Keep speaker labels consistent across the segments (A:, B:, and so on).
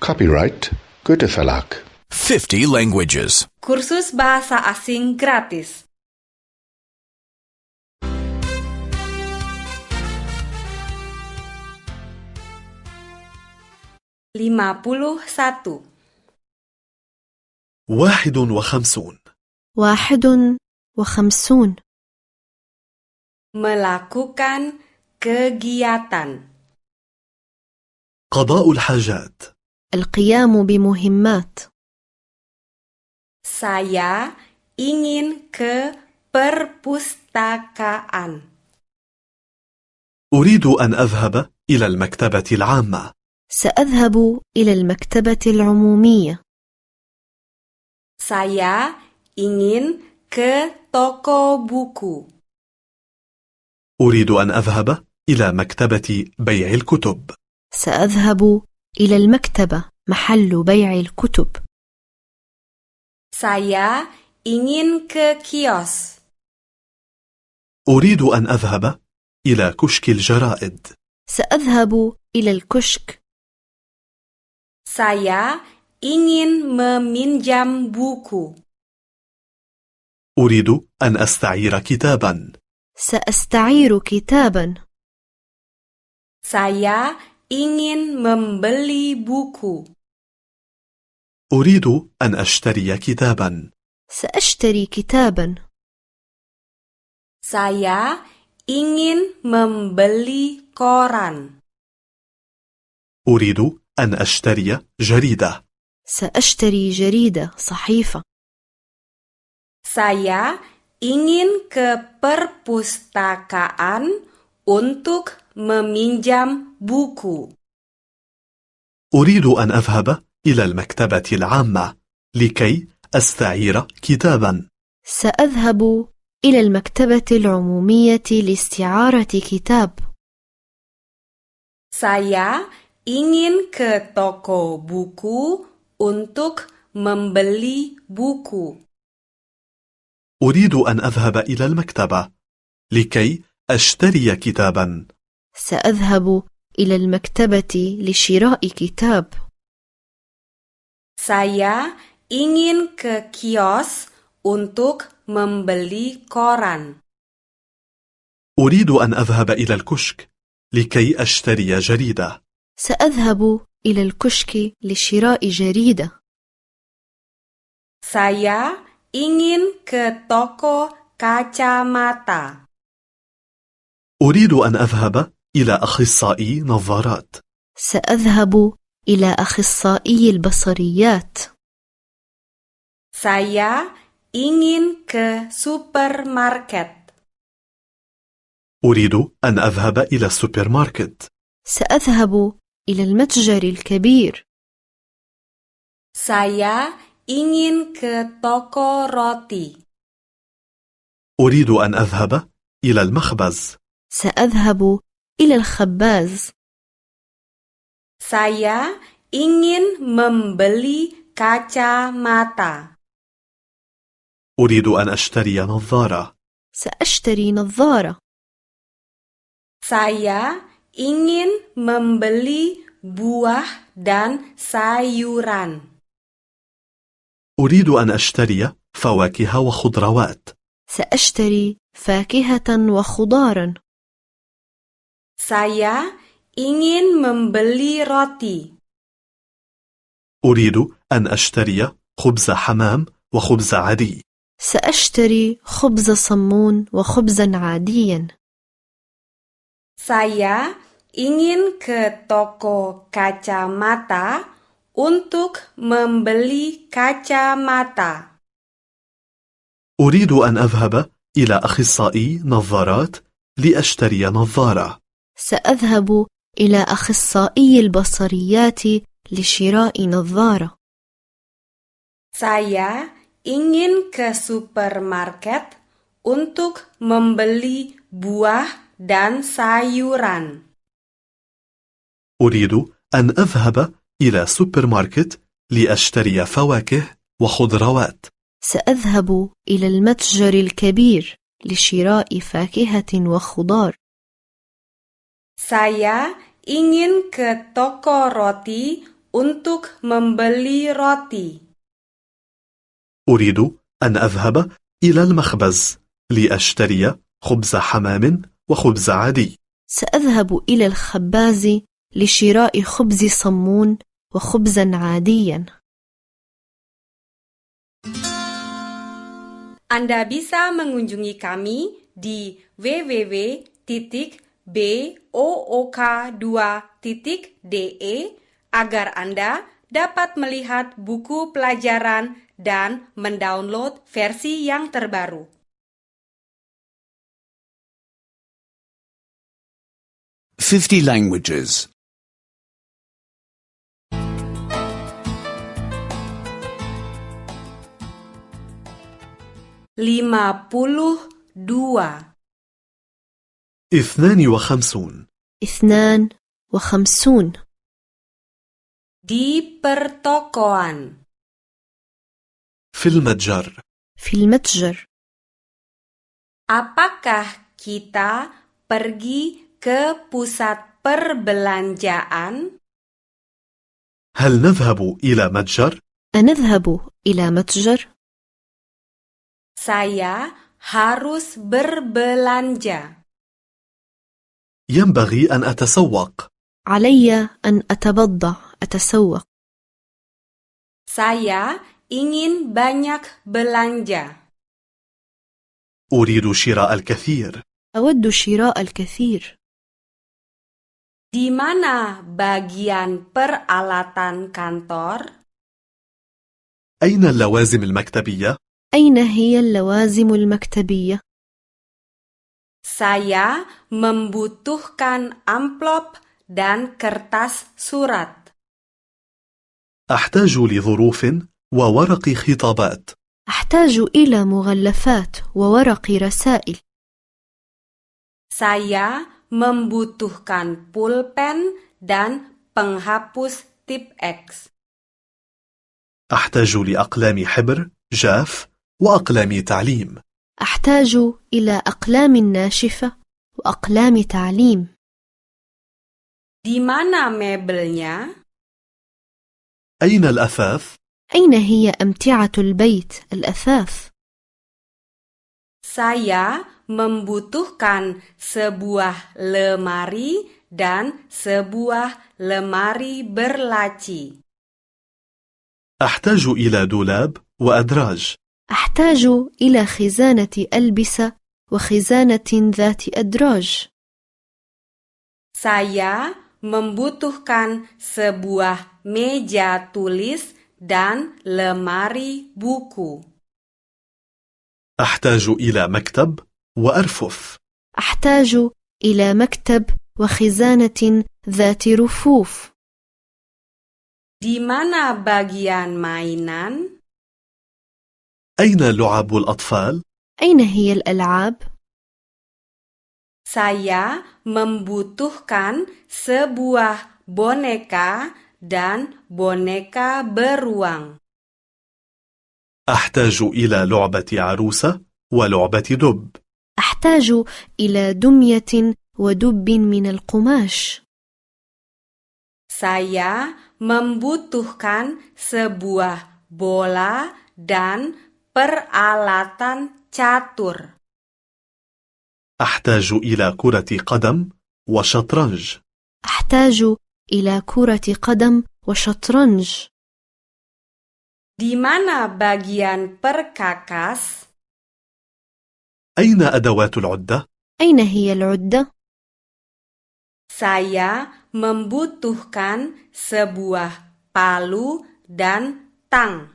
A: Copyright Goethe Verlag.
B: 50 languages.
C: Kursus Bahasa Asing Gratis lima puluh satu
D: واحد وخمسون
E: واحد وخمسون
C: melakukan kegiatan
D: قضاء الحاجات
E: القيام بمهمات
C: saya ingin ke perpustakaan
D: أريد أن أذهب إلى المكتبة العامة
E: سأذهب إلى المكتبة العمومية
C: saya ingin ke toko buku
D: أريد أن أذهب إلى مكتبة بيع الكتب
E: سأذهب إلى المكتبة محل بيع الكتب
C: saya ingin ke kios
D: أريد أن أذهب إلى كشك الجرائد
E: سأذهب إلى الكشك
C: Saya ingin meminjam buku.
D: أريد أن أستعير كتابا
E: سأستعير كتابا
C: Saya ingin membeli buku.
D: أريد أن أشتري كتابا
E: سأشتري كتابا
C: Saya ingin membeli koran.
D: أريد أن أشتري جريدة
E: سأشتري جريدة صحيفة
C: Saya ingin ke perpustakaan untuk meminjam buku.
D: أريد أن أذهب إلى المكتبة العامة لكي أستعير كتابا
E: سأذهب إلى المكتبة العمومية لاستعارة كتاب
C: Saya ingin ke toko buku untuk membeli buku.
D: أريد أن أذهب إلى المكتبة لكي أشتري كتابا
E: سأذهب إلى المكتبة لشراء كتاب
C: Saya ingin ke kios untuk membeli koran.
D: أريد أن أذهب إلى الكشك لكي أشتري جريدة
E: سأذهب إلى الكشك لشراء جريدة
C: Saya ingin ke toko kacamata.
D: أريد أن أذهب إلى أخصائي نظارات
E: سأذهب إلى أخصائي البصريات
C: Saya ingin ke supermarket.
D: أريد أن أذهب إلى السوبر ماركت
E: سأذهب إلى المتجر الكبير
C: Saya ingin ke toko roti.
D: أريد أن أذهب إلى المخبز
E: سأذهب إلى الخباز
C: Saya ingin membeli kacamata.
D: أريد أن أشتري نظارة
E: سأشتري نظارة
C: Saya ingin membeli buah dan sayuran.
D: أريد أن أشتري فواكه وخضروات
E: سأشتري فاكهة وخضارا
C: Saya ingin membeli roti.
D: أريد أن أشتري خبز حمام وخبز عادي
E: سأشتري خبز صمون وخبزا عاديا
C: Saya ingin ke toko kacamata untuk membeli kacamata.
D: أريد أن أذهب إلى أخصائي نظارات لأشتري نظارة
E: سأذهب إلى أخصائي البصريات لشراء نظارة
C: Saya ingin ke supermarket untuk membeli buah dan sayuran.
D: أريد أن أذهب إلى سوبر ماركت لأشتري فواكه وخضروات
E: سأذهب إلى المتجر الكبير لشراء فاكهة وخضار
C: Saya ingin ke toko roti untuk membeli roti.
D: أريد أن أذهب إلى المخبز لأشتري خبز حمام وخبز عادي
E: سأذهب إلى الخباز لشراء خبز صمون وخبزا عاديا
C: Anda bisa mengunjungi kami di www.book2.de agar Anda dapat melihat buku pelajaran dan mendownload versi yang terbaru.
B: Fifty languages.
C: 52
D: 52
E: اثنان وخمسون
C: di pertokoan.
D: في المتجر
E: في المتجر
C: Apakah kita pergi ke pusat perbelanjaan?
D: هل نذهب إلى متجر؟
E: أنذهب إلى متجر
C: Saya harus berbelanja.
D: ينبغي أن أتسوق
E: علي أن أتبضع أتسوق
C: Saya ingin banyak belanja.
D: أريد شراء الكثير
E: أود شراء الكثير
C: Di mana bagian peralatan kantor?
D: أين اللوازم المكتبية؟
E: أين هي اللوازم المكتبية؟
C: Saya membutuhkan amplop dan kertas surat.
D: أحتاج لظروف وورق خطابات
E: أحتاج إلى مغلفات وورق رسائل
C: Saya membutuhkan pulpen dan penghapus tip X.
D: أحتاج لأقلام حبر جاف وأقلام تعليم
E: أحتاج إلى أقلام ناشفة وأقلام تعليم
C: Di mana mebelnya?
D: أين الأثاث؟
E: أين هي أمتعة البيت الأثاث؟
C: Saya membutuhkan sebuah lemari dan sebuah lemari berlaci.
D: أحتاج إلى دولاب وأدراج
E: أحتاج إلى خزانة ألبسة وخزانة ذات أدراج
C: Saya membutuhkan sebuah meja tulis dan lemari buku.
D: أحتاج إلى مكتب وأرفف
E: أحتاج إلى مكتب وخزانة ذات رفوف
C: Di mana bagian mainan?
D: أين لعب الأطفال؟
E: أين هي الألعاب؟
C: Saya membutuhkan sebuah boneka dan boneka beruang.
D: أحتاج إلى لعبة عروسة ولعبة دب
E: أحتاج إلى دمية ودب من القماش
C: Saya membutuhkan sebuah bola dan peralatan catur.
D: أحتاج إلى كرة قدم وشطرنج
E: أحتاج إلى كرة قدم وشطرنج
C: Di mana bagian perkakas?
D: أين أدوات العدة؟
E: أين هي العدة؟
C: Saya membutuhkan sebuah palu dan tang.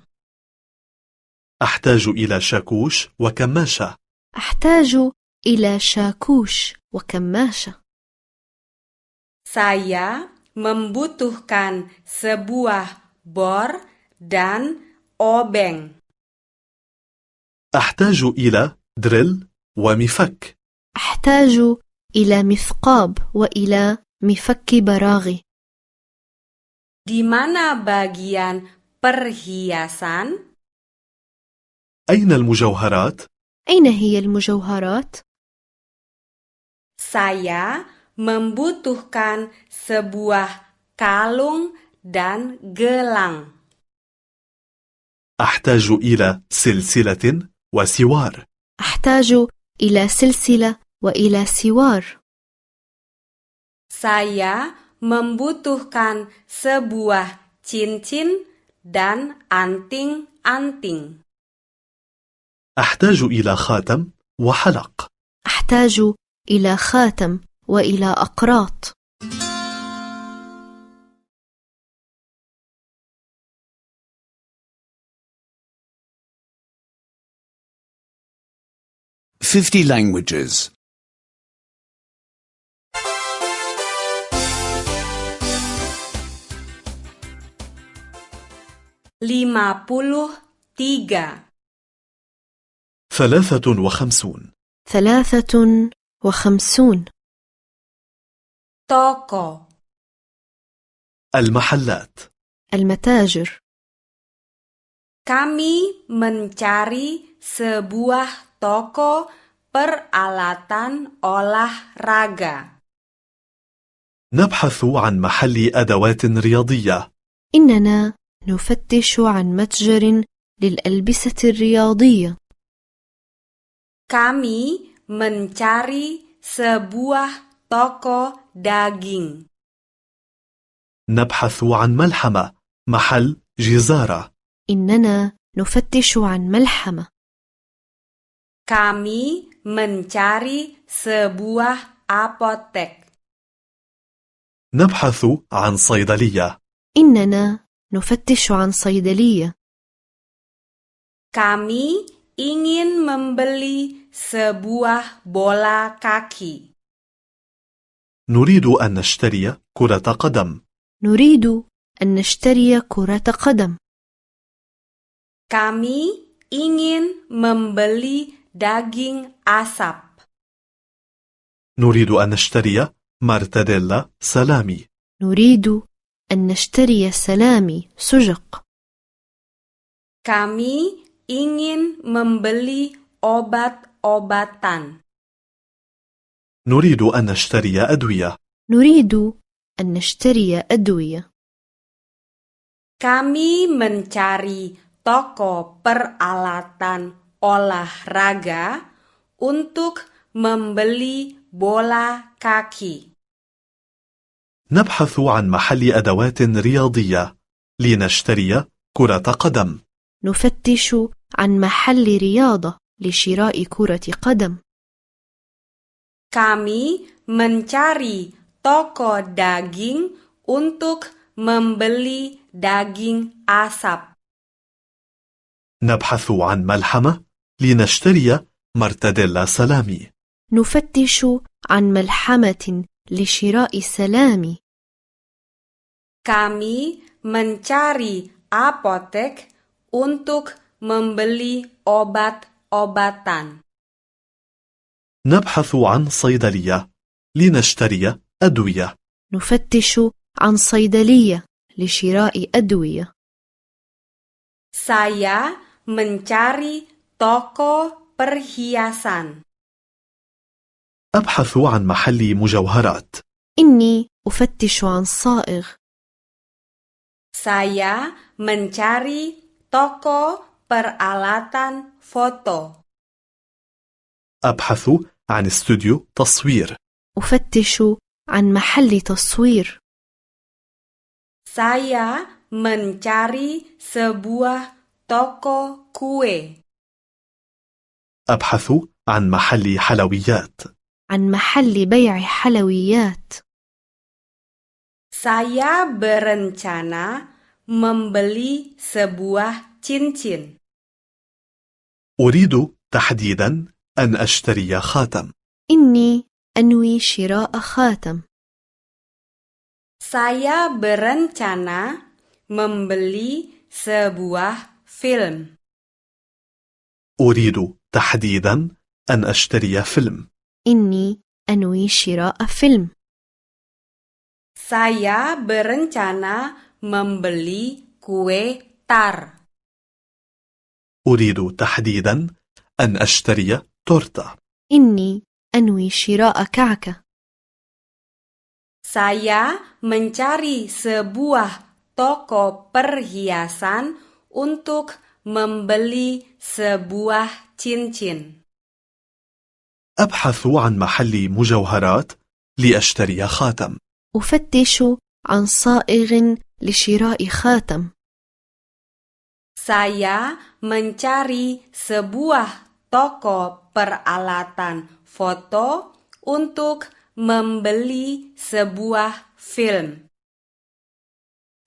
D: أحتاج إلى شاكوش وكماشة
E: أحتاج إلى شاكوش وكماشة
C: Saya membutuhkan sebuah bor dan obeng.
D: أحتاج إلى دريل ومفك
E: أحتاج إلى مثقاب وإلى مفك براغي
C: Di mana bagian perhiasan?
D: أين المجوهرات؟
E: أين هي المجوهرات؟
C: Saya membutuhkan sebuah kalung dan gelang.
D: أحتاج إلى سلسلة وسوار
E: أحتاج إلى سلسلة وإلى سوار
C: Saya membutuhkan sebuah cincin dan anting-anting.
D: أحتاج إلى خاتم وحلق
E: أحتاج إلى خاتم وإلى أقراط
B: Fifty languages.
C: 53.
D: ثلاثة وخمسون
E: ثلاثة وخمسون
C: Toko.
D: المحلات
E: المتاجر
C: Kami mencari sebuah toko peralatan olahraga.
D: نبحث عن محل أدوات رياضية
E: إننا نفتش عن متجر للألبسة الرياضية
C: Kami mencari sebuah toko daging.
D: نبحث عن ملحمة محل جزارة
E: إننا نفتش عن ملحمة
C: Kami mencari sebuah apotek.
D: نبحث عن صيدلية
E: إننا نفتش عن صيدلية
C: Kami ingin membeli sebuah bola kaki.
D: نريد أن نشتري كرة قدم
E: نريد أن نشتري كرة قدم
C: Kami ingin membeli daging asap.
D: نريد أن نشتري مرتديلا سلامي
E: نريد أن نشتري سلامي سجق
C: Kami ingin membeli obat-obatan.
D: نريد أن نشتري أدوية
E: نريد أن نشتري أدوية
C: Kami mencari toko peralatan olahraga untuk membeli bola kaki.
D: نبحث عن محل أدوات رياضية لنشتري كرة قدم
E: نفتش عن محل رياضة لشراء كرة قدم
C: Kami mencari toko daging untuk membeli daging asap.
D: نبحث عن ملحمة لنشتري مرتديلا سلامي
E: نفتش عن ملحمة لشراء سلامي
C: Kami mencari apotek untuk membeli obat-obatan.
D: نبحث عن صيدلية لنشتري أدوية
E: نفتش عن صيدلية لشراء أدوية
C: Saya mencari toko perhiasan.
D: أبحث عن محل مجوهرات
E: إني أفتش عن صائغ
C: Saya mencari toko peralatan foto.
D: أبحث عن استوديو تصوير
E: أفتش عن محل تصوير
C: Saya mencari sebuah toko kue.
D: أبحث عن محل حلويات
E: عن محل بيع حلويات
C: Saya berencana membeli sebuah cincin.
D: أريد تحديدا أن أشتري خاتم
E: إني أنوي شراء خاتم
C: Saya berencana membeli sebuah film.
D: أريد تحديدا أن أشتري فيلم
E: إني أنوي شراء فيلم
C: Saya berencana membeli kue tar.
D: أريد تحديدا أن أشتري تورتة
E: إني أنوي شراء كعكة
C: Saya mencari sebuah toko perhiasan untuk membeli sebuah cincin.
D: أبحث عن محل مجوهرات لأشتري خاتم
E: أفتش عن صائغ لشراء خاتم
C: Saya mencari sebuah toko peralatan foto untuk membeli sebuah film.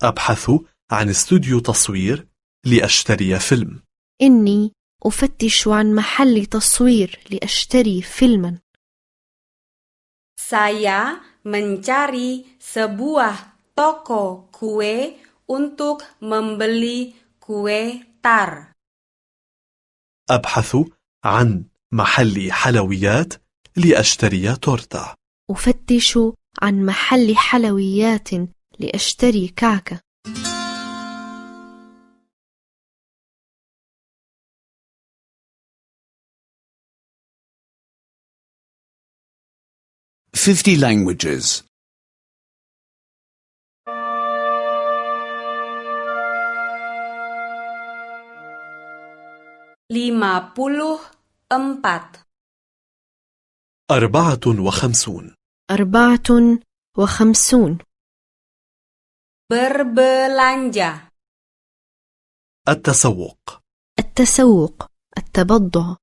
D: أبحث عن استوديو تصوير لأشتري فيلم
E: إني أفتش عن محل تصوير لأشتري فيلما
C: Saya mencari sebuah toko kue untuk membeli kue tar.
D: أبحث عن محل حلويات لأشتري تورتة
E: أفتش عن محل حلويات لأشتري كعكة
B: Fifty languages.
C: 54.
D: أربعة وخمسون
E: أربعة وخمسون
C: Berbelanja.
D: التسوق
E: التسوق التبضع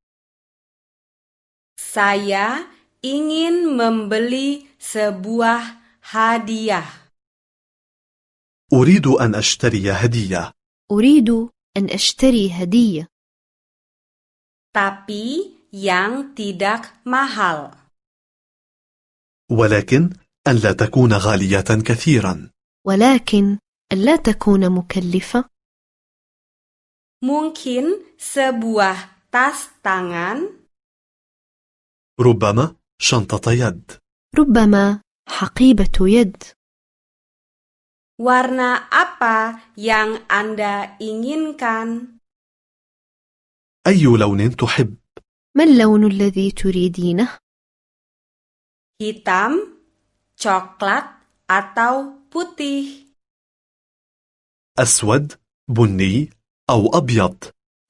C: Saya ingin membeli sebuah hadiah.
D: أريد أن أشتري هدية
E: أريد أن أشتري هدية
C: Tapi yang tidak mahal.
D: ولكن أن لا تكون غالية كثيرا
E: ولكن ألا تكون مكلفة
C: Mungkin sebuah tas tangan,
D: ربما شنطة يد
E: ربما حقيبة يد
C: warna apa yang Anda inginkan?
D: أي لون تحب
E: ما اللون الذي تريدينه؟
C: Hitam, coklat, atau putih?
D: أسود بني أو أبيض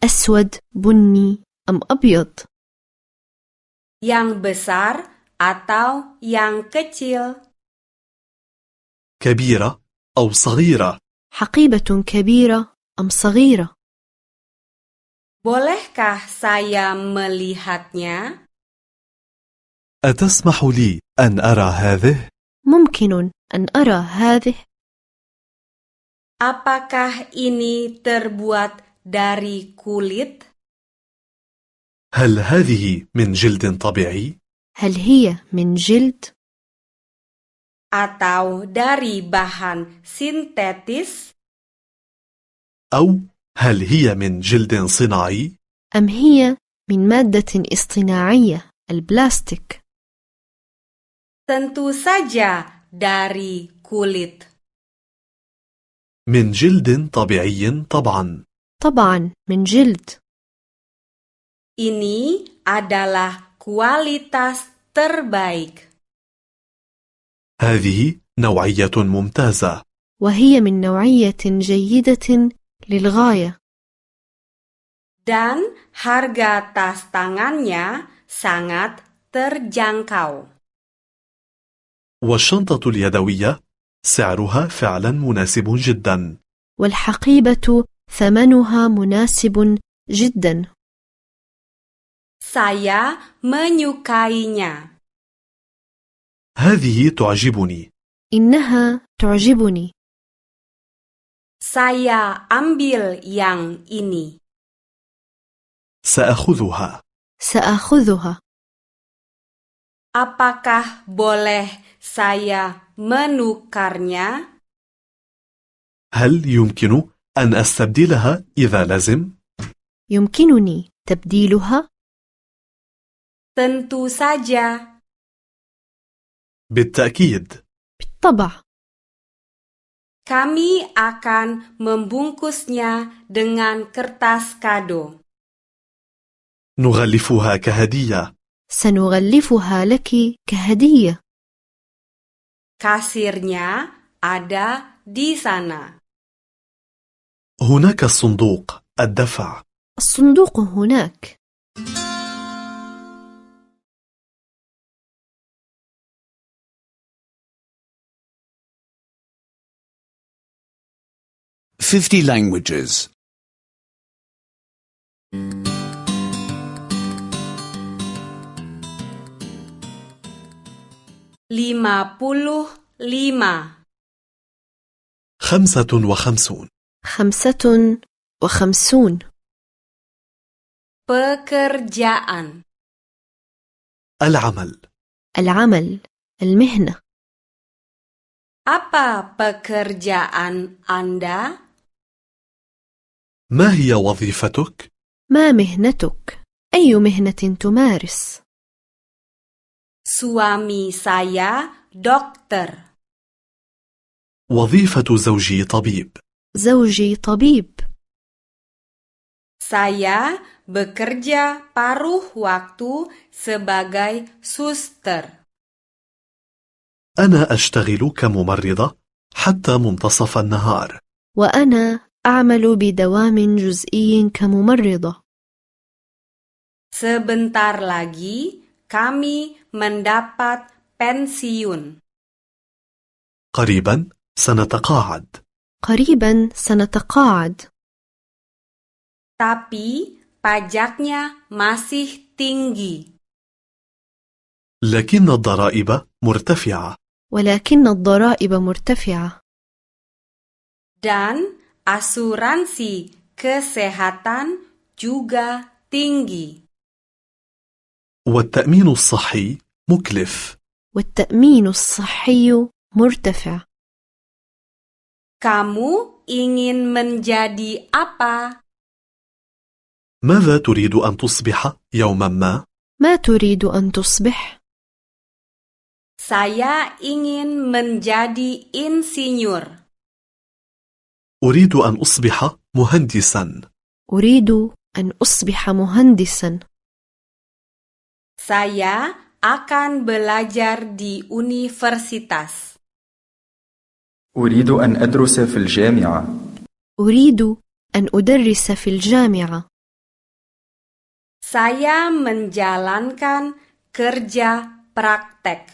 E: أسود بني أم أبيض
C: Yang besar atau yang kecil?
D: كبيرة أو صغيرة
E: حقيبة كبيرة أم صغيرة
C: Bolehkah saya melihatnya?
D: أتسمح لي أن أرى هذه؟
E: ممكن أن أرى هذه
C: Apakah ini terbuat dari kulit?
D: هل هذه من جلد طبيعي؟
E: هل هي من جلد
C: atau dari bahan sintetis
D: أو هل هي من جلد صناعي؟
E: أم هي من مادة اصطناعية البلاستيك؟
C: tentu saja dari kulit
D: من جلد طبيعي طبعا
E: طبعا من جلد
C: ini adalah kualitas terbaik
D: هذه نوعية ممتازة
E: وهي من نوعية جيدة للغاية
C: dan harga tas tangannya sangat terjangkau
D: والشنطة اليدوية سعرها فعلا مناسب جدا
E: والحقيبة ثمنها مناسب جدا
C: saya menyukainya
D: هذه تعجبني
E: إنها تعجبني
C: saya ambil yang ini
D: سأخذها
E: سأخذها
C: apakah boleh saya menukarnya
D: هل يمكن أن أستبدلها إذا لزم؟
E: يمكنني تبديلها
C: Tentu saja,
D: بالتأكيد
E: بالطبع
C: kami akan membungkusnya dengan kertas kado.
D: نغلفها كهدية
E: سنغلفها لك كهدية
C: Kasirnya ada di sana.
D: هناك الصندوق الدفع
E: الصندوق هناك
B: Fifty languages.
C: 55.
D: خمسة وخمسون
E: خمسة وخمسون
C: Pekerjaan.
D: العمل
E: العمل المهنة
C: Apa pekerjaan Anda?
D: ما هي وظيفتك؟
E: ما مهنتك؟ أي مهنة تمارس؟
C: Suami saya dokter.
D: وظيفة زوجي طبيب
E: زوجي طبيب
C: Saya bekerja paruh waktu sebagai suster.
D: أنا أشتغل كممرضة حتى منتصف النهار
E: وأنا أعمل بدوام جزئي كممرضة
C: Sebentar lagi kami mendapat pensiun.
D: قريبا سنتقاعد
E: قريبا سنتقاعد
C: Tapi pajaknya masih tinggi.
D: لكن الضرائب مرتفعة
E: ولكن الضرائب مرتفعة
C: dan asuransi kesehatan juga tinggi.
D: والتأمين الصحي مكلف
E: والتأمين الصحي مرتفع
C: Kamu ingin menjadi apa?
D: ماذا تريد أن تصبح يوما ما؟
E: ما تريد أن تصبح؟
C: Saya ingin menjadi insinyur.
D: أريد أن أصبح مهندسا
E: أريد أن أصبح مهندسا
C: Saya akan belajar di universitas.
F: أريد أن أدرس في الجامعة
E: أريد أن أدرس في الجامعة
C: Saya menjalankan kerja praktek.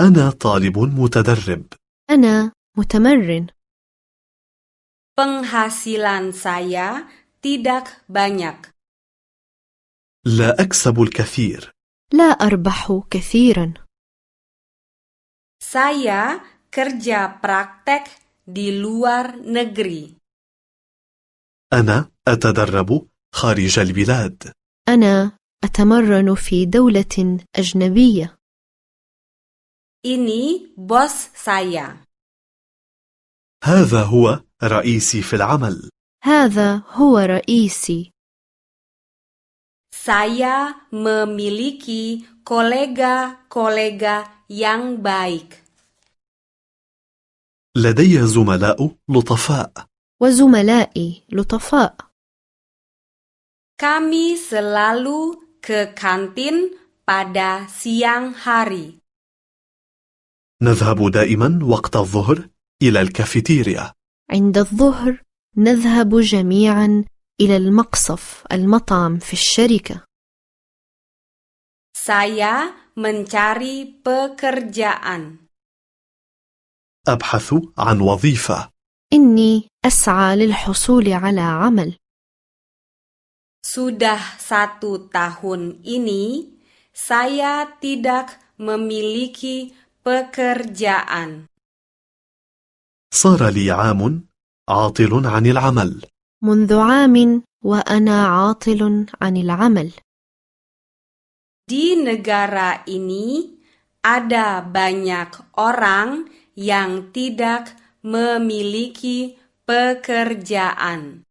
D: أنا طالب متدرب
E: أنا متمرن
C: Penghasilan saya tidak banyak.
D: لا أكسب الكثير
E: لا أربح كثيرا
C: Saya kerja praktek di luar negeri.
D: أنا أتدرب خارج البلاد
E: أنا أتمرن في دولة أجنبية
C: Ini bos saya.
D: هذا هو رئيسي في العمل
E: هذا هو رئيسي
C: Saya memiliki kolega-kolega yang baik.
D: لدي زملاء لطفاء
E: وزملائي لطفاء
C: Kami selalu ke kantin pada siang hari.
D: نذهب دائما وقت الظهر إلى الكافيتيريا
E: عند الظهر نذهب جميعا إلى المقصف المطعم في الشركة
C: Saya mencari pekerjaan.
D: أبحث عن وظيفة
E: إني أسعى للحصول على عمل
C: Sudah satu tahun ini, saya tidak memiliki pekerjaan.
D: صار لي عام عاطل عن العمل
E: منذ عام وأنا عاطل عن العمل
C: Di negara ini ada banyak orang yang tidak memiliki pekerjaan.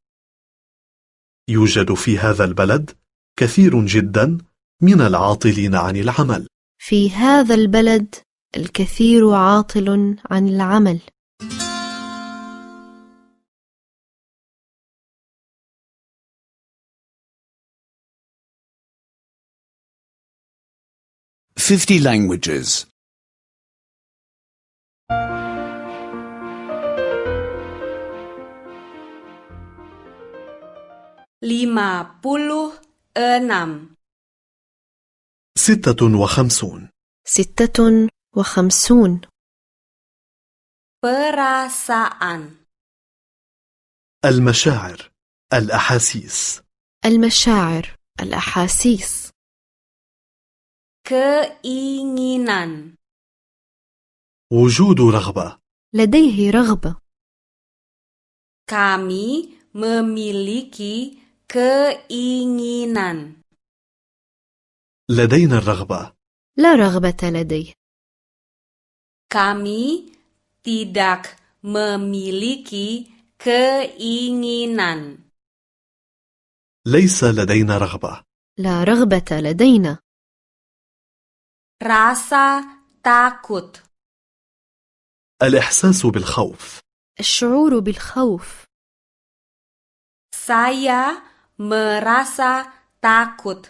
D: يوجد في هذا البلد كثير جدا من العاطلين عن العمل
E: في هذا البلد الكثير عاطل عن العمل
B: Fifty languages.
G: 50
C: lima puluh enam.
D: ستة وخمسون
E: ستة وخمسون
C: Perasaan.
D: المشاعر الأحاسيس
E: المشاعر الأحاسيس
C: Keinginan.
D: وجود رغبة
E: لديه رغبة
C: Kami memiliki keinginan.
D: لدينا الرغبة
E: لا رغبة لديه
C: Kami tidak memiliki keinginan.
D: ليس لدينا رغبة
E: لا رغبة لدينا
C: Rasa takut.
D: الإحساس بالخوف
E: الشعور بالخوف
C: Saya merasa takut.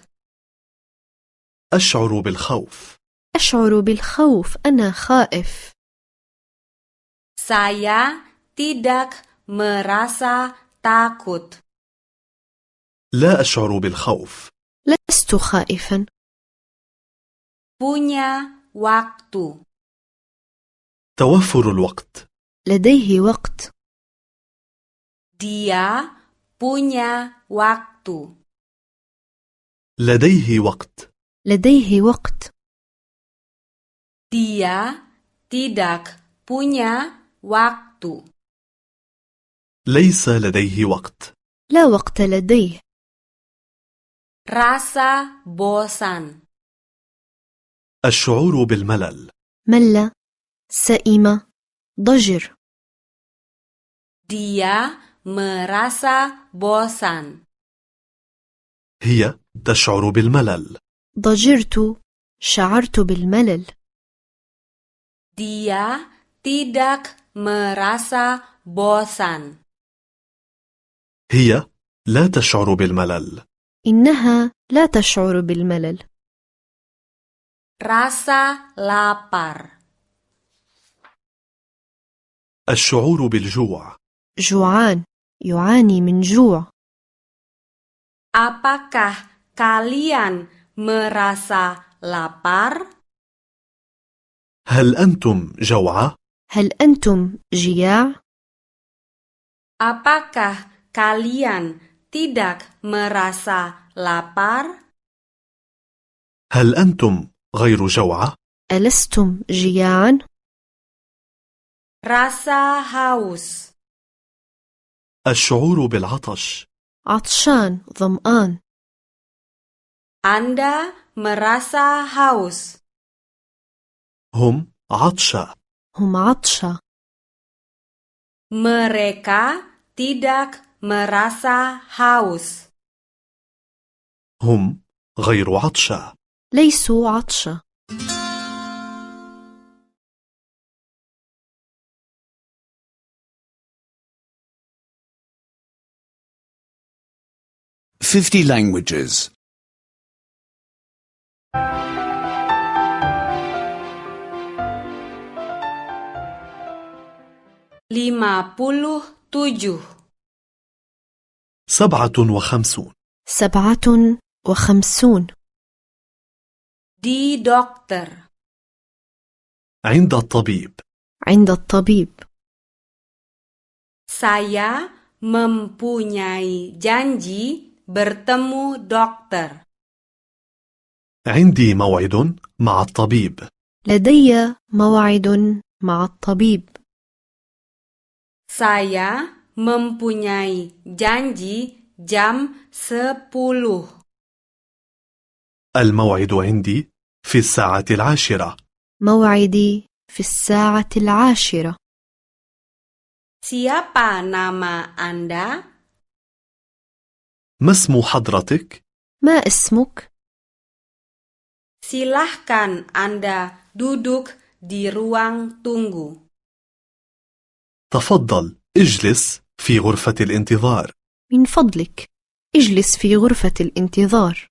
D: أشعر بالخوف
E: أشعر بالخوف أنا خائف
C: Saya tidak merasa takut.
D: لا أشعر بالخوف
E: لست خائفا
C: Punya waktu.
D: توفر الوقت
E: لديه وقت
C: Dia punya waktu.
D: لديه وقت
E: لديه وقت
C: Dia tidak punya waktu.
D: ليس لديه وقت
E: لا وقت لديه
C: Rasa bosan.
D: الشعور بالملل
E: مل سئم ضجر
C: Dia merasa bosan.
D: هي تشعر بالملل
E: ضجرت شعرت بالملل
C: Dia tidak merasa bosan.
D: هي لا تشعر بالملل
E: إنها لا تشعر بالملل
C: Rasa lapar.
D: الشعور بالجوع
E: جوعان يعاني من جوع
C: Apakah kalian merasa lapar?
D: هل أنتم جوعى؟
E: هل أنتم جياع؟
C: Apakah kalian tidak merasa lapar?
D: هل أنتم غير جوعى؟
E: ألستم جياعا؟
C: Rasa haus.
D: الشعور بالعطش
E: عطشان ظمآن
C: Anda merasa haus.
D: هم عطشى
E: هم عطشى
C: Mereka tidak merasa haus.
D: هم غير عطشى
E: ليسوا عطشى
B: Fifty languages.
C: 57.
D: سبعة وخمسون
E: سبعة وخمسون
C: Di dokter.
D: عند الطبيب
E: عند الطبيب
C: Saya mempunyai janji bertemu dokter.
D: عندي موعد مع الطبيب
E: لدي موعد مع الطبيب
C: Saya mempunyai janji jam 10.
D: الموعد عندي في الساعة العاشرة
E: موعدي في الساعة العاشرة
C: Siapa nama Anda?
D: ما اسم حضرتك؟
E: ما اسمك؟
C: Silahkan Anda duduk di ruang tunggu.
D: تفضل اجلس في غرفة الانتظار
E: من فضلك اجلس في غرفة الانتظار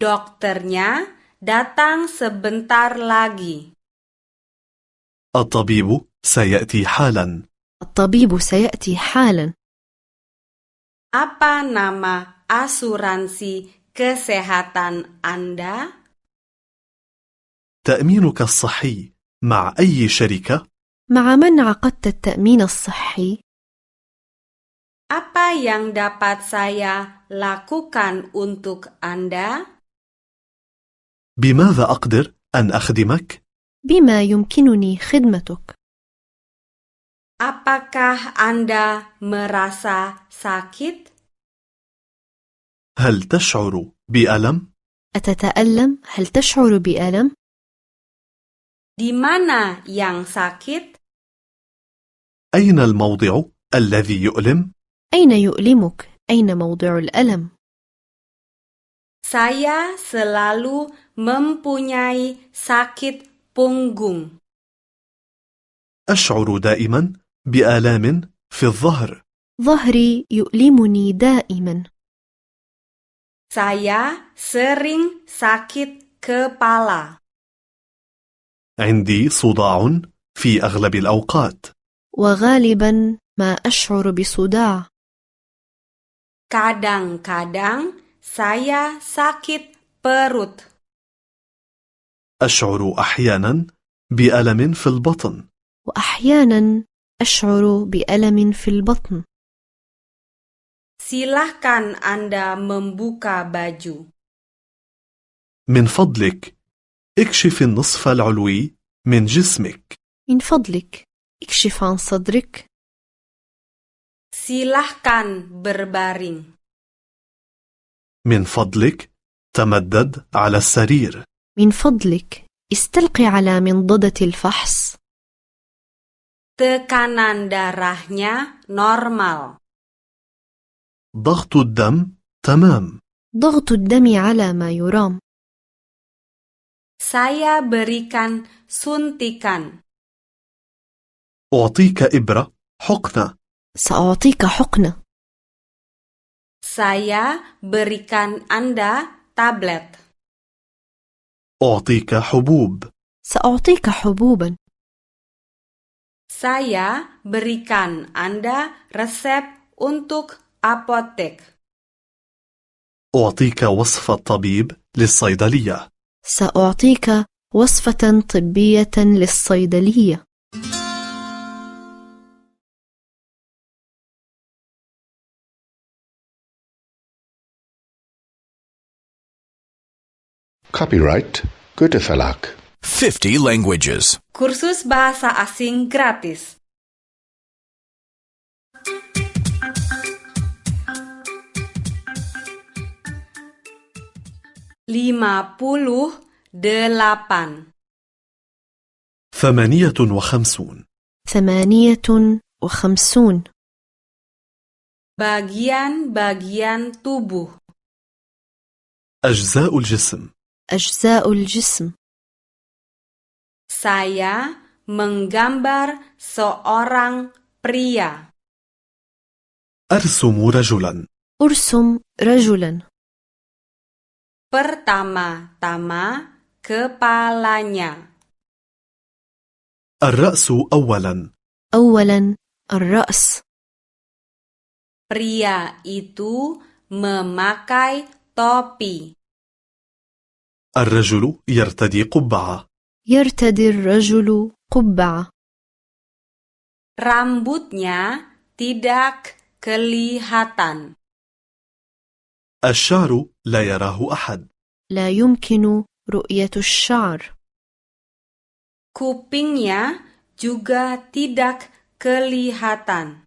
C: Dokternya datang sebentar lagi.
D: الطبيب سيأتي حالا
E: الطبيب سيأتي حالا
C: Apa nama asuransi kesehatan Anda?
D: تأمينك الصحي مع أي شركة؟
E: مع من عقدت التأمين الصحي؟
C: Apa yang dapat saya lakukan untuk Anda?
D: بماذا أقدر أن أخدمك؟
E: بما يمكنني خدمتك؟
C: Apakah Anda merasa sakit?
D: هل تشعر بألم؟
E: أتتألم؟ هل تشعر بألم؟
C: Di mana yang sakit?
D: أين الموضع الذي يؤلم؟
E: أين يؤلمك؟ أين موضع الألم؟
C: Saya selalu mempunyai sakit punggung.
D: أشعر دائما بآلام في الظهر
E: ظهري يؤلمني دائما
C: Saya sering sakit kepala.
D: عندي صداع في أغلب الأوقات
E: وغالبا ما أشعر بصداع
C: Kadang-kadang saya sakit perut.
D: أشعر أحيانا بألم في البطن
E: وأحيانا أشعر بألم في البطن
C: Silahkan Anda membuka baju.
D: من فضلك اكشف النصف العلوي من جسمك
E: من فضلك اكشف عن صدرك
C: Silahkan berbaring.
D: من فضلك تمدد على السرير
E: من فضلك استلقي على منضدة الفحص
C: Tekanan darahnya normal.
D: ضغط الدم تمام
E: ضغط الدم على ما يرام
C: Saya berikan suntikan.
D: أعطيك إبرة حقنة
E: سأعطيك حقنة
C: Saya berikan Anda tablet.
D: أعطيك حبوب
E: سأعطيك حبوبا
C: Saya berikan Anda resep untuk apotek.
D: أعطيك وصفة طبيب للصيدلية
E: سأعطيك وصفة طبية للصيدلية
A: Copyright Goethe Verlag.
B: 50 languages.
C: Kursus bahasa asing gratis. Lima puluh delapan.
D: ثمانية وخمسون
E: ثمانية وخمسون
C: Bagian-bagian tubuh.
D: أجزاء الجسم
E: أجزاء الجسم
C: Saya menggambar seorang pria.
D: أرسم رجلا
E: أرسم رجلا
C: Pertama-tama kepalanya.
D: الرأس أولا
E: أولا الرأس
C: Pria itu memakai topi.
D: الرجل يرتدي قبعة
E: يرتدي الرجل قبعة
C: Rambutnya tidak kelihatan.
D: الشعر لا يراه أحد
E: لا يمكن رؤية الشعر
C: Kupingnya juga tidak kelihatan.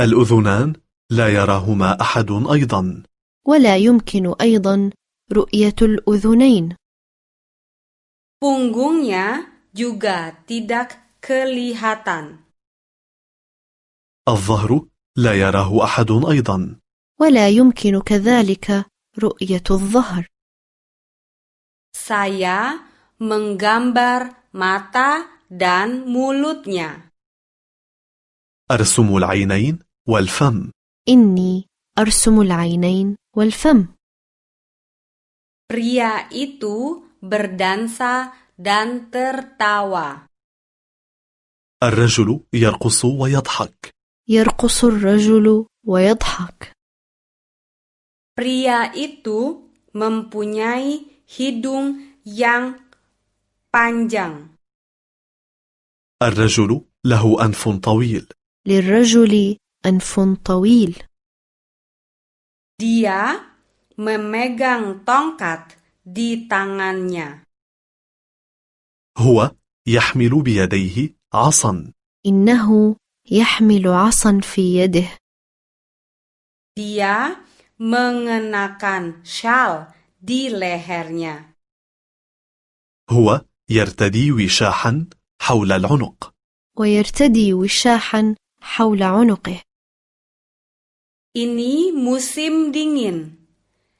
D: الأذنان لا يراهما أحد أيضا
E: ولا يمكن أيضا رؤية الأذنين
C: Punggungnya juga tidak kelihatan.
D: الظهر لا يراه أحد أيضا
E: ولا يمكن كذلك رؤية الظهر
C: Saya menggambar mata dan mulutnya.
D: أرسم العينين والفم
E: إني أرسم العينين والفم
C: Pria itu berdansa dan tertawa.
D: الرجل يرقص ويضحك
E: يرقص الرجل ويضحك
C: Pria itu mempunyai hidung yang panjang.
D: الرجل له أنف طويل
E: للرجل أنف طويل
C: Dia memegang tongkat di tangannya.
D: هو يحمل بيديه عصا
E: إنه يحمل عصا في يده
C: Dia mengenakan syal di lehernya.
D: هو يرتدي وشاحا حول العنق
E: ويرتدي وشاحا حول عنقه
C: Ini musim dingin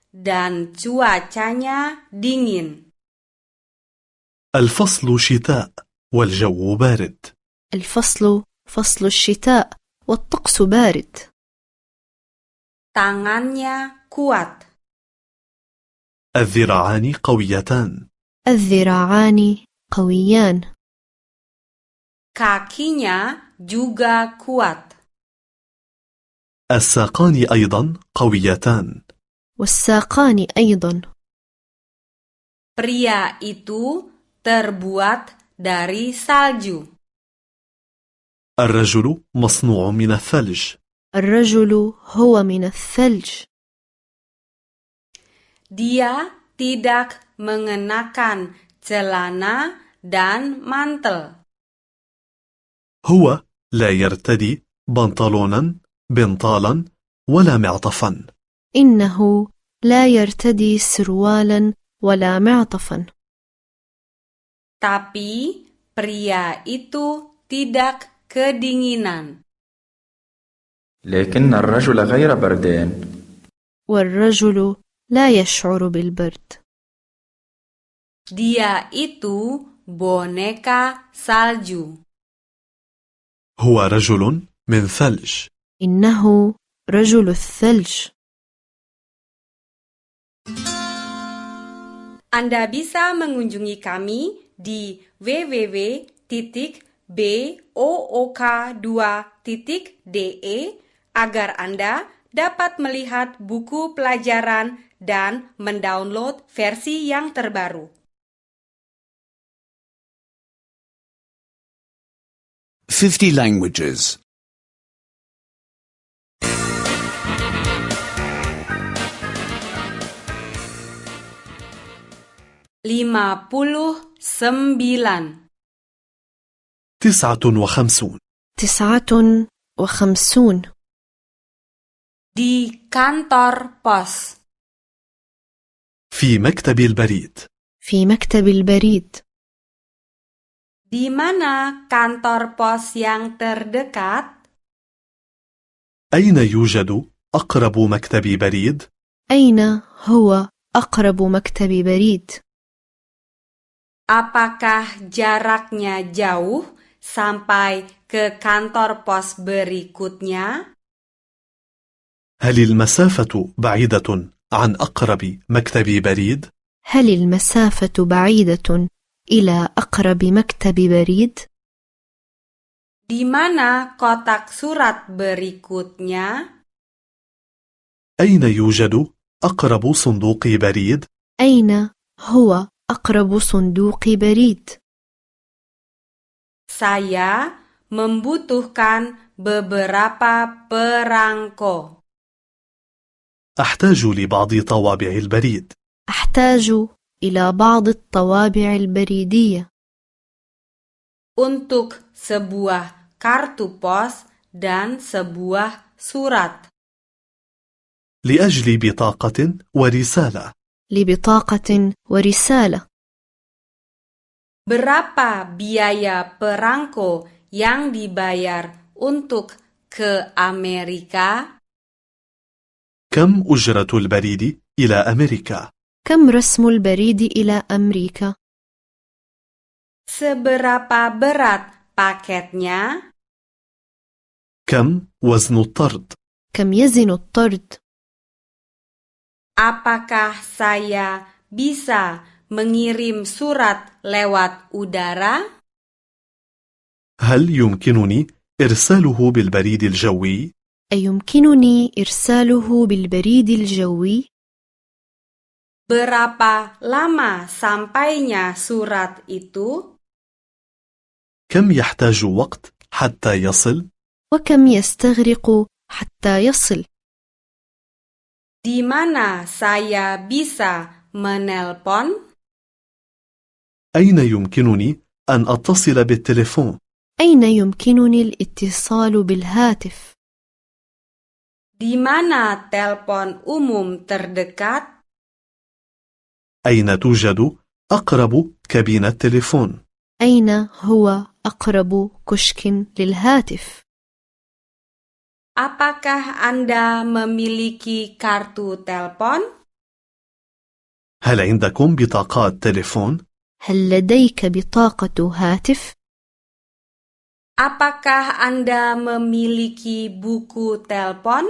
C: dan cuacanya dingin.
D: الفصل شتاء والجو بارد
E: الفصل فصل الشتاء والطقس بارد
C: Tangannya kuat.
D: الذراعان قويتان
E: الذراعان قويان
C: Kakinya juga kuat.
D: الساقان أيضا قويتان
E: والساقان أيضا
C: Pria itu terbuat dari salju.
D: الرجل مصنوع من الثلج
E: الرجل هو من الثلج
C: Dia tidak mengenakan celana dan mantel.
D: هو لا يرتدي بنطلونا بنطالا ولا معطفا
E: إنه لا يرتدي سروالا ولا معطفا
C: Tapi pria itu tidak kedinginan.
F: لكن الرجل غير بردان
E: والرجل لا يشعر بالبرد
C: Dia itu boneka salju.
D: هو رجل من ثلج
E: إنه رجل الثلج
C: Anda bisa mengunjungi kami di www.book2.de agar Anda dapat melihat buku pelajaran dan mendownload versi yang terbaru.
B: Fifty languages.
C: 59
D: تسعة وخمسون
E: تسعة وخمسون
C: di kantor pos.
D: في مكتب البريد
E: في مكتب البريد
C: Di mana kantor pos yang terdekat?
D: أين يوجد أقرب مكتب بريد؟
E: أين هو أقرب مكتب بريد؟
C: Apakah jaraknya jauh sampai ke kantor pos berikutnya?
D: هل المسافة بعيدة عن أقرب مكتب بريد؟
E: هل المسافة بعيدة إلى أقرب مكتب بريد؟
C: Di mana kotak surat berikutnya?
D: أين يوجد أقرب صندوق بريد؟
E: أين هو أقرب صندوق بريد؟
C: Saya membutuhkan beberapa perangko.
D: أحتاج لبعض طوابع البريد
E: أحتاج إلى بعض الطوابع البريدية
C: Untuk sebuah kartu pos dan sebuah surat.
D: لأجل بطاقة ورسالة
E: لبطاقة ورسالة
C: Berapa biaya perangko yang dibayar untuk ke Amerika?
D: كم أجرة البريد إلى أمريكا؟
E: كم رسم البريد إلى أمريكا؟
C: Seberapa berat paketnya?
D: كم وزن الطرد؟
E: كم يزن الطرد؟
C: Apakah saya bisa mengirim surat lewat udara?
D: هل يمكنني إرساله بالبريد الجوي؟
E: أيمكنني إرساله بالبريد الجوي؟
C: Berapa lama sampainya surat itu?
D: كم يحتاج وقت حتى يصل؟
E: وكم يستغرق حتى يصل؟
C: Di mana saya bisa menelpon?
D: أين يمكنني أن أتصل بالتليفون؟
E: أين يمكنني الاتصال بالهاتف؟
C: Di mana telepon umum terdekat?
D: أين توجد أقرب كابينة تليفون؟
E: أين هو أقرب كشك للهاتف؟
C: Apakah Anda memiliki kartu telepon?
D: هل عندكم بطاقات تليفون؟
E: هل لديك بطاقة هاتف؟
C: Apakah Anda memiliki buku telepon?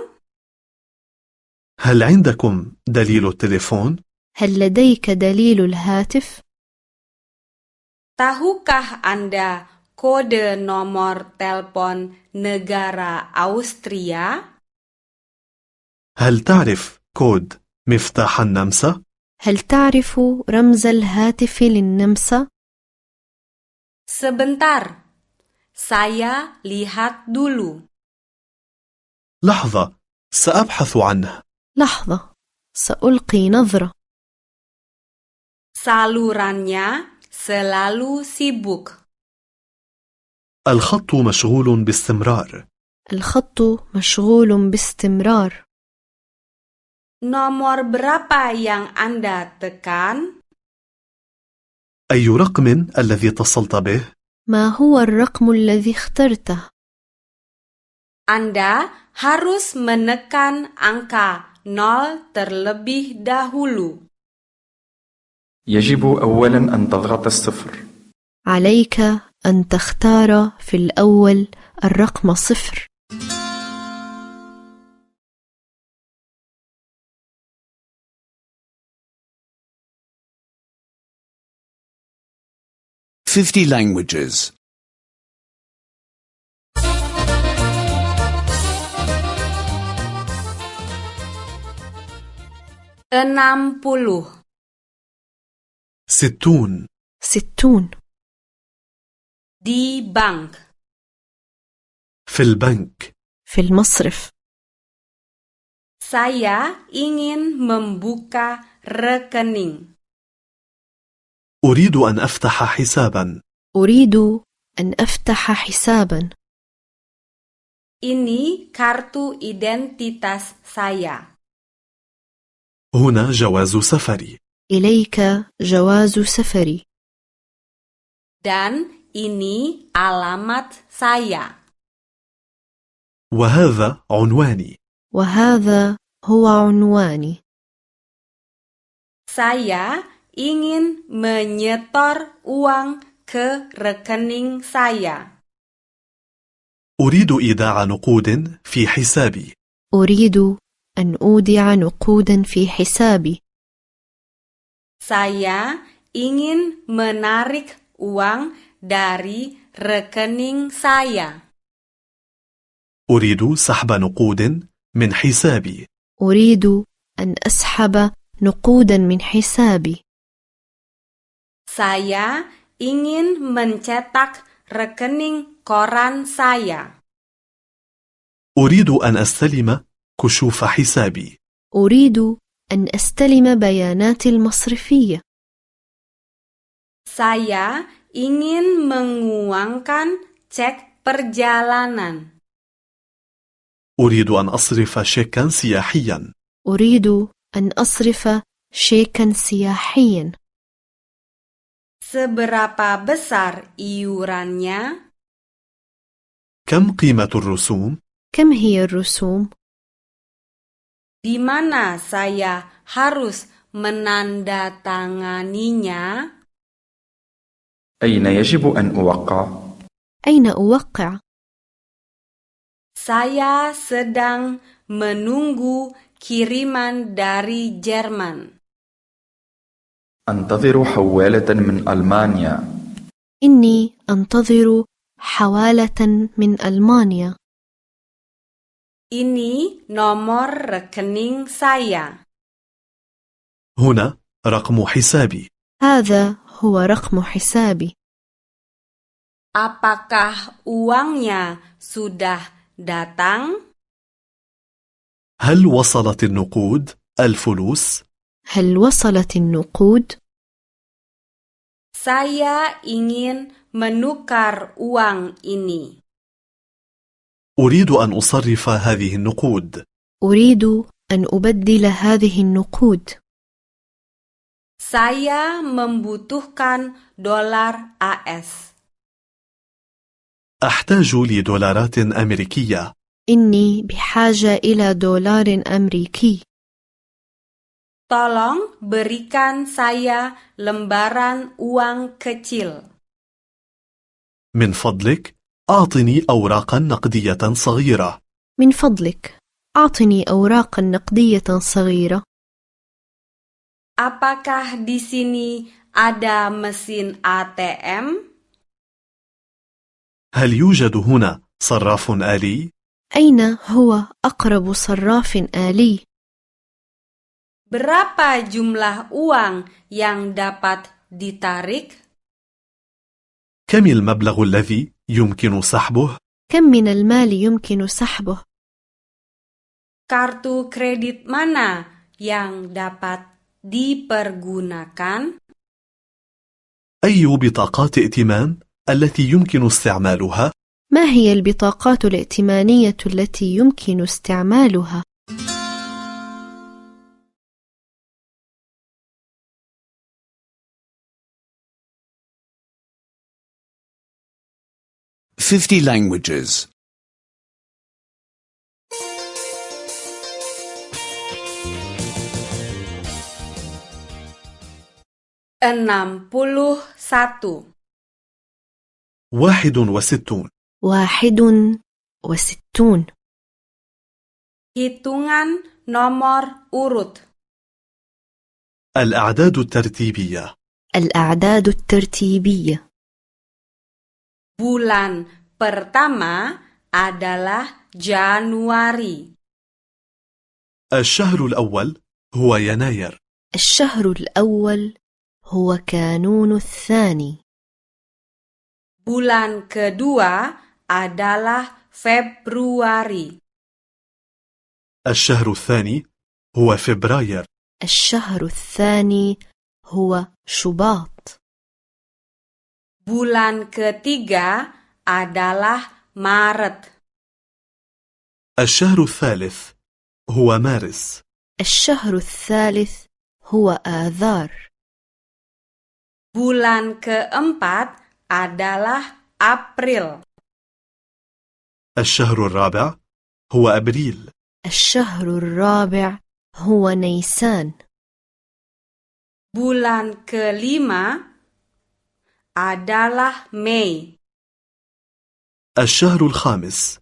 D: هل عندكم دليل التليفون؟
E: هل لديك دليل الهاتف؟
C: Tahukah Anda kode nomor telepon negara Austria?
D: هل تعرف كود مفتاح النمسا؟
E: هل تعرف رمز الهاتف للنمسا؟
C: Sebentar, saya lihat dulu.
D: لحظة سأبحث عنه
E: لحظة سألقي نظرة
C: Salurannya selalu sibuk.
D: الخط مشغول باستمرار
E: الخط مشغول باستمرار
C: Nomor berapa yang Anda tekan?
D: أي رقم الذي اتصلت به؟
E: ما هو الرقم الذي اخترته؟
C: Anda harus menekan angka 0 terlebih dahulu.
F: يجب أولا أن تضغط الصفر
E: عليك أن تختار في الأول الرقم صفر
B: Fifty languages.
C: 60.
D: ستون
E: ستون
C: Di bank.
D: في البنك
E: في المصرف
C: Saya ingin membuka rekening.
D: أريد أن أفتح حسابا
E: أريد أن أفتح حسابا
C: Ini kartu identitas saya.
D: هنا جواز سفري
E: إليك جواز سفري
C: Dan ini alamat saya.
D: وهذا عنواني
E: وهذا هو عنواني
C: Saya ingin menyetor uang ke rekening saya.
D: أريد إيداع نقود في حسابي
E: أريد أن أودع نقودا في حسابي
C: Saya ingin menarik uang dari rekening saya.
D: أريد سحب نقود من حسابي
E: أريد أن أسحب نقودا من حسابي
C: Saya ingin mencetak rekening koran saya.
D: أريد أن أستلم كشوف حسابي
E: أريد أن أستلم بيانات المصرفية
C: Saya ingin menguangkan cek perjalanan.
D: أريد أن أصرف شيكا سياحيا
E: أريد أن أصرف شيكا سياحيا
C: Seberapa besar iurannya?
D: كم قيمة الرسوم؟
E: كم هي الرسوم؟
C: Di mana saya harus menandatanganinya?
F: أين يجب أن أوقع؟
E: أين أوقع؟
C: Saya sedang menunggu kiriman dari Jerman.
F: أنتظر حوالة من ألمانيا
E: إني أنتظر حوالة من ألمانيا
C: Ini nomor rekening saya.
D: هنا رقم حسابي
E: هذا هو رقم حسابي
C: Apakah uangnya sudah datang?
D: هل وصلت النقود الفلوس؟
E: هل وصلت النقود؟
C: Saya ingin menukar uang ini.
D: أريد أن أصرف هذه النقود
E: أريد أن أبدل هذه النقود
C: Saya membutuhkan dolar AS.
D: أحتاج لدولارات أمريكية
E: إني بحاجة إلى دولار أمريكي
C: Tolong berikan saya lembaran uang kecil.
D: من فضلك أعطني أوراقا نقدية صغيرة
E: من فضلك أعطني أوراقا نقدية صغيرة
C: Apakah di sini ada mesin ATM?
D: هل يوجد هنا صراف آلي؟
E: أين هو أقرب صراف آلي؟
C: Berapa jumlah uang yang dapat ditarik?
D: كم المبلغ الذي يمكن سحبه؟
E: كم من المال يمكن سحبه؟
C: Kartu kredit mana yang dapat dipergunakan?
D: أي بطاقات ائتمان التي يمكن استعمالها؟
E: ما هي البطاقات الائتمانية التي يمكن استعمالها؟
B: Fifty languages.
C: 61.
D: 61
E: واحد وستون
C: Hitungan nomor urut.
D: الأعداد الترتيبية
E: الأعداد الترتيبية
C: Bulan pertama adalah Januari.
D: الشهر الأول هو يناير
E: الشهر الأول هو كانون الثاني
C: Bulan kedua adalah Februari.
D: الشهر الثاني هو فبراير
E: الشهر الثاني هو شباط
C: Bulan ketiga adalah Maret.
D: الشهر الثالث هو مارس
E: الشهر الثالث هو آذار
C: Bulan keempat adalah April.
D: الشهر الرابع هو أبريل
E: الشهر الرابع هو نيسان
C: Bulan kelima adalah Mei.
D: الشهر الخامس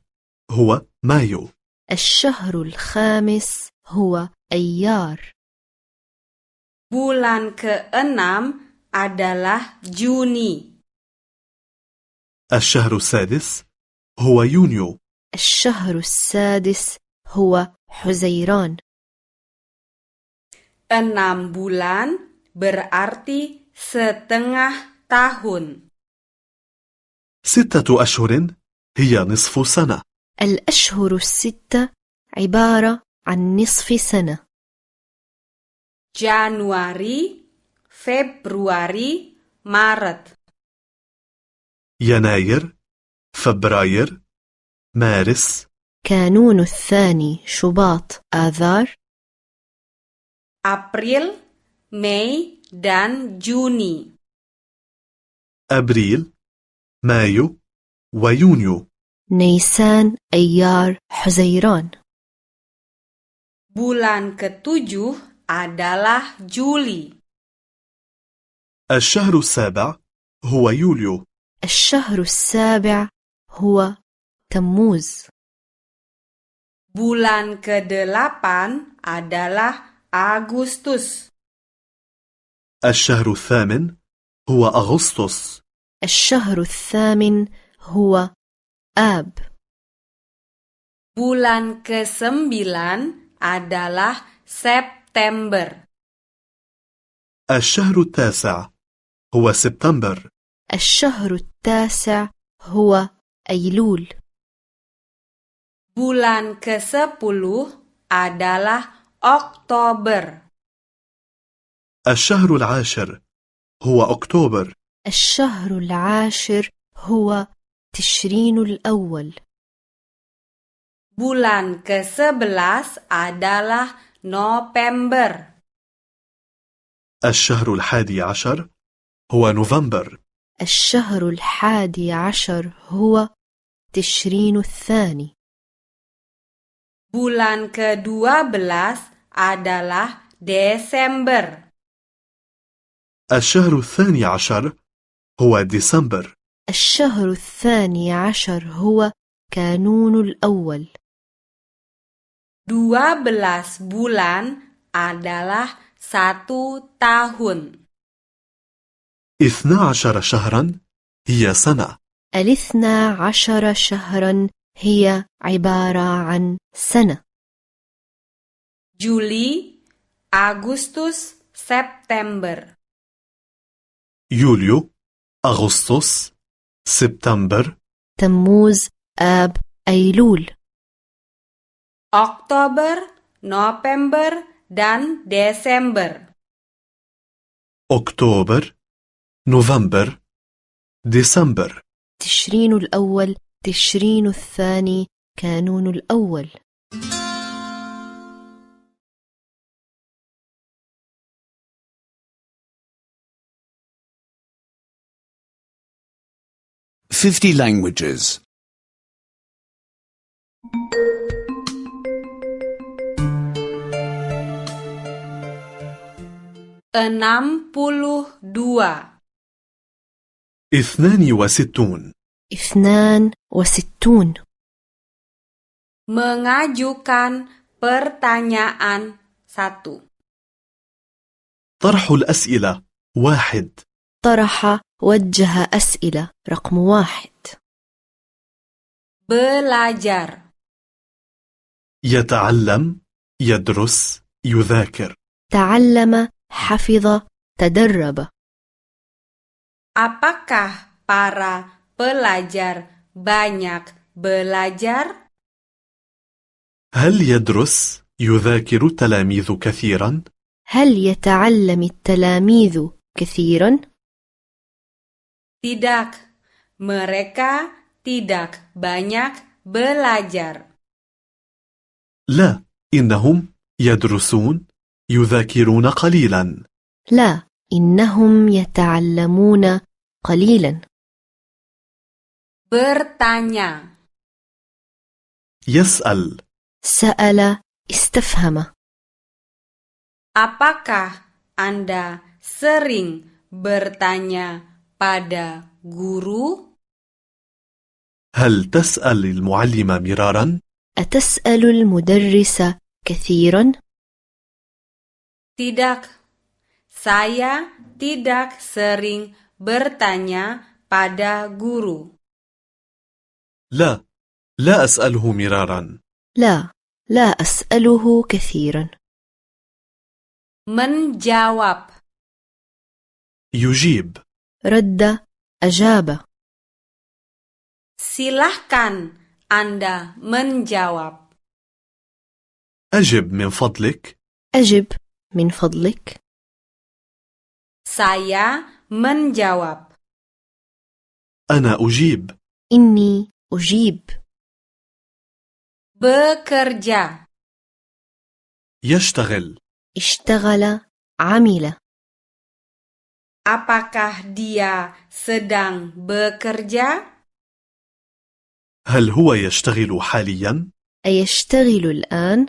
D: هو مايو
E: الشهر الخامس هو أيار
C: Bulan keenam adalah Juni.
D: الشهر السادس هو يونيو
E: الشهر السادس هو حزيران
C: Enam bulan berarti setengah tahun.
D: ستة أشهر هي نصف سنة
E: الأشهر الستة عبارة عن نصف سنة
C: Januari, Februari, Maret.
D: يناير فبراير مارس
E: كانون الثاني شباط آذار
C: April, Mei, dan Juni.
D: أبريل مايو ويونيو
E: نيسان أيار حزيران
C: Bulan ketujuh adalah Juli.
D: الشهر السابع هو يوليو
E: الشهر السابع هو تموز
C: Bulan kedelapan adalah Agustus.
D: الشهر الثامن هو أغسطس
E: الشهر الثامن هو آب
C: Bulan kesembilan adalah September.
D: الشهر التاسع هو سبتمبر
E: الشهر التاسع هو أيلول
C: Bulan ke-10 adalah Oktober.
D: الشهر العاشر هو أكتوبر
E: الشهر العاشر هو تشرين الأول
C: Bulan ke-11 adalah November.
D: الشهر الحادي عشر هو نوفمبر
E: الشهر الحادي عشر هو تشرين الثاني
C: Bulan ke-12 adalah Desember.
D: الشهر الثاني عشر هو ديسمبر
E: الشهر الثاني عشر هو كانون الأول
C: 12 bulan adalah satu tahun.
D: اثنا عشر شهرا هي سنة
E: الاثنى عشر شهرا هي عبارة عن سنة
C: Juli, Agustus, September.
D: يوليو أغسطس سبتمبر
E: تموز آب أيلول
C: Oktober, November, dan Desember.
D: أكتوبر نوفمبر ديسمبر
E: تشرين الأول تشرين الثاني كانون الأول
B: Fifty languages.
C: 62.
D: 62 وستون
E: اثنان وستون
C: Mengajukan pertanyaan 1.
D: طرح الأسئلة واحد
E: طرح وجه أسئلة رقم واحد
C: Belajar.
D: يتعلم يدرس يذاكر
E: تعلم حفظ تدرب
C: Apakah para pelajar banyak belajar?
D: هل يدرس يذاكر التلاميذ كثيرا؟
E: هل يتعلم التلاميذ كثيرا؟
C: Tidak. Mereka tidak banyak belajar.
D: لا إنهم يدرسون يذاكرون قليلا
E: لا إنهم يتعلمون قليلا
C: Bertanya.
D: يسأل
E: سأل استفهم
C: Apakah Anda sering bertanya pada guru?
D: هل تسأل المعلم مرارا؟
E: أتسأل المدرس كثيرا؟
C: Tidak. Saya tidak sering bertanya pada guru.
D: لا لا أسأله مرارا
E: لا لا أسأله كثيرا
C: Menjawab.
D: يجيب
E: رد أجاب
C: Silahkan Anda menjawab.
D: أجب من فضلك
E: أجب من فضلك
C: Saya menjawab.
D: أنا أجيب
E: إني أجيب
C: Bekerja.
D: يشتغل
E: اشتغل عمل
C: Apakah dia sedang bekerja?
D: هل هو يشتغل حاليا؟
E: أيشتغل الآن؟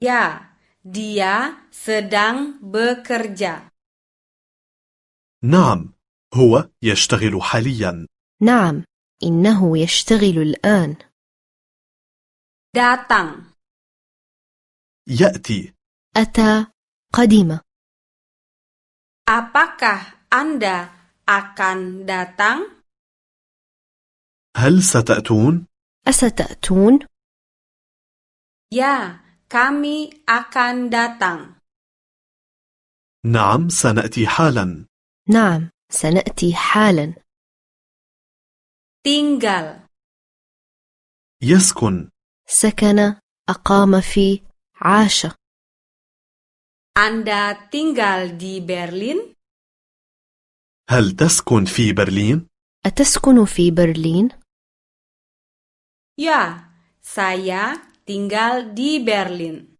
C: Ya, dia sedang bekerja.
D: نعم هو يشتغل حاليا
E: نعم إنه يشتغل الآن
C: Datang.
D: يأتي
E: أتى قدم
C: Apakah Anda akan datang?
D: هل ستأتون؟
E: أستأتون؟
C: Ya, kami akan datang.
D: نعم سنأتي حالا
E: نعم سنأتي حالا
C: Tinggal.
D: يسكن
E: سكن أقام في عاش
C: Anda tinggal di Berlin?
D: هل تسكن في برلين؟
E: أتسكن في برلين؟
C: Ya, saya tinggal di Berlin.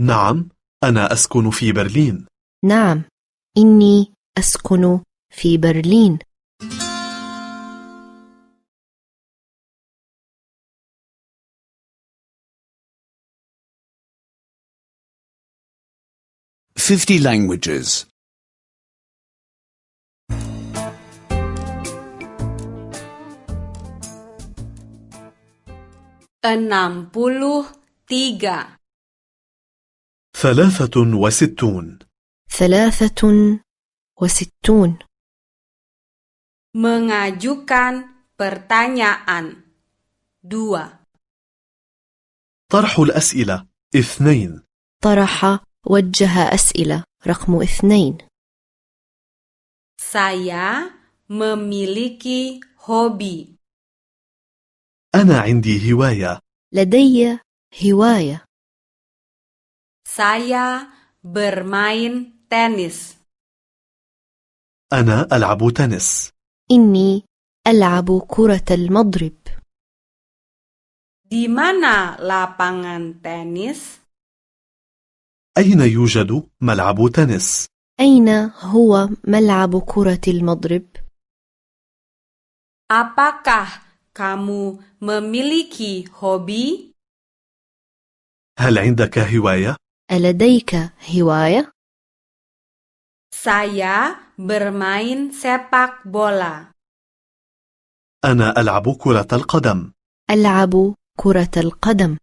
D: نعم أنا أسكن في برلين
E: نعم إني أسكن في برلين
B: Fifty languages.
C: 63.
D: ثلاثة وستون
E: ثلاثة وستون
C: Mengajukan pertanyaan. 2.
D: طرح الأسئلة اثنين
E: طرح وجه أسئلة رقم اثنين
C: Saya memiliki hobi.
D: أنا عندي هواية
E: لدي هواية
C: Saya bermain tenis.
D: أنا ألعب تنس
E: إني ألعب كرة المضرب
C: Di mana lapangan tenis?
D: أين يوجد ملعب تنس؟
E: أين هو ملعب كرة المضرب؟
C: Apakah kamu memiliki hobi?
D: هل عندك هواية؟
E: ألديك هواية؟
C: Saya bermain sepak bola.
D: أنا ألعب كرة القدم
E: ألعب كرة القدم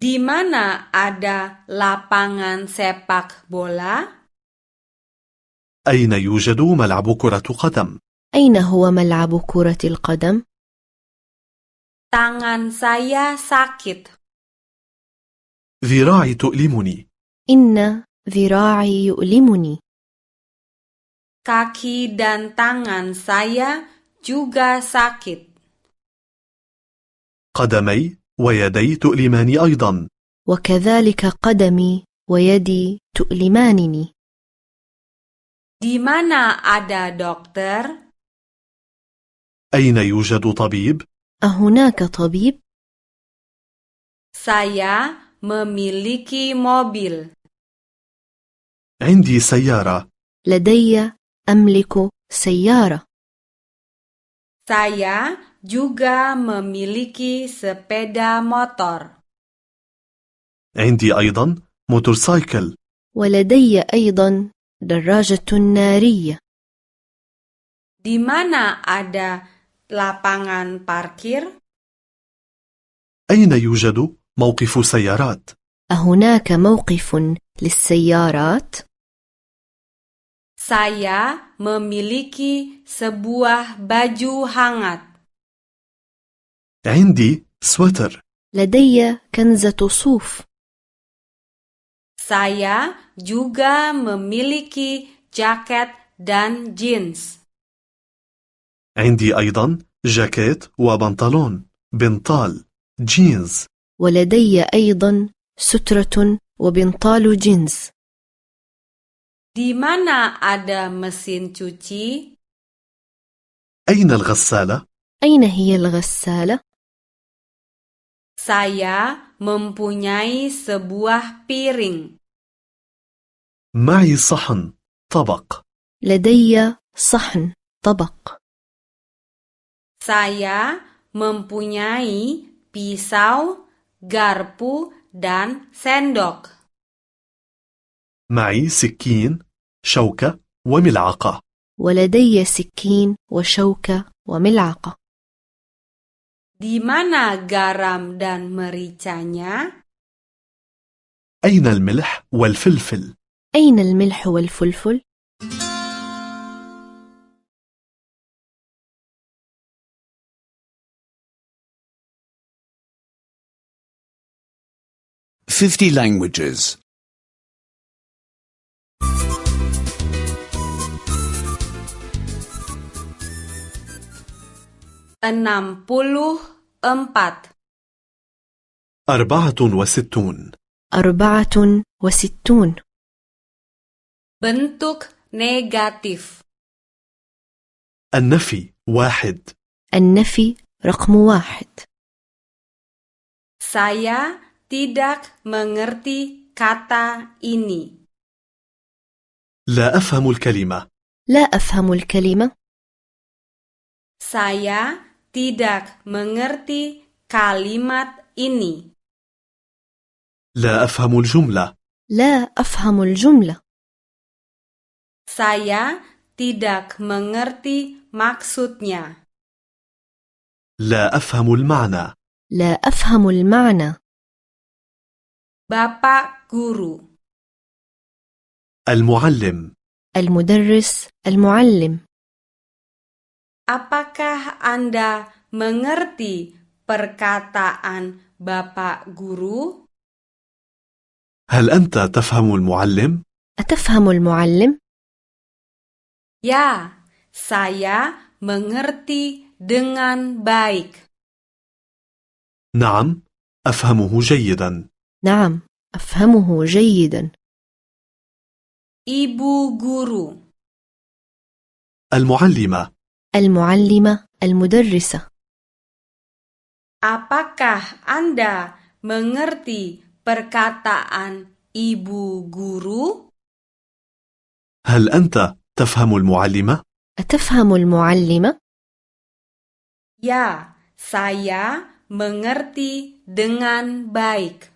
C: Di mana ada lapangan sepak bola?
D: أين يوجد ملعب كرة قدم؟
E: أين هو ملعب كرة القدم؟
C: Tangan saya sakit.
D: ذراعي تؤلمني
E: إن ذراعي يؤلمني
C: Kaki dan tangan saya juga sakit.
D: قدمي ويدي تؤلماني أيضا
E: وكذلك قدمي ويدي تؤلمانني
C: Di mana ada dokter?
D: أين يوجد طبيب؟
E: أهناك طبيب؟
C: Saya memiliki mobil.
D: عندي سيارة
E: لدي أملك سيارة
C: Saya juga memiliki sepeda motor.
D: عندي أيضا موتورسايكل
E: ولدي أيضا دراجة نارية
C: Di mana ada lapangan parkir?
D: أين يوجد موقف سيارات؟
E: أهناك موقف للسيارات؟
C: Saya memiliki sebuah baju hangat.
D: عندي سويتر
E: لدي كنزة صوف
C: Saya juga memiliki jaket dan jeans.
D: عندي أيضا جاكيت وبنطلون بنطال جينز
E: ولدي أيضا سترة وبنطال جينز
C: Di mana ada mesin cuci?
D: أين الغسالة؟
E: أين هي الغسالة؟
C: Saya mempunyai sebuah piring.
D: معي صحن طبق
E: لدي صحن طبق
C: Saya mempunyai pisau, garpu, dan sendok.
D: معي سكين شوكة وملعقة
E: ولدي سكين وشوكة وملعقة
C: Di mana garam dan mericanya?
D: أين الملح والفلفل؟
E: أين الملح والفلفل؟
B: 50 languages.
C: 64.
D: أربعة وستون
E: أربعة وستون
C: Bentuk negatif.
D: النفي واحد
E: النفي رقم واحد
C: Saya tidak mengerti kata ini.
D: لا أفهم الكلمة
E: لا أفهم الكلمة
C: Saya tidak mengerti kalimat ini.
D: لا أفهم الجملة
E: لا أفهم الجملة
C: Saya tidak mengerti maksudnya.
D: لا أفهم المعنى
E: لا أفهم المعنى
C: Bapak guru,
D: المعلم
E: المدرس المعلم
C: apakah Anda mengerti perkataan Bapak guru?
D: هل أنت تفهم المعلم؟
E: أتفهم المعلم؟
C: Ya, saya mengerti dengan baik.
D: نعم أفهمه جيدا
E: نعم أفهمه جيدا
C: Ibu guru,
D: المعلمة
E: المعلمة المدرسة
C: apakah Anda mengerti perkataan ibu guru?
D: هل أنت تفهم المعلمة؟
E: أتفهم المعلمة؟
C: Ya, saya mengerti dengan baik.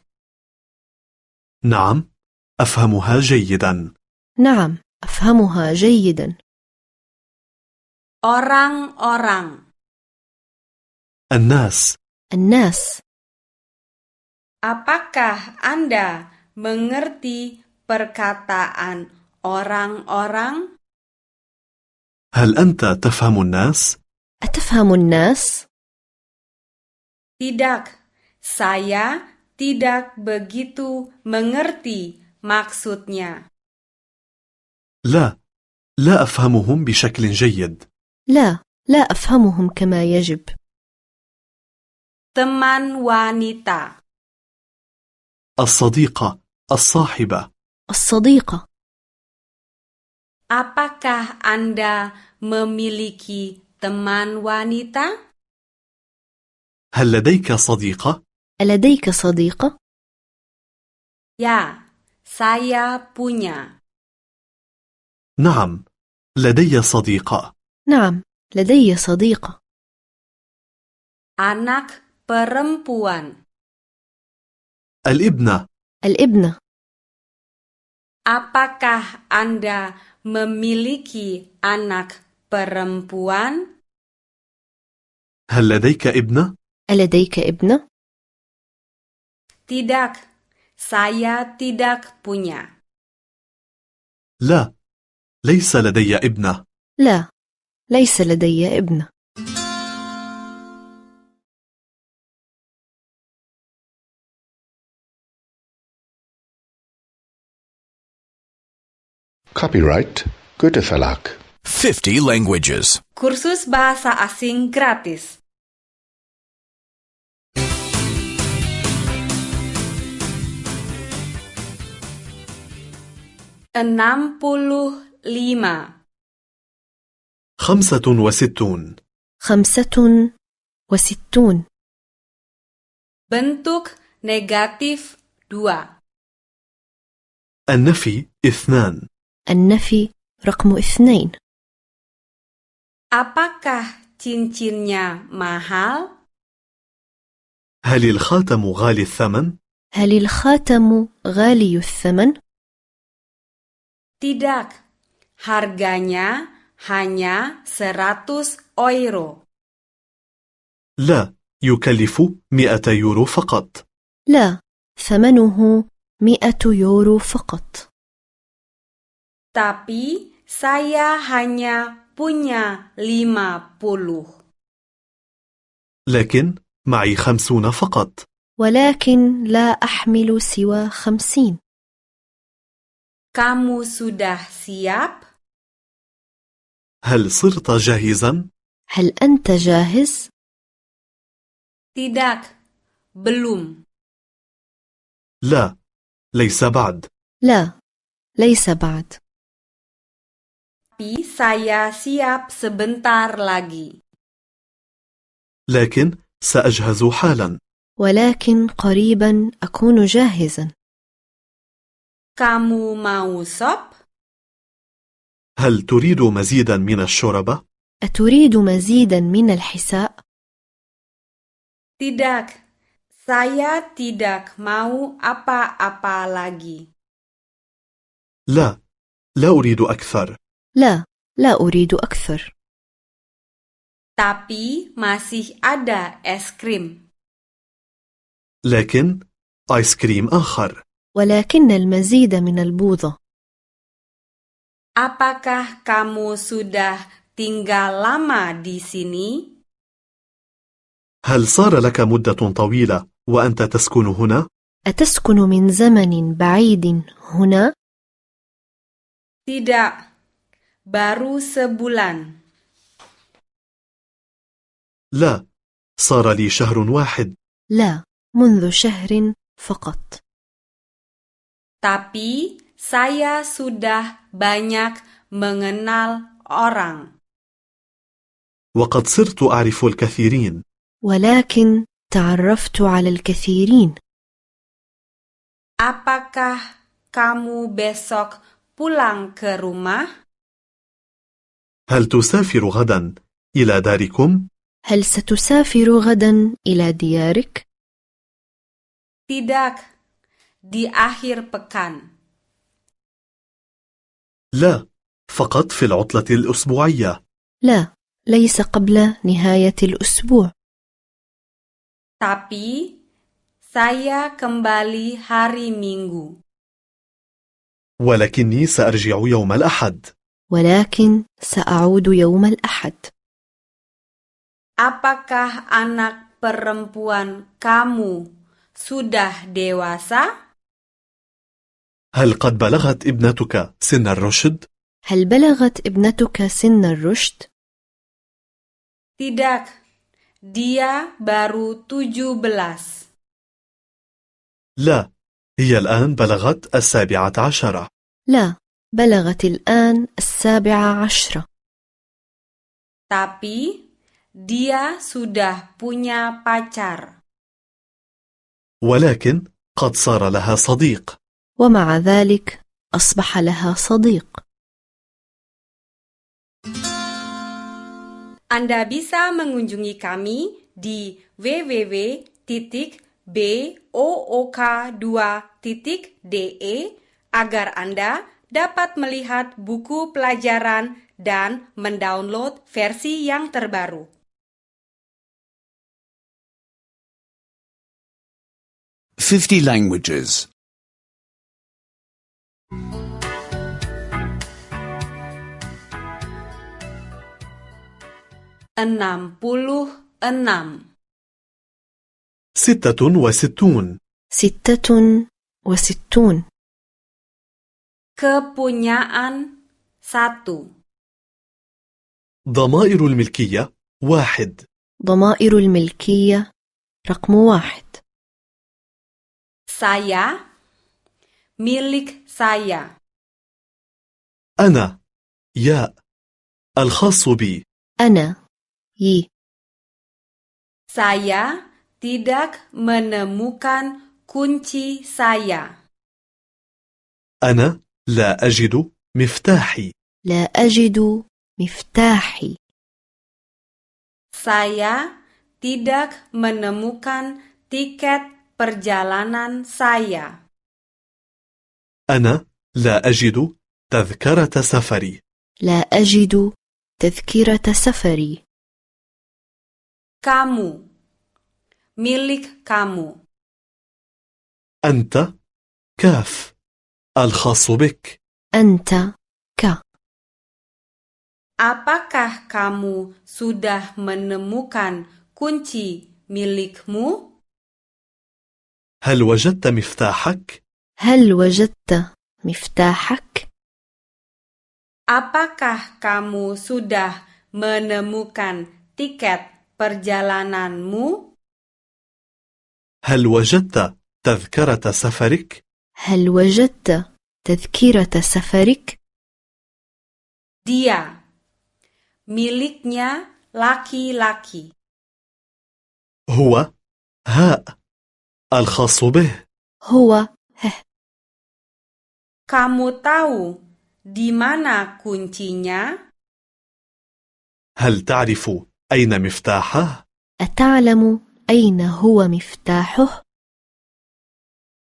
D: نعم أفهمها جيدا
E: نعم أفهمها جيدا
C: Orang-orang,
D: الناس
E: الناس
C: apakah Anda mengerti perkataan orang-orang?
D: هل أنت تفهم الناس؟
E: أتفهم الناس؟
C: Tidak, saya tidak begitu mengerti maksudnya.
D: لا لا أفهمهم بشكل جيد
E: لا لا أفهمهم كما يجب
C: Teman wanita,
D: الصديقة الصاحبة
E: الصديقة
C: apakah Anda memiliki teman wanita?
D: هل لديك صديقة؟
E: ألديك صديقة؟
C: Ya, saya punya.
D: نعم لدي صديقة
E: نعم لدي صديقة
C: Anak perempuan,
D: الابنة
E: الإبنة
C: apakah Anda memiliki anak perempuan?
D: هل لديك ابنة؟
E: ألديك ابنة؟
C: Tidak, saya tidak punya.
D: لا ليس لدي ابنة
E: لا ليس لدي ابنة
A: Copyright Goethe Verlag.
B: 50 languages.
C: Kursus bahasa asing gratis. Enam puluh lima.
D: خمسة وستون
E: خمسة وستون
C: Bentuk negatif 2.
D: النفي اثنان
E: النفي رقم اثنين
C: Apakah cincinnya mahal?
D: هل الخاتم غالي الثمن؟
E: هل الخاتم غالي الثمن؟
C: Tidak. Harganya hanya 100 euro.
D: لا يكلف 100 يورو فقط
E: لا ثمنه مئة يورو فقط
C: Tapi saya hanya punya 50.
D: لكن معي خمسون فقط
E: ولكن لا أحمل سوى خمسين
C: Kamu sudah siap?
D: هل صرت جاهزا؟
E: هل أنت جاهز؟
C: Tidak. Belum.
D: لا ليس بعد
E: لا ليس بعد
C: Tapi saya siap sebentar lagi.
D: لكن سأجهز حالا
E: ولكن قريبا أكون جاهزا
C: Kamu mau sop?
D: هل تريد مزيدا من الشوربة؟
E: أتريد مزيدا من الحساء؟
C: Tidak. Saya tidak mau apa-apa lagi.
D: لا لا أريد أكثر
E: لا لا أريد أكثر
C: Tapi masih ada es krim.
D: لكن آيس كريم آخر
E: ولكن المزيد من البوظة
C: Apakah kamu sudah tinggal lama di sini?
D: هل صار لك مدة طويلة وأنت تسكن هنا؟
E: أتسكن من زمن بعيد هنا؟
C: Tidak. Baru sebulan.
D: لا صار لي شهر واحد
E: لا منذ شهر فقط
C: Tapi saya sudah banyak mengenal orang.
D: وقد صرت أعرف الكثيرين
E: ولكن تعرفت على الكثيرين
C: Apakah kamu besok pulang ke rumah?
D: هل تسافر غدا إلى داركم؟
E: هل ستسافر غدا إلى ديارك؟
C: Tidak. Di akhir pekan.
D: لا فقط في العطلة الأسبوعية
E: لا ليس قبل نهاية الأسبوع
C: Tapi saya kembali hari Minggu.
D: ولكني سأرجع يوم الأحد
E: ولكن سأعود يوم الأحد
C: Apakah anak perempuan kamu sudah dewasa?
D: هل قد بلغت ابنتك سن الرشد؟
E: هل بلغت ابنتك سن الرشد؟
C: Tidak. Dia baru 17.
D: لا هي الآن بلغت السابعة عشرة
E: لا بلغت الآن السابعة عشرة
C: Tapi dia sudah punya pacar.
D: ولكن قد صار لها صديق
E: ومع ذلك أصبح لها صديق
C: Anda bisa mengunjungi kami di www.book2.de agar Anda dapat melihat buku pelajaran dan mendownload versi yang terbaru.
B: Fifty languages.
C: 66
D: ستة وستون
E: ستة وستون
C: Kepunyaan 1
D: ضمائر الملكية واحد
E: ضمائر الملكية رقم واحد
C: Saya milik saya.
D: أنا ياء الخاص بي
E: أنا ي
C: Saya tidak menemukan kunci saya.
D: أنا لا أجد مفتاحي
E: لا أجد مفتاحي
C: Saya tidak menemukan tiket perjalanan saya.
D: أنا لا أجد تذكرة سفري
E: لا أجد تذكرة سفري
C: Kamu milik kamu.
D: أنت كاف الخاص بك
E: أنت ك
C: Apakah kamu sudah menemukan kunci milikmu?
D: هل وجدت مفتاحك؟
E: هل وجدت مفتاحك؟
C: Apakah kamu sudah menemukan tiket perjalananmu?
D: هل وجدت تذكرة سفرك؟
E: هل وجدت تذكرة سفرك؟
C: Dia miliknya laki-laki.
D: هو هاء الخاص به
E: هو هه
C: Kamu tahu di mana kuncinya?
D: هل تعرف أين مفتاحه؟
E: أتعلم أين هو مفتاحه؟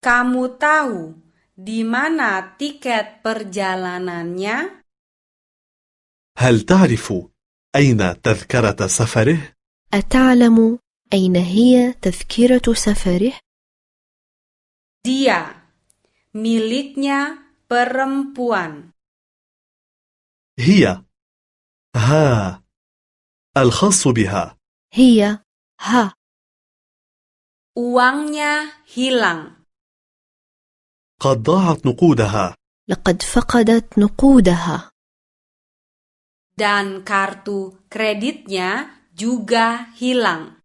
C: Kamu tahu di mana tiket perjalanannya?
D: هل تعرف أين تذكرة سفره؟
E: أتعلم أين هي تذكرة سفره؟
C: Dia miliknya perempuan.
D: هي ها الخاص بها
E: هي ها
C: Uangnya hilang.
D: قد ضاعت نقودها
E: لقد فقدت نقودها
C: dan kartu kreditnya juga hilang.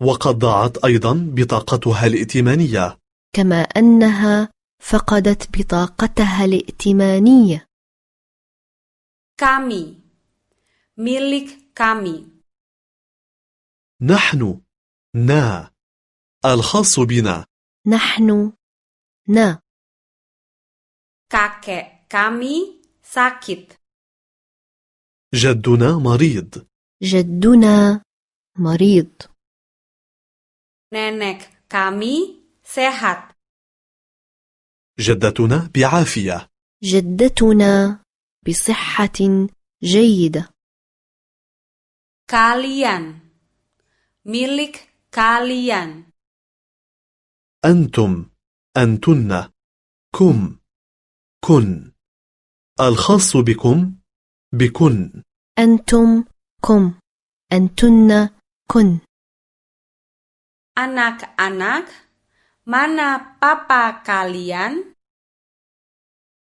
D: وقد ضاعت أيضا بطاقتها الائتمانية
E: كما أنها فقدت بطاقتها الائتمانية
C: Kami, milik kami,
D: نحن نا الخاص بنا
E: نحن نا
C: kakek kami sakit,
D: جدنا مريض
E: جدنا مريض
C: nenek kami sehat,
D: جدتنا بعافية
E: جدتنا بصحة جيدة
C: kalian, milik kalian,
D: أنتم أنتن كم كن الخاص بكم بكن
E: أنتم كم أنتن كن
C: anak-anak, mana papa kalian?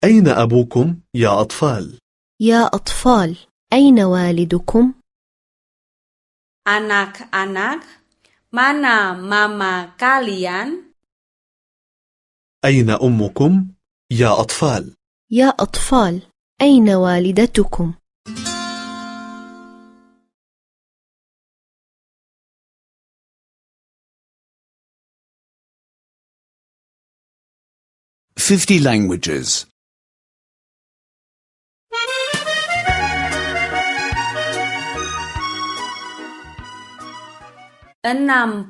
D: أين أبوكم يا أطفال؟
E: يا أطفال أين والدكم؟
C: Anak-anak, mana mama kalian?
D: أين أمكم يا أطفال؟
E: يا أطفال أين والدتكم؟
B: Fifty languages.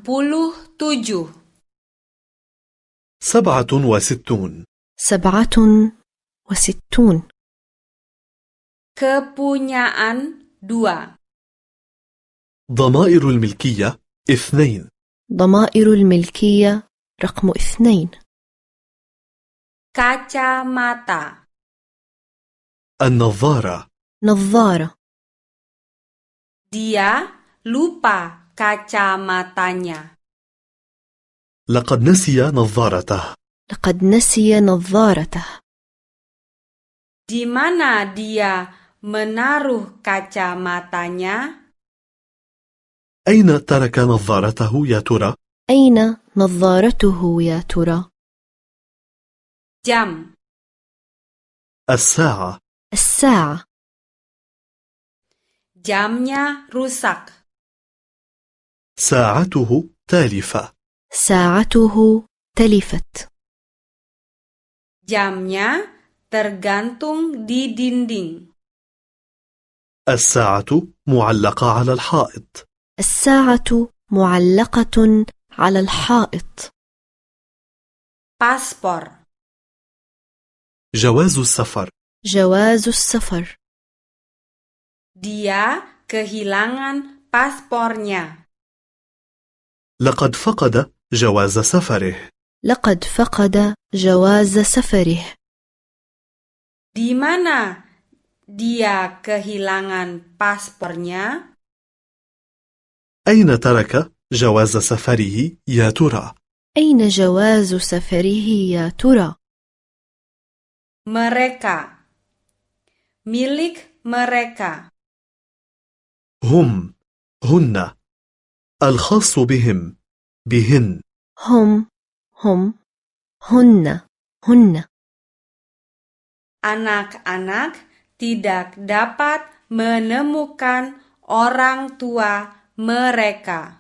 C: 67
D: سبعة وستون
E: سبعة وستون
C: Kepunyaan dua.
D: ضمائر الملكية اثنين
E: ضمائر الملكية رقم اثنين
C: Kacamata.
D: النظارة
E: نظارة
C: Dia lupa kacamatanya.
D: لقد نسي نظارته
E: لقد نسي نظارته
C: Di mana dia menaruh kacamatanya?
D: أين ترك نظارته يا ترى؟
E: أين نظارته يا ترى؟
C: Jam.
D: الساعة
E: الساعة
C: Jamnya rusak.
D: ساعته تالفة
E: ساعته تلفت
C: Jamnya tergantung di dinding.
D: الساعة معلقة على الحائط
E: الساعة معلقة على الحائط
C: Paspor.
D: جواز السفر
E: جواز السفر
C: Dia kehilangan paspornya.
D: لقد فقد جواز سفره
E: لقد فقد جواز سفره
C: Di mana dia kehilangan paspornya?
D: أين ترك جواز سفره يا ترى؟
E: أين جواز سفره يا ترى؟
C: mereka, milik mereka,
D: هم هن الخاص بهم بهن
E: هم هم هن هن
C: anak-anak tidak dapat menemukan orang tua mereka.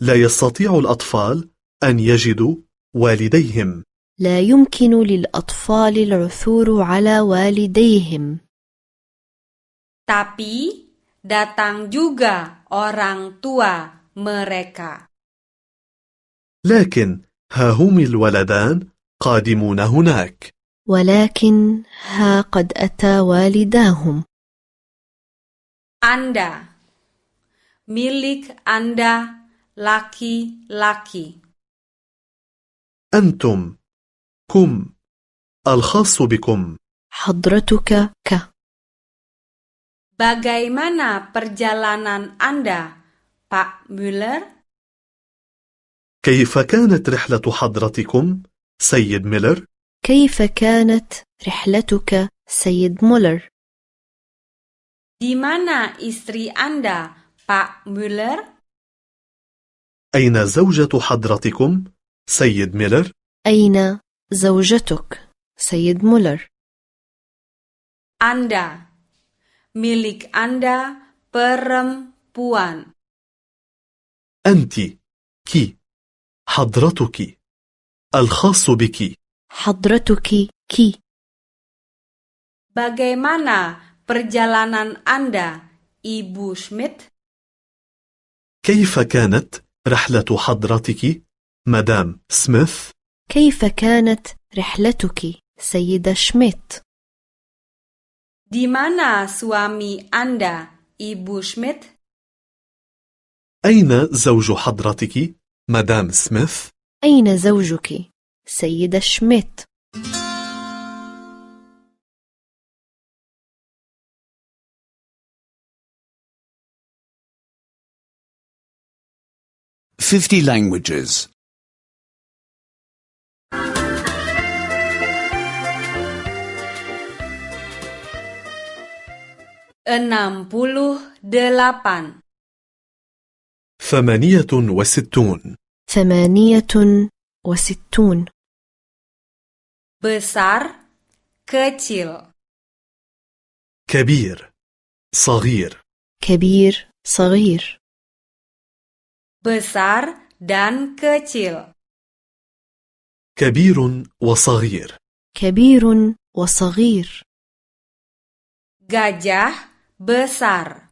D: لا يستطيع الأطفال أن يجدوا والديهم
E: لا يمكن للأطفال العثور على والديهم
C: Tapi datang juga orang tua mereka.
D: لكن ها هم الولدان قادمون هناك
E: ولكن ها قد أتى والداهم
C: Anda, milik Anda laki-laki.
D: أنتم كم الخاص بكم
E: حضرتك ك
C: Bagaimana perjalanan Anda, Pak Müller?
D: كيف كانت رحلة حضرتكم سيد ميلر؟
E: كيف كانت رحلتك سيد مولر
C: Di mana istri Anda, Pak Müller?
D: أين زوجة حضرتكم سيد ميلر؟
E: أين زوجتك سيد مولر
C: Anda, milik Anda perempuan.
D: أنت كي حضرتك الخاص بك
E: حضرتك كي
C: Bagaimana perjalanan Anda, Ibu Schmidt?
D: كيف كانت رحلة حضرتك مدام سميث؟
E: كيف كانت رحلتك سيدة شميت
C: Di mana suami Anda, Ibu Schmidt?
D: أين زوج حضرتك مدام سميث؟
E: أين زوجك سيدة شميت
B: Fifty languages.
C: 68.
D: ثمانية وستون
E: ثمانية وستون
C: Besar, kecil.
D: كبير صغير
E: كبير صغير
C: Besar dan kecil.
D: كبير وصغير
E: كبير وصغير
C: Gajah besar.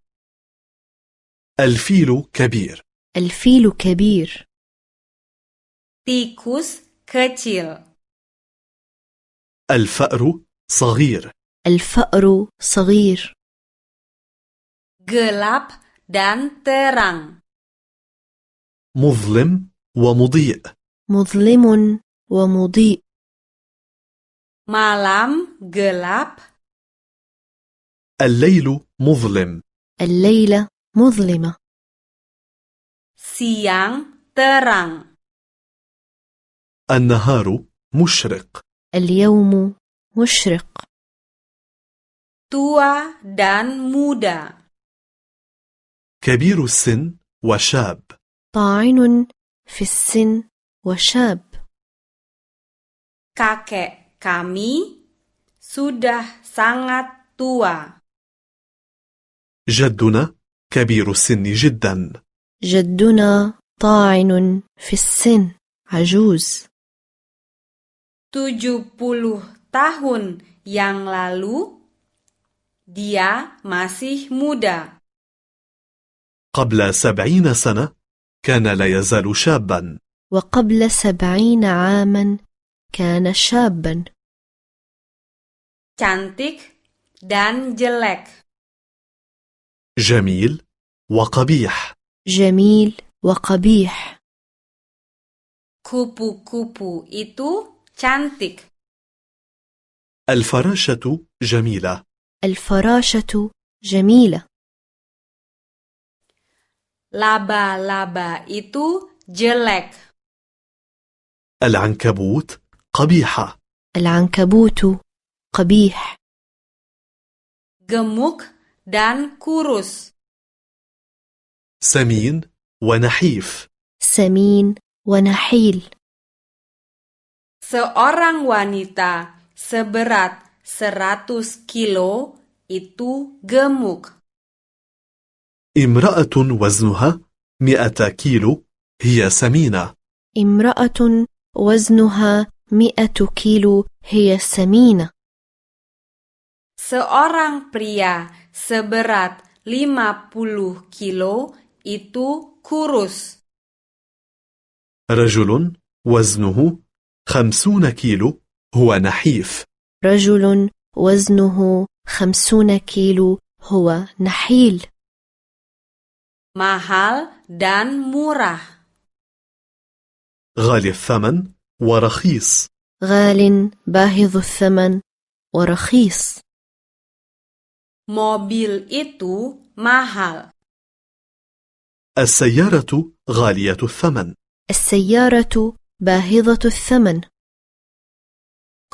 D: الفيل كبير
E: الفيل كبير
C: Tikus kecil.
D: الفأر صغير
E: الفأر صغير
C: Gelap dan terang.
D: مظلم ومضيء
E: مظلم ومضيء
C: Malam gelap,
D: الليل مظلم
E: الليلة مظلمة
C: siang terang.
D: النهار مشرق
E: اليوم مشرق
C: Tua dan muda.
D: كبير السن وشاب
E: طاعن في السن وشاب
C: Kakek kami sudah sangat tua.
D: جدنا كبير السن جدا
E: جدنا طاعن في السن عجوز
C: 70 tahun yang lalu, dia masih muda.
D: قبل سبعين سنة كان لا يزال شابا
E: وقبل سبعين عاما كان شابا
C: Cantik dan jelek.
D: جميل وقبيح
E: جميل وقبيح
C: Kupu-kupu itu cantik.
D: الفراشة جميلة
E: الفراشة جميلة
C: Laba-laba itu jelek,
D: العنكبوت قبيحة
E: العنكبوت قبيح
C: gemuk dan kurus,
D: سمين ونحيف
E: سمين ونحيل
C: seorang wanita seberat 100 kilo itu gemuk.
D: امرأة وزنها مئة كيلو هي سمينة
E: امرأة وزنها مئة كيلو هي سمينة
C: Seorang pria seberat 50 kilo itu kurus.
D: رجل وزنه خمسون كيلو هو نحيف
E: رجل وزنه خمسون كيلو هو نحيل
C: Mahal dan murah.
D: غالي الثمن ورخيص
E: غال باهظ الثمن ورخيص
C: Mobil itu mahal.
D: السيارة غالية الثمن
E: السيارة باهظة الثمن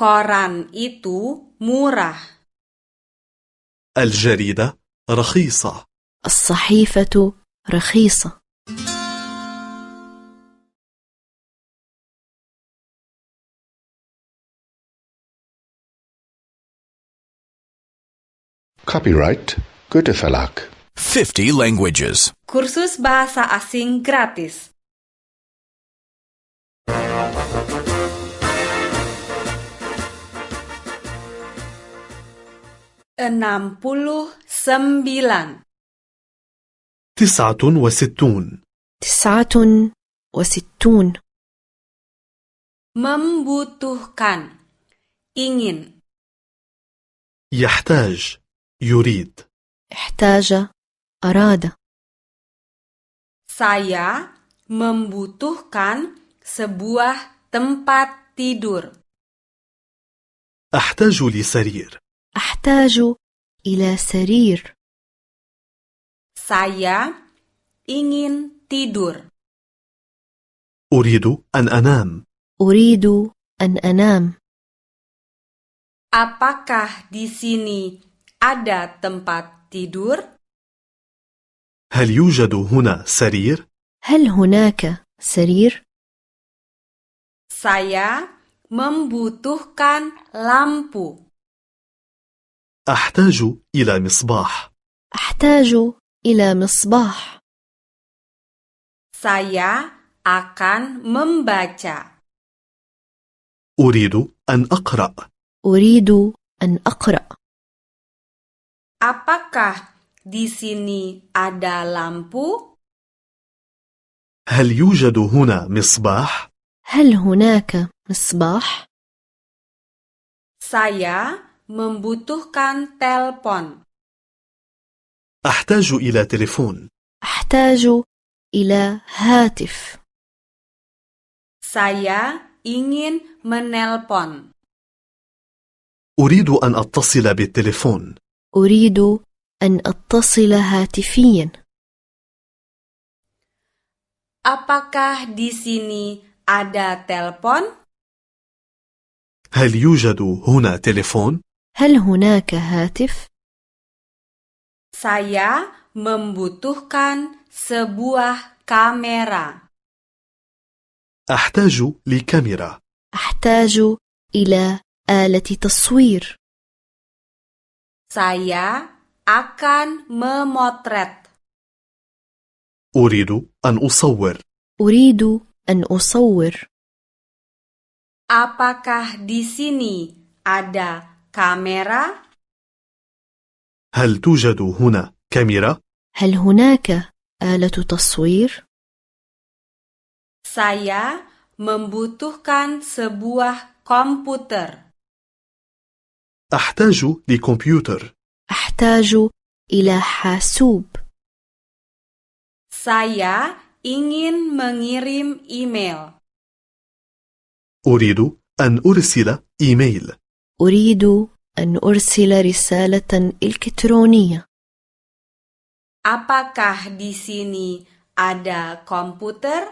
C: Koran itu murah.
D: الجريدة رخيصة
E: الصحيفة رخيصة
A: Copyright Goethe Verlag.
B: 50 languages.
C: Kursus bahasa asing gratis. Enam puluh sembilan.
D: تسعة وستون
E: تسعة وستون
C: Membutuhkan. Ingin.
D: يحتاج يريد
E: احتاج أراد
C: Saya membutuhkan sebuah tempat tidur.
D: أحتاج لسرير
E: أحتاج إلى سرير
C: Saya ingin tidur.
D: أريد أن أنام
E: أريد أن أنام
C: Apakah di sini ada tempat tidur?
D: هل يوجد هنا سرير؟
E: هل هناك سرير؟
C: Saya membutuhkan lampu.
D: أحتاج إلى مصباح
E: أحتاج إلى مصباح
C: Saya akan membaca.
D: أريد أن أقرأ
E: أريد أن أقرأ
C: Apakah di sini ada lampu?
D: هل يوجد هنا مصباح؟
E: هل هناك مصباح؟
C: Saya membutuhkan telpon.
D: أحتاج إلى تليفون
E: أحتاج إلى هاتف
C: Saya ingin menelpon.
D: أريد أن أتصل بالتليفون
E: أريد أن أتصل هاتفيا
C: Apakah di sini ada telpon?
D: هل يوجد هنا تليفون؟
E: هل هناك هاتف؟
C: Saya membutuhkan sebuah kamera.
D: أحتاج لكاميرا
E: أحتاج إلى آلة تصوير
C: Saya akan memotret.
D: أريد أن أصور
E: أريد أن أصور
C: Apakah di sini ada kamera?
D: هل توجد هنا كاميرا؟
E: هل هناك آلة تصوير؟
C: Saya membutuhkan sebuah komputer.
D: أحتاج لكمبيوتر
E: أحتاج إلى حاسوب
C: Saya ingin mengirim email.
D: أريد أن أرسل إيميل
E: أريد أن أرسل رسالة إلكترونية
C: Apakah di sini ada komputer?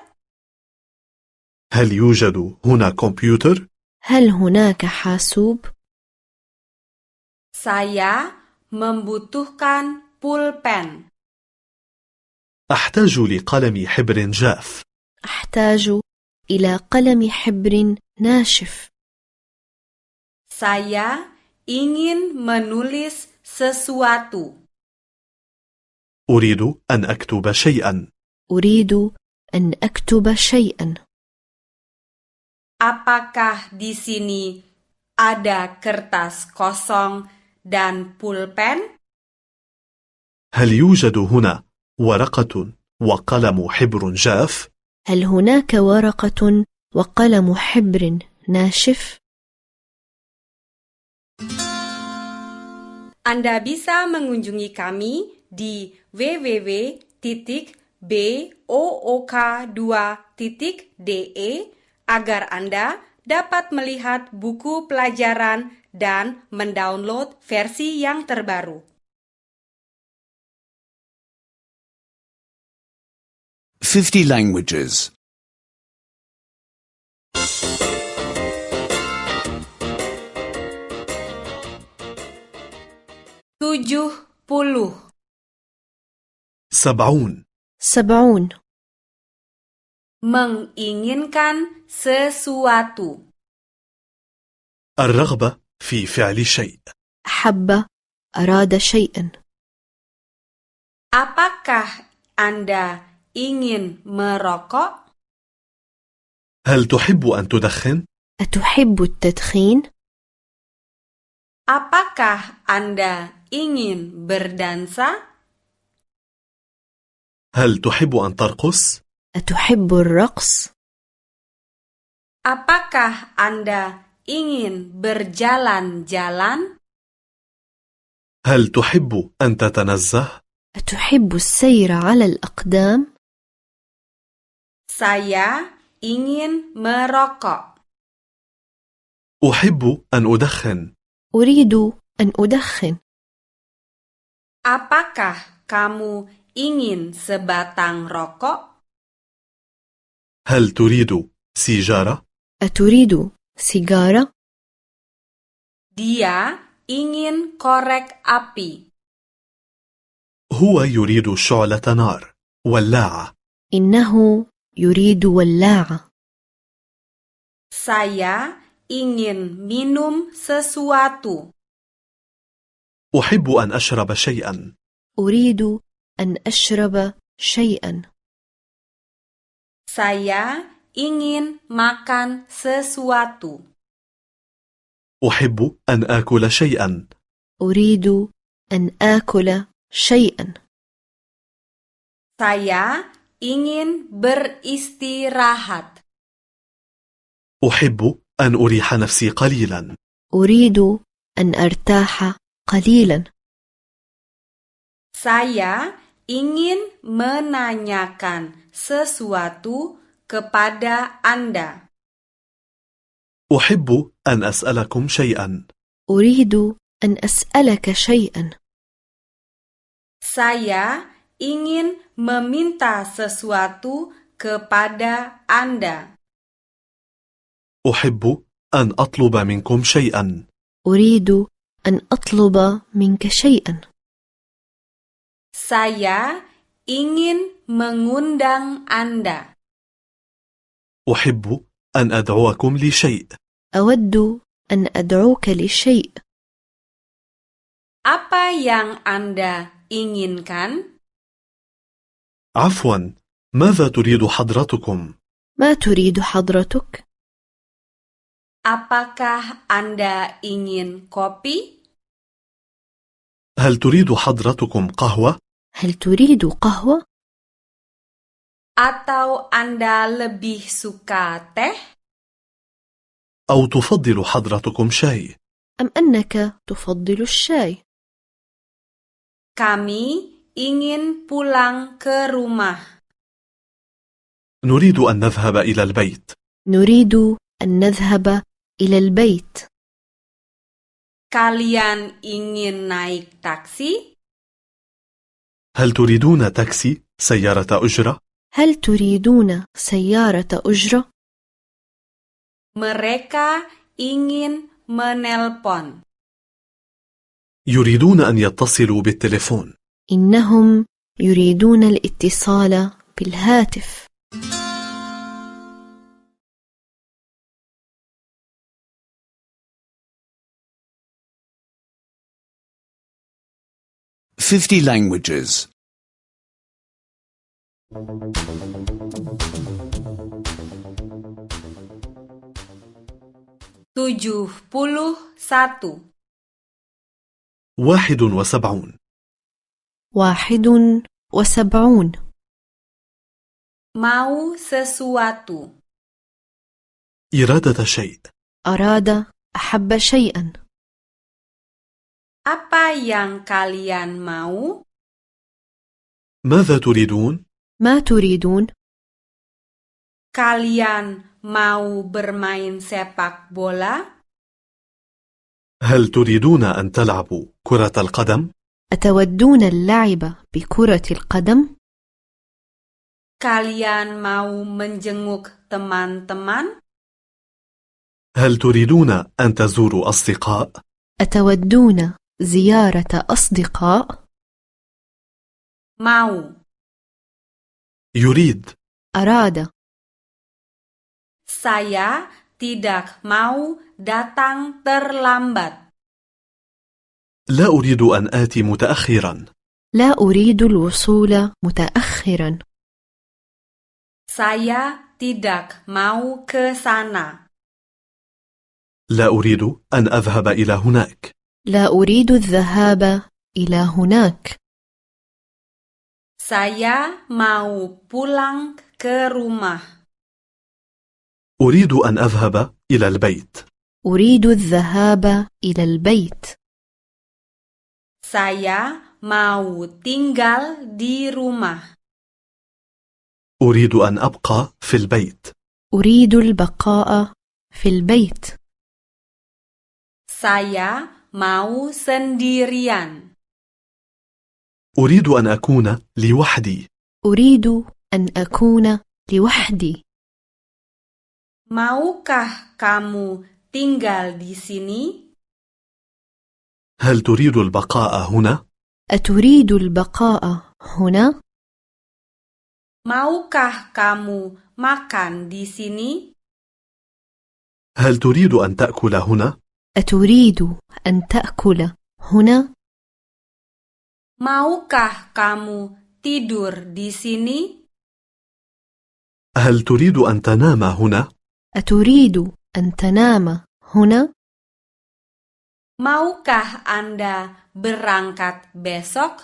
D: هل يوجد هنا كمبيوتر؟
E: هل هناك حاسوب؟
C: Saya membutuhkan pulpen.
D: أحتاج لقلم حبر جاف
E: أحتاج إلى قلم حبر ناشف
C: Saya ingin menulis sesuatu.
D: أريد أن أكتب شيئا
E: أريد أن أكتب شيئا
C: Apakah di sini ada kertas kosong dan pulpen?
D: هل يوجد هنا ورقة وقلم حبر جاف؟
E: هل هناك ورقة وقلم حبر ناشف؟
C: Anda bisa mengunjungi kami di www.book2.de agar Anda dapat melihat buku pelajaran dan mendownload versi yang terbaru.
B: Fifty languages.
C: 70.
D: سبعون
E: سبعون
C: Menginginkan sesuatu.
D: الرغبة في فعل شيء
E: أحب أراد شيئا
C: Apakah Anda ingin merokok?
D: هل تحب أن تدخن؟
E: أتحب التدخين؟
C: Apakah Anda ingin berdansa?
D: هل تحب أن ترقص؟
E: أتحب الرقص؟
C: Apakah Anda ingin berjalan-jalan?
D: هل تحب أن تتنزه؟
E: أتحب السير على الأقدام؟
C: Saya ingin merokok.
D: أحب أن أدخن
E: أريد أن أدخن
C: Apakah kamu ingin sebatang rokok?
D: هل تريد سيجارة؟
E: أتريد سيجارة؟
C: Dia ingin korek api.
D: هو يريد شعلة نار ولاعة
E: إنه يريد ولاعة
C: Saya ingin minum sesuatu.
D: أحب أن أشرب شيئا
E: أريد أن أشرب شيئا
C: Saya ingin makan sesuatu.
D: أحب أن آكل شيئا
E: أريد أن آكل شيئا
C: Saya ingin beristirahat.
D: أحب أن أريح نفسي قليلا
E: أريد أن أرتاح قليلا
C: Saya ingin menanyakan sesuatu kepada Anda.
D: أحب أن أسألكم شيئا
E: أريد أن أسألك شيئا
C: Saya ingin meminta sesuatu kepada Anda.
D: أحب أن أطلب منكم شيئا
E: أريد أن أطلب منك شيئا
C: Saya ingin mengundang Anda.
D: أحب أن أدعوكم لشيء
E: أود أن أدعوك لشيء
C: Apa yang Anda inginkan?
D: عفوا ماذا تريد حضرتكم؟
E: ما تريد حضرتك؟
C: Apakah Anda ingin kopi?
D: هل تريد حضرتكم قهوة؟
E: هل تريد قهوة؟
C: Atau Anda lebih suka teh?
D: أو تفضل حضرتكم شاي؟
E: أم أنك تفضل الشاي؟
C: Kami ingin pulang ke rumah.
D: نريد أن نذهب إلى البيت
E: نريد أن نذهب إلى البيت
C: Kalian ingin naik taksi?
D: هل تريدون تاكسي؟ سيارة أجرة؟
E: هل تريدون سيارة أجرة؟
C: Mereka ingin menelpon.
D: يريدون أن يتصلوا بالتليفون
E: إنهم يريدون الاتصال بالهاتف
B: Fifty languages.
C: 71.
D: 71
E: واحد وسبعون
C: Mau sesuatu.
D: إرادة شيء
E: أراد أحب شيئا
C: Apa yang kalian mau?
D: ماذا تريدون؟
E: ما تريدون
C: Kalian mau bermain sepak bola?
D: هل تريدون أن تلعبوا كرة القدم؟
E: أتودون اللعب بكرة القدم؟
C: Kalian mau menjenguk teman-teman?
D: هل تريدون أن تزوروا أصدقاء؟
E: أتودون زيارة أصدقاء؟
C: Mau.
D: يريد
E: أراد
C: Saya tidak mau datang terlambat.
D: لا أريد أن آتي متأخرا
E: لا أريد الوصول متأخرا
C: Saya tidak mau ke sana.
D: لا أريد أن أذهب إلى هناك
E: لا أريد الذهاب إلى هناك
C: Saya mau pulang ke rumah.
D: أريد أن أذهب إلى البيت
E: أريد الذهاب إلى البيت
C: Saya mau tinggal di rumah.
D: أريد أن أبقى في البيت
E: أريد البقاء في البيت
C: Saya mau sendirian.
D: أريد أن أكون لوحدي
E: أريد أن أكون لوحدي
C: Maukah kamu tinggal di sini?
D: هل تريد البقاء هنا؟
E: أتريد البقاء هنا؟
C: Maukah kamu makan di sini?
D: هل تريد أن تأكل هنا؟
E: أتريد أن تأكل هنا؟
C: Maukah kamu tidur di sini?
D: هل تريد أن تنام هنا؟
E: أتريد أن تنام هنا؟
C: Maukah Anda berangkat besok?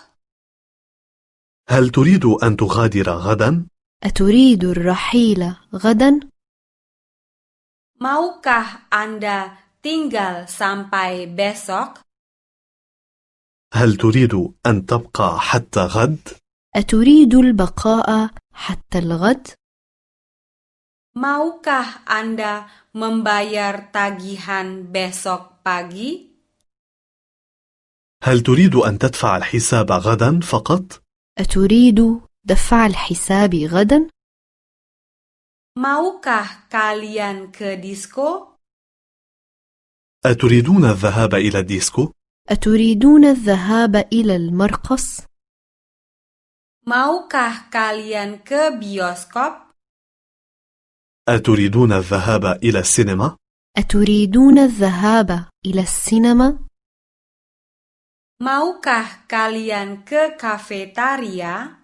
D: هل تريد أن تغادر غدا؟
E: أتريد الرحيل غدا؟
C: Maukah Anda tinggal sampai besok?
D: هل تريد أن تبقى حتى غد؟
E: أتريد البقاء حتى الغد؟
C: Maukah Anda membayar tagihan besok pagi?
D: هل تريد أن تدفع الحساب غدا فقط؟
E: أتريد دفع الحساب غدا؟
C: Maukah kalian ke disko?
D: أتريدون الذهاب إلى الديسكو؟
E: أتريدون الذهاب إلى المرقص؟
C: Maukah kalian ke bioskop?
D: أتريدون الذهاب إلى السينما؟
E: أتريدون الذهاب إلى السينما؟
C: Maukah kalian ke kafetaria?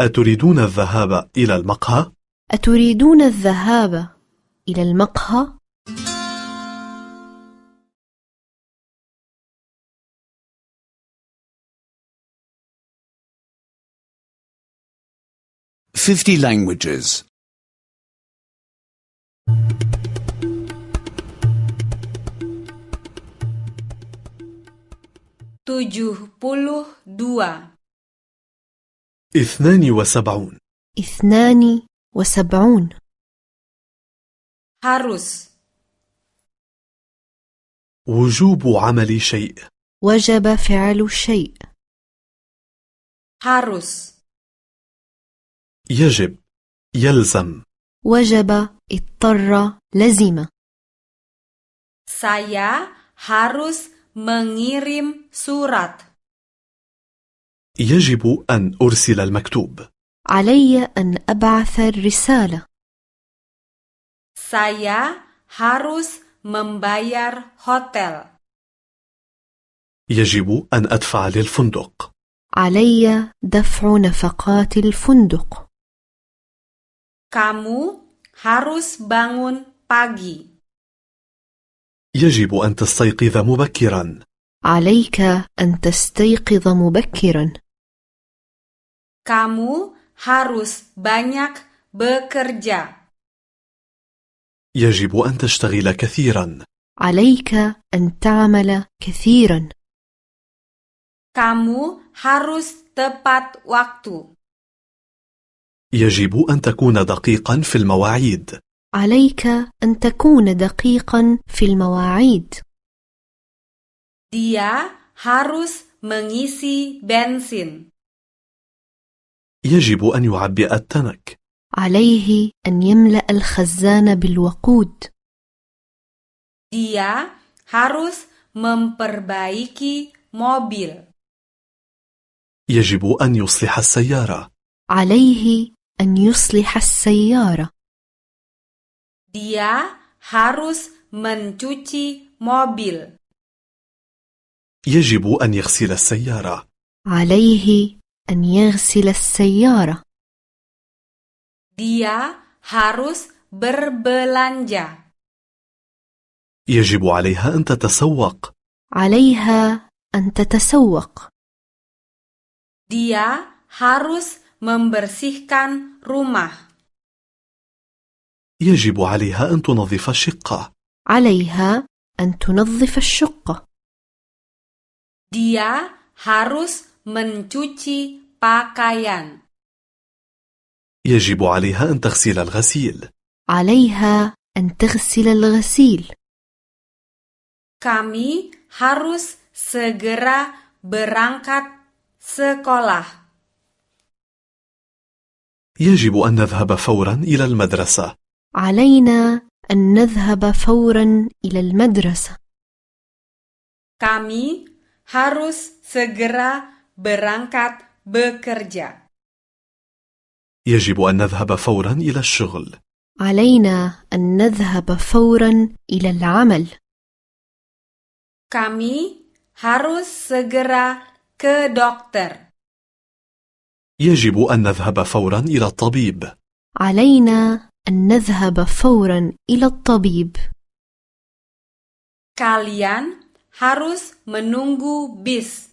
D: أتريدون الذهاب إلى المقهى؟
E: أتريدون الذهاب إلى المقهى؟
B: Fifty languages.
C: 72.
D: 72
E: اثنان وسبعون
C: Harus.
D: وجوب عمل شيء
E: وجب فعل الشيء
C: Harus.
D: يجب يلزم
E: وجب اضطر لزم
C: Saya harus mengirim surat.
D: يجب أن أرسل المكتوب
E: علي أن أبعث الرسالة
C: Saya harus membayar hotel.
D: يجب أن أدفع للفندق
E: علي دفع نفقات الفندق
C: Kamu harus bangun pagi.
D: يجب أن تستيقظ مبكرا
E: عليك أن تستيقظ مبكرا
C: Kamu harus banyak bekerja.
D: يجب أن تشتغل كثيرا
E: عليك أن تعمل كثيرا
C: Kamu harus tepat waktu.
D: يجب أن تكون دقيقا في المواعيد
E: عليك أن تكون دقيقا في المواعيد
C: Dia harus mengisi bensin.
D: يجب أن يعبئ التنك
E: عليه أن يملأ الخزان بالوقود
C: Dia harus memperbaiki mobil.
D: يجب أن يصلح السيارة
E: عليه أن يصلح السيارة
C: Dia harus mencuci mobil.
D: يجب أن يغسل السيارة
E: عليه أن يغسل السيارة
C: Dia harus berbelanja.
D: يجب عليها أن تتسوق
E: عليها أن تتسوق
C: Dia harus membersihkan rumah.
D: يجب عليها أن تنظف الشقة
E: عليها أن تنظف الشقة
C: Dia harus mencuci pakaian.
D: يجب عليها أن تغسل الغسيل
E: عليها أن تغسل الغسيل
C: Kami harus segera berangkat sekolah.
D: يجب أن نذهب فورا إلى المدرسة
E: علينا أن نذهب فورا إلى المدرسة
C: Kami harus segera berangkat bekerja.
D: يجب أن نذهب فورا إلى الشغل
E: علينا أن نذهب فورا إلى العمل
C: Kami harus segera ke dokter.
D: يجب أن نذهب فورا إلى الطبيب
E: علينا أن نذهب فورا إلى الطبيب
C: Kalian harus menunggu bis.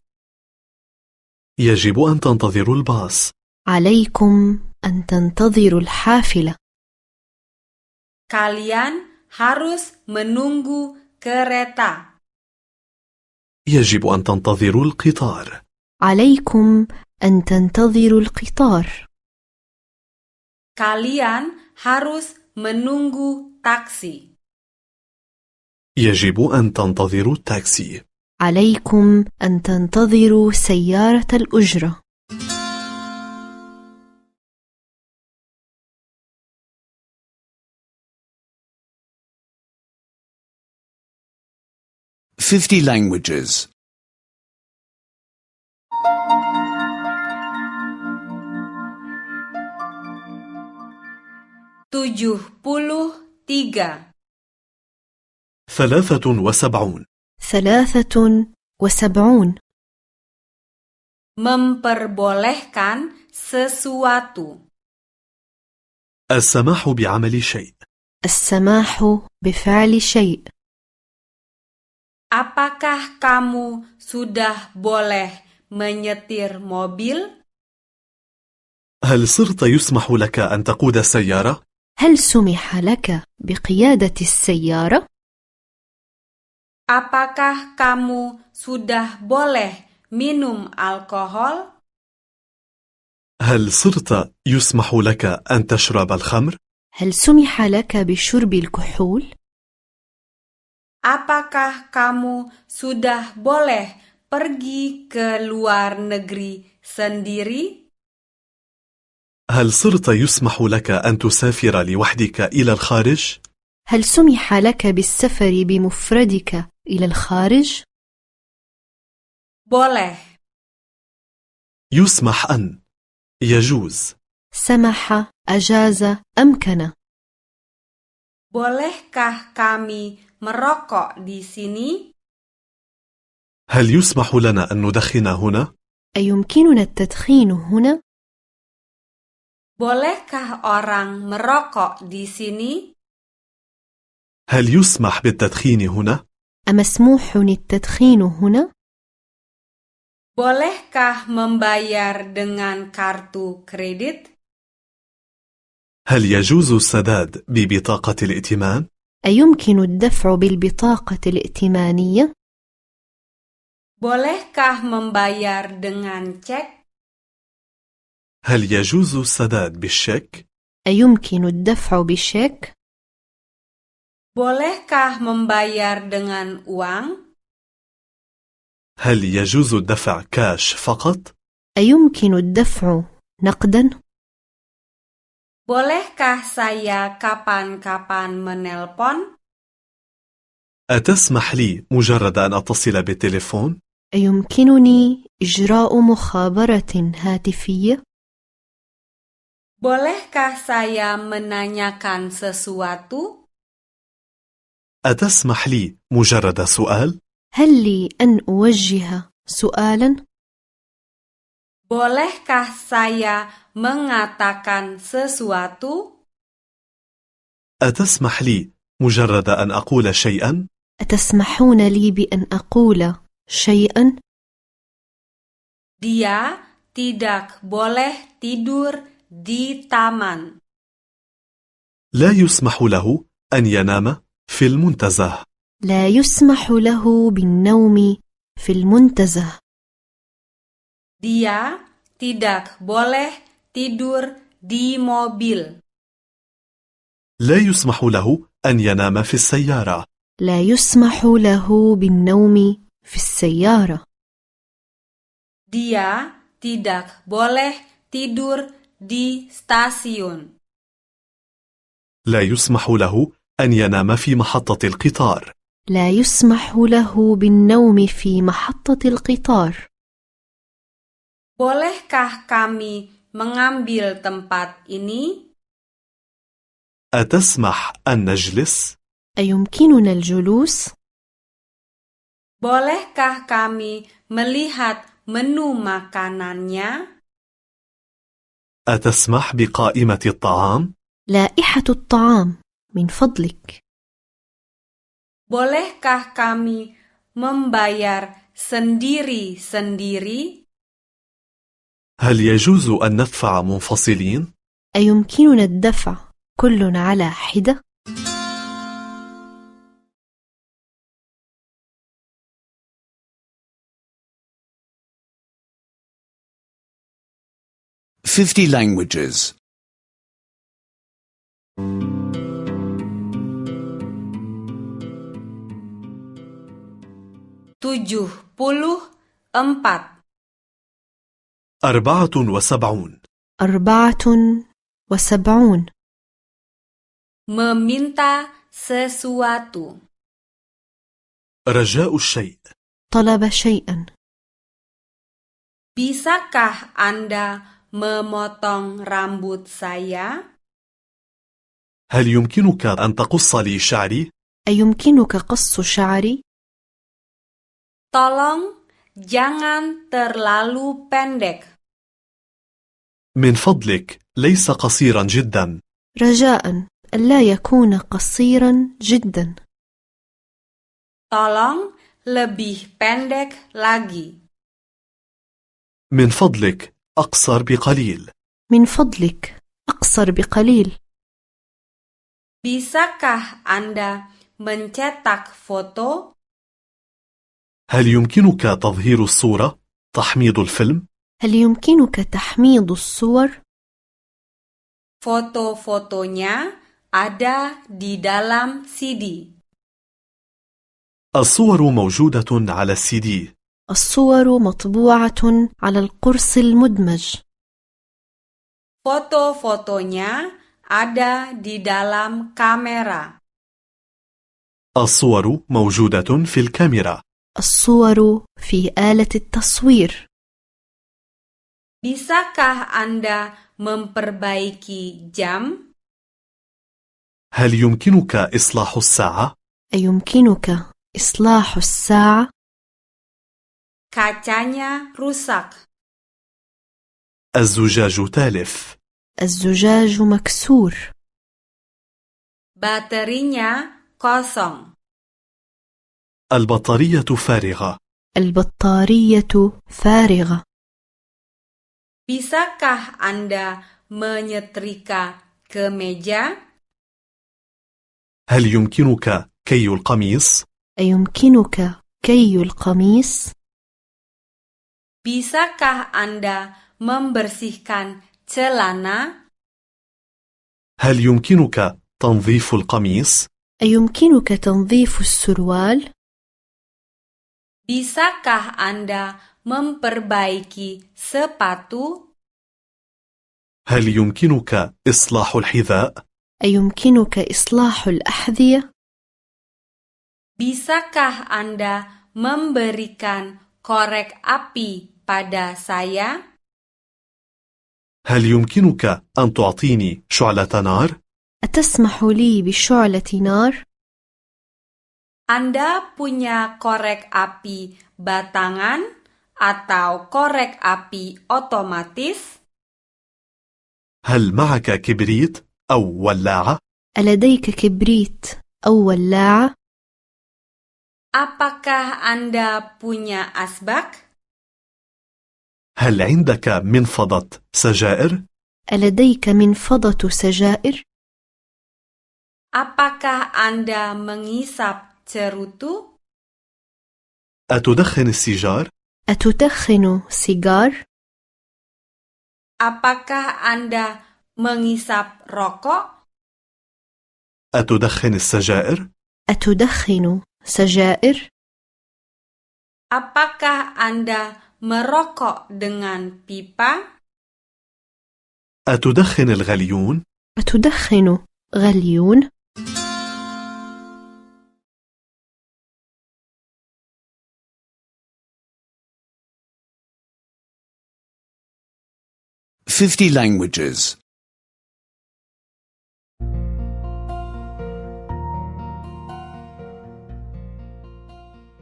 D: يجب أن تنتظر الباص
E: عليكم أن تنتظروا الحافلة
C: Kalian harus menunggu kereta.
D: يجب أن تنتظر القطار
E: عليكم أن تنتظروا القطار
C: Kalian harus menunggu taksi.
D: يجب أن تنتظر التاكسي
E: عليكم أن تنتظروا سيارة الأجرة
B: Fifty languages.
C: 73.
D: ثلاثة وسبعون
E: ثلاثة وسبعون
C: Memperbolehkan sesuatu.
D: السماح بعمل شيء
E: السماح بفعل شيء
C: Apakah kamu sudah boleh menyetir mobil?
D: هل صرت يسمح لك أن تقود السيارة؟
E: هل سمح لك بقيادة السيارة؟
C: Apakah kamu sudah boleh minum alkohol?
D: هل صرت يسمح لك أن تشرب الخمر؟
E: هل سمح لك بشرب الكحول؟
C: Apakah kamu sudah boleh pergi ke luar negeri sendiri?
D: هل صرت يسمح لك أن تسافر لوحدك إلى الخارج؟
E: هل سمح لك بالسفر بمفردك إلى الخارج؟
C: Boleh.
D: يسمح أن يجوز
E: سمح أجاز أمكن
C: Bolehkah kami merokok di sini?
D: هل يسمح لنا أن ندخن هنا؟
E: أيمكننا التدخين هنا؟
C: Bolehkah orang merokok di sini?
D: هل يسمح بالتدخين هنا؟
E: أمسموح التدخين هنا؟
C: Bolehkah membayar dengan kartu kredit?
D: هل يجوز السداد ببطاقة الائتمان؟
E: أيمكن الدفع بالبطاقة الائتمانية؟
C: Bolehkah membayar dengan cek?
D: هل يجوز السداد بالشيك؟
E: أيمكن الدفع بشيك؟
C: Bolehkah membayar dengan uang?
D: هل يجوز الدفع كاش فقط؟
E: أيمكن الدفع نقدا؟
C: Bolehkah saya kapan-kapan menelpon?
D: أتسمح لي مجرد أن أتصل بالتليفون؟
E: أيمكنني إجراء مخابرة هاتفية؟
C: Bolehkah saya menanyakan sesuatu?
D: أتسمح لي مجرد سؤال؟
E: هل لي أن أوجه سؤالا؟
C: Bolehkah saya mengatakan sesuatu?
D: أتسمح لي مجرد أن أقول شيئا؟
E: أتسمحون لي بأن أقول شيئا؟
C: Dia tidak boleh tidur di taman.
D: لا يسمح له أن ينام في المنتزه
E: لا يسمح له بالنوم في المنتزه
C: Dia tidak boleh tidur di mobil.
D: لا يسمح له أن ينام في السيارة
E: لا يسمح له بالنوم في السيارة
C: Dia tidak boleh tidur di stasiun.
D: لا يسمح له أن ينام في محطة القطار
E: لا يسمح له بالنوم في محطة القطار
C: Bolehkah kami mengambil tempat ini?
D: أتسمح أن نجلس؟
E: أيمكننا الجلوس؟
C: Bolehkah kami melihat menu makanannya?
D: أتسمح بقائمة الطعام؟
E: لائحة الطعام من فضلك
C: Bolehkah kami membayar sendiri-sendiri?
D: هل يجوز أن ندفع منفصلين؟
E: أيمكننا الدفع كل على حدة؟
B: Fifty languages.
C: 74
D: أربعة وسبعون
E: أربعة وسبعون
C: meminta sesuatu.
D: رجاء الشيء
E: طلب شيئا
C: Bisakah Anda memotong rambut saya?
D: هل يمكنك أن تقص لي شعري؟
E: أيمكنك قص شعري؟
C: Tolong jangan terlalu pendek.
D: من فضلك ليس قصيرا جدا
E: رجاء ألا يكون قصيرا جدا
C: Tolong lebih pendek lagi.
D: من فضلك أقصر بقليل
E: من فضلك أقصر بقليل
C: Bisakah Anda mencetak foto?
D: هل يمكنك تظهير الصورة؟ تحميض الفيلم؟
E: هل يمكنك تحميض الصور؟
C: Foto-fotonya ada di dalam CD.
D: الصور موجودة على السي دي
E: الصور مطبوعة على القرص المدمج
C: Foto-fotonya ada di dalam kamera.
D: الصور موجودة في الكاميرا
E: الصور في آلة التصوير
C: Bisakah Anda memperbaiki jam?
D: هل يمكنك إصلاح الساعة؟
E: أيمكنك إصلاح الساعة؟
C: Kacanya rusak.
D: الزجاج تالف
E: الزجاج مكسور
C: Baterinya kosong.
D: البطارية فارغة
E: البطارية فارغة
C: Bisakah Anda menyetrika kemeja?
D: هل يمكنك كي القميص؟
E: أيمكنك كي القميص؟
C: Bisakah Anda membersihkan celana?
D: هل يمكنك تنظيف القميص؟
E: أيمكنك تنظيف السروال؟
C: Bisakah Anda memperbaiki sepatu?
D: هل يمكنك إصلاح الحذاء؟
E: أيمكنك إصلاح الأحذية؟
C: Bisakah Anda memberikan korek api pada saya?
D: هل يمكنك أن تعطيني شعلة نار؟
E: أتسمح لي بشعلة نار؟
C: Anda punya korek api batangan atau korek api otomatis?
D: هل معك كبريت أو ولاعة؟
E: ألديك كبريت أو ولاعة؟
C: Apakah Anda punya asbak?
D: هل عندك منفضة سجائر؟
E: ألديك منفضة سجائر؟
C: Apakah Anda mengisap cerutu?
D: أتدخن السيجار؟
E: أتدخن سيجار؟
C: Apakah Anda mengisap rokok?
D: أتدخن السجائر؟
E: أتدخن سجائر؟
C: Apakah Anda merokok dengan pipa?
D: أتدخن الغليون؟
E: أتدخن غليون؟
B: Fifty languages.
C: 75.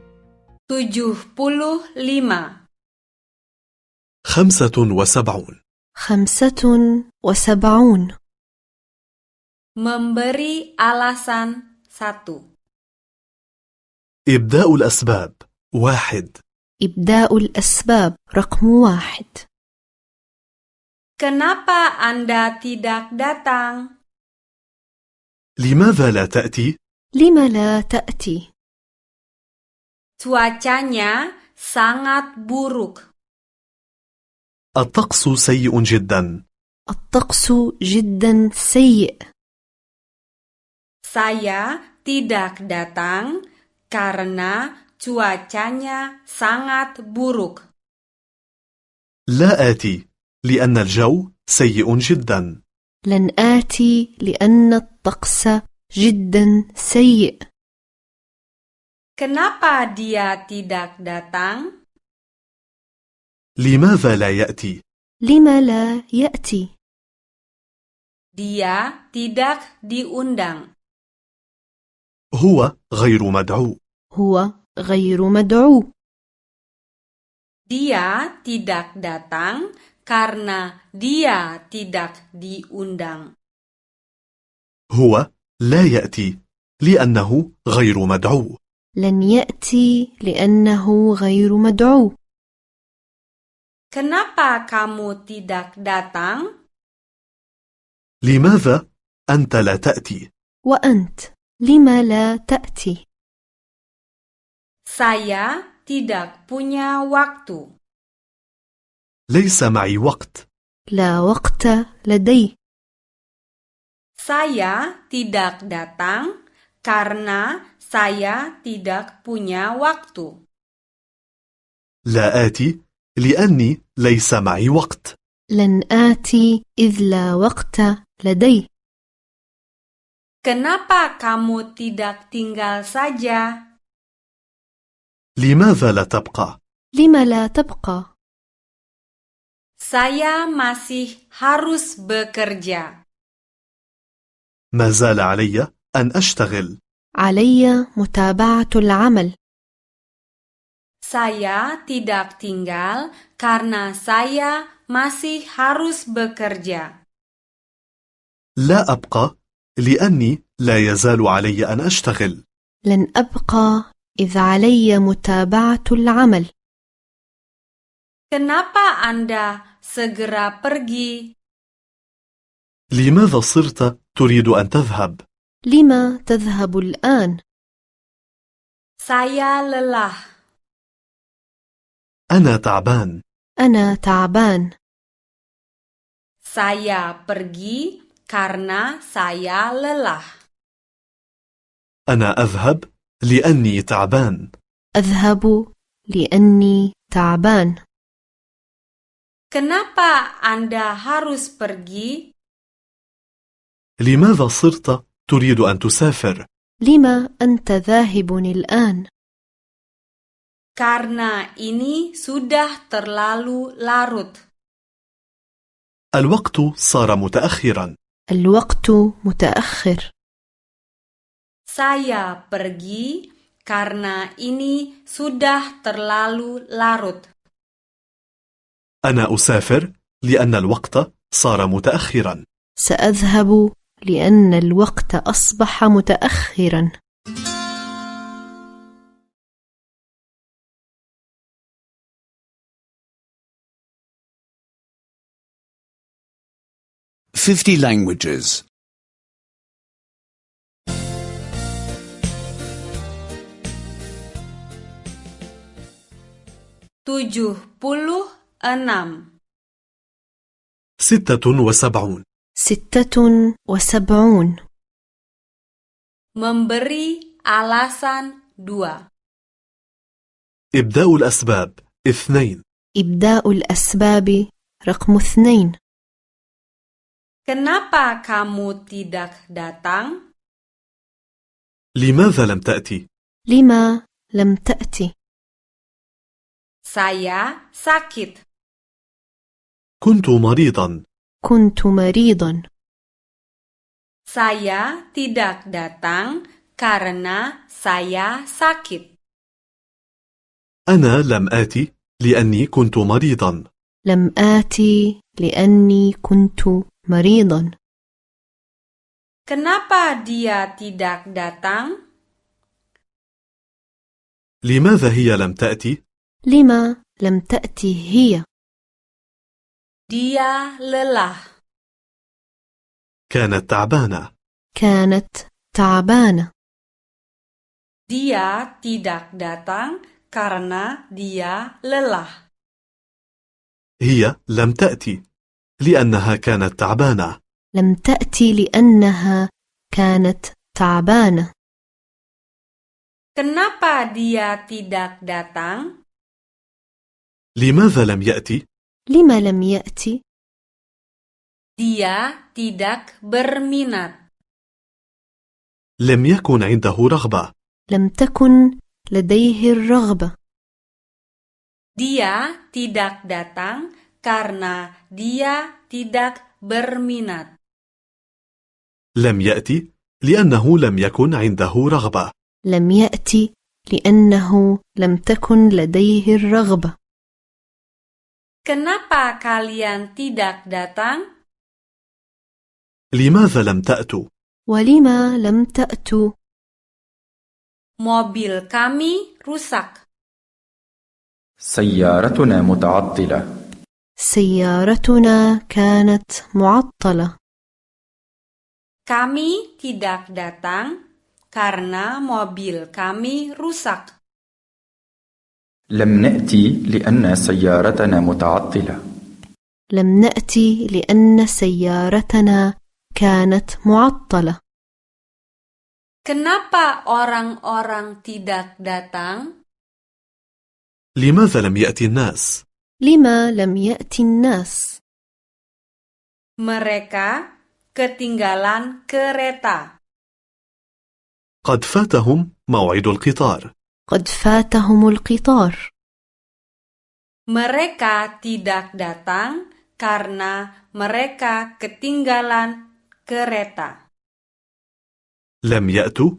D: خمسة وسبعون
E: خمسة وسبعون
C: Memberi alasan 1.
D: إبداء الأسباب واحد
E: إبداء الأسباب رقم واحد
C: Kenapa Anda tidak datang?
D: لماذا لا تأتي؟
E: لم لا تأتي؟
C: Cuacanya sangat buruk.
D: الطقس سيء جدا
E: الطقس جدا سيء
C: Saya tidak datang karena cuacanya sangat buruk.
D: لا آتي لأن الجو سيء جدا
E: لن آتي لأن الطقس جدا سيء
C: Kenapa dia tidak datang?
D: لماذا لا يأتي؟
E: لم لا يأتي؟
C: Dia tidak diundang.
D: هو غير مدعو
E: هو غير مدعو
C: Dia tidak datang karena dia tidak diundang.
D: هو لا يأتي لأنه غير مدعو
E: لن يأتي لأنه غير مدعو
C: Kenapa kamu tidak datang?
D: لماذا أنت لا تأتي؟
E: وأنت لم لا تأتي؟
C: Saya tidak punya waktu.
D: ليس معي وقت
E: لا وقت لدي
C: Saya tidak datang karena saya tidak punya waktu.
D: لا آتي لأني ليس معي وقت
E: لن آتي إذ لا وقت لدي
C: Kenapa kamu tidak tinggal saja?
D: لماذا لا تبقى؟
E: لم لا تبقى
C: Saya masih harus bekerja.
D: ما زال علي أن أشتغل
E: علي متابعة العمل
C: Saya tidak tinggal karena saya masih harus bekerja.
D: لا أبقى لأني لا يزال علي أن أشتغل
E: لن أبقى إذ علي متابعة العمل
C: Kenapa Anda segera pergi?
D: لماذا صرت تريد أن تذهب؟
E: لم تذهب الآن؟
C: Saya lelah.
D: أنا تعبان
E: أنا تعبان
C: Saya pergi karena saya lelah.
D: أنا أذهب لأني تعبان
E: أذهب لأني تعبان
C: Kenapa Anda harus pergi?
D: لماذا صرت تريد أن تسافر؟
E: لم أنت ذاهب الآن؟
C: Karena ini sudah terlalu larut.
D: الوقت صار متأخرا
E: الوقت متأخر
C: Saya pergi karena ini sudah terlalu larut.
D: أنا أسافر لأن الوقت صار متأخرا
E: سأذهب لأن الوقت أصبح متأخرا
B: Fifty languages.
C: 76.
D: 76
E: ستة وسبعون
C: Memberi alasan 2.
D: إبداء الأسباب اثنين
E: إبداء الأسباب رقم اثنين
C: Kenapa kamu tidak datang?
D: لماذا لم تأتي؟
E: لما لم تأتي؟
C: Saya sakit.
D: كنت مريضا
E: كنت مريضا
C: Saya tidak datang karena saya sakit.
D: أنا لم آتي لأني كنت مريضا
E: لم آتي لأني كنت مريضا
C: Kenapa dia tidak datang?
D: لماذا هي لم تأتي؟
E: لما لم تأتي هي؟
C: Dia lelah.
D: كانت تعبانة
E: كانت تعبانة
C: Dia tidak datang karena dia lelah.
D: هي لم تأتي لأنها كانت تعبانة
E: لم تأتي لأنها كانت تعبانة
C: Kenapa dia tidak datang?
D: لماذا لم يأتي؟
E: لم لم يأتي؟
C: Dia tidak berminat.
D: لم يكن عنده رغبة
E: لم تكن لديه الرغبة
C: Dia tidak datang karena dia tidak berminat.
D: لم يأتي لأنه لم يكن عنده رغبة
E: لم يأتي لأنه لم تكن لديه الرغبة
C: Kenapa kalian tidak datang?
D: لماذا لم تأتوا؟
E: ولما لم تأتوا؟
C: Mobil kami rusak.
F: سيارتنا متعطلة
E: سيارتنا كانت معطلة
C: Kami tidak datang karena mobil kami rusak.
F: لم نأتي لأن سيارتنا متعطلة
E: لم نأتي لأن سيارتنا كانت معطلة
C: Kenapa orang-orang tidak datang?
D: لماذا لم يأتي الناس؟
E: لما لم يأتي الناس؟
C: Mereka ketinggalan kereta.
D: قد فاتهم موعد القطار
E: قد فاتهم القطار
C: Mereka tidak datang karena mereka ketinggalan kereta.
D: لم يأتوا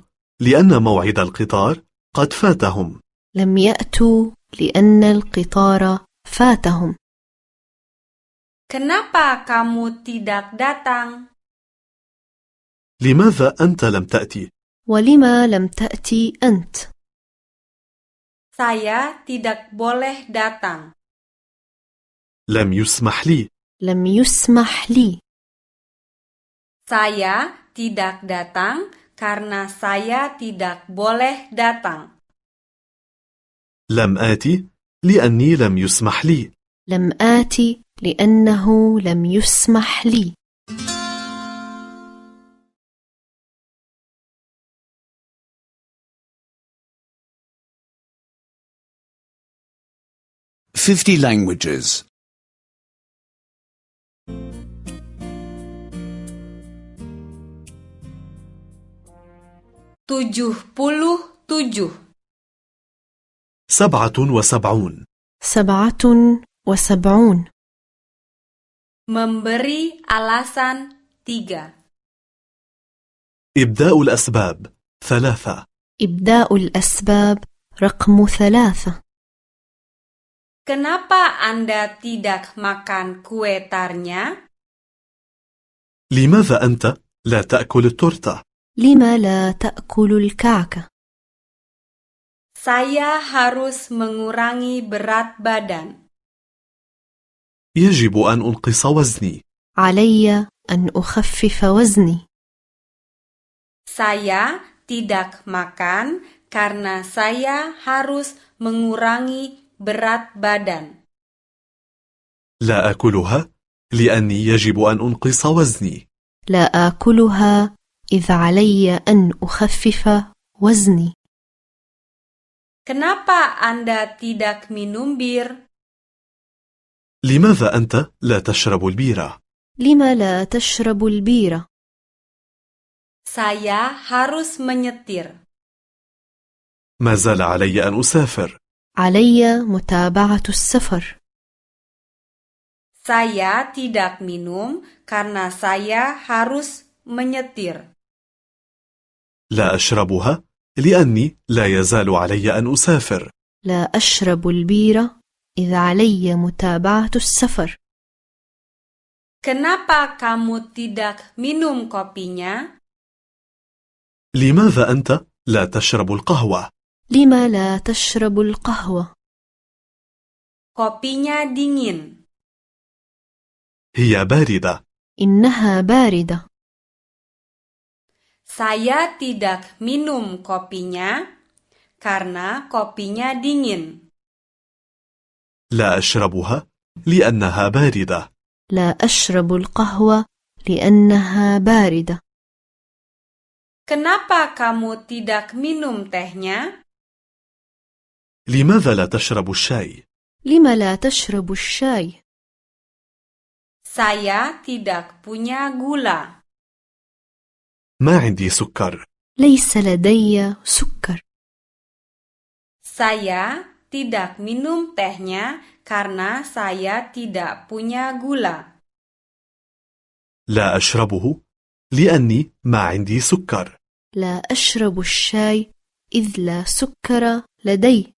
D: لأن موعد القطار قد فاتهم
E: لم يأتوا لأن القطار فاتهم
C: Kenapa kamu tidak datang?
D: لماذا أنت لم تأتي؟
E: ولما لم تأتي أنت؟
C: Saya tidak boleh datang.
D: لم يسمح لي
E: لم يسمح لي
C: Saya tidak datang karena saya tidak boleh datang.
D: لم آتي لأني لم يسمح لي
E: لم آتي لأنه لم يسمح لي
B: Fifty languages.
C: 77.
D: 77
E: سبعة وسبعون
C: Memberi alasan 3.
D: إبداء الأسباب ثلاثة
E: إبداء الأسباب رقم ثلاثة
C: Kenapa Anda tidak makan kue tarnya?
D: لماذا أنت لا تأكل التورتة؟
E: لما لا تأكل الكعكة؟
C: Saya harus mengurangi berat badan.
D: يجب أن أنقص وزني
E: علي أن أخفف وزني
C: Saya tidak makan karena saya harus mengurangi berat badan.
D: لا أكلها لأني يجب أن أنقص وزني
E: لا آكلها إذ علي أن أخفف وزني
C: Kenapa Anda tidak minum bir?
D: لماذا أنت لا تشرب البيرة؟
E: لما لا تشرب البيرة؟
C: Saya harus menyetir.
D: ما زال علي أن أسافر
E: علي متابعة السفر
C: Saya tidak minum karena saya harus menyetir.
D: لا أشربها لأني لا يزال علي أن أسافر
E: لا أشرب البيرة إذ علي متابعة السفر
C: Kenapa kamu tidak minum kopinya?
D: لماذا أنت لا تشرب القهوة؟
E: لما لا تشرب القهوة؟
C: Kopinya dingin.
D: هي باردة
E: إنها باردة
C: Saya tidak minum kopinya karena kopinya dingin.
D: لا أشربها لأنها باردة
E: لا أشرب القهوة لأنها باردة
C: Kenapa kamu tidak minum tehnya?
D: لماذا لا تشرب الشاي؟
E: لما لا تشرب الشاي؟
C: Saya tidak punya gula.
D: ما عندي سكر
E: ليس لدي سكر
C: Saya tidak minum tehnya karena saya tidak punya gula.
D: لا أشربه لأني ما عندي سكر
E: لا أشرب الشاي إذ لا سكر لدي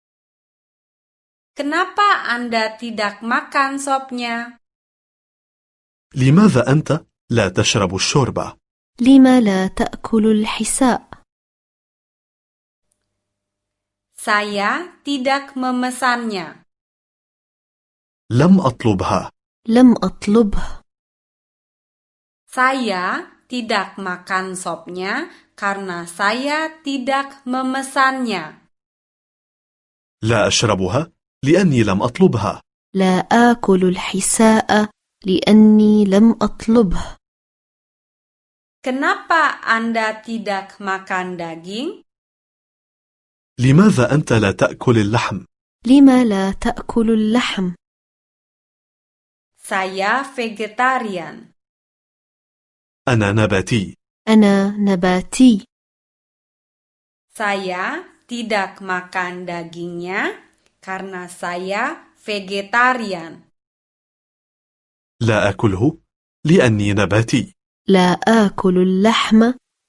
C: Kenapa Anda tidak makan sopnya?
D: لماذا أنت لا تشرب الشوربة؟
E: لما لا تأكل الحساء؟
C: Saya tidak memesannya.
D: لم أطلبها
E: لم أطلبه
C: Saya tidak makan sopnya karena saya tidak memesannya.
D: لا أشربها لأني لم أطلبها
E: لا آكل الحساء لأني لم أطلبه
C: Kenapa Anda tidak makan daging?
D: لماذا أنت لا تأكل اللحم؟
E: لما لا تأكل اللحم؟
C: Saya vegetarian.
D: أنا نباتي
E: أنا نباتي
C: Saya tidak makan dagingnya karena saya vegetarian.
D: لا أكله لأني نباتي
E: لا آكل اللحم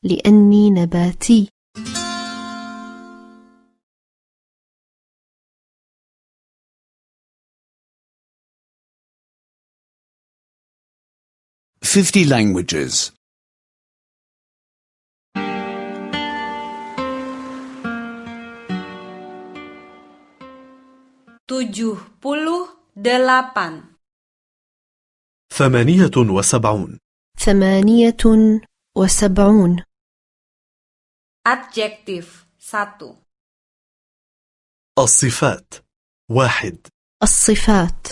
E: لأني نباتي
B: Fifty languages.
C: 78.
D: ثمانية وسبعون
E: ثمانية وسبعون
C: Adjektif 1.
D: الصفات واحد
E: الصفات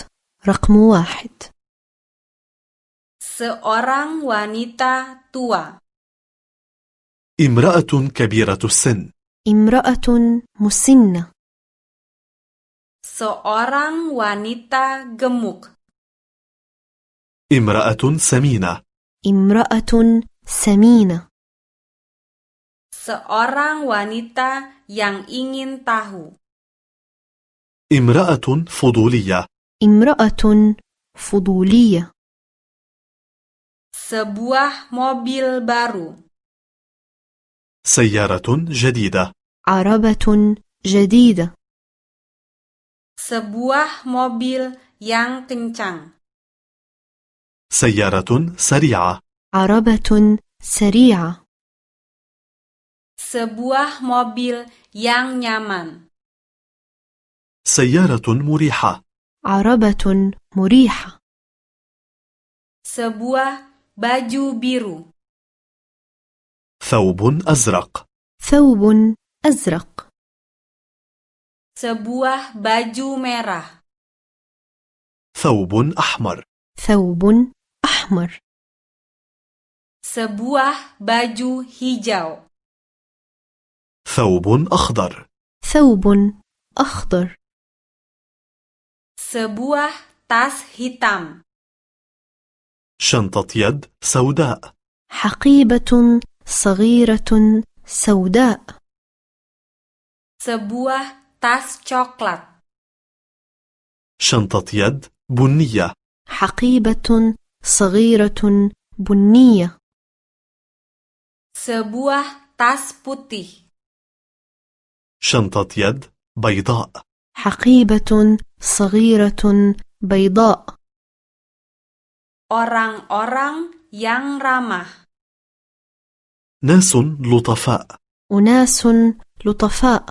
E: رقم واحد
C: Seorang wanita tua.
D: امرأة كبيرة السن
E: امرأة مسنة
C: Seorang wanita gemuk.
D: امرأة سمينة
E: امرأة سمينة
C: Seorang wanita yang ingin tahu.
D: امرأة فضولية
E: امرأة فضولية
C: Sebuah mobil baru.
D: سيارة جديدة
E: عربة جديدة
C: Sebuah mobil yang kencang.
D: سيارة سريعة
E: عربة سريعة
C: Sebuah mobil yang nyaman.
D: سيارة مريحة
E: عربة مريحة
C: Sebuah baju biru.
D: ثوب أزرق
E: ثوب أزرق
C: Sebuah baju merah.
D: ثوب أحمر
E: ثوب أحمر
C: Sebuah baju hijau.
D: ثوب أخضر
E: ثوب أخضر
C: Sebuah tas hitam.
D: شنطة يد سوداء
E: حقيبة صغيرة سوداء
C: Sebuah tas coklat.
D: شنطة يد بنية
E: حقيبة صغيرة بنية
C: Sebuah tas putih.
D: شنطة يد بيضاء
E: حقيبة صغيرة بيضاء
C: Orang-orang yang ramah.
D: ناس لطفاء
E: أناس لطفاء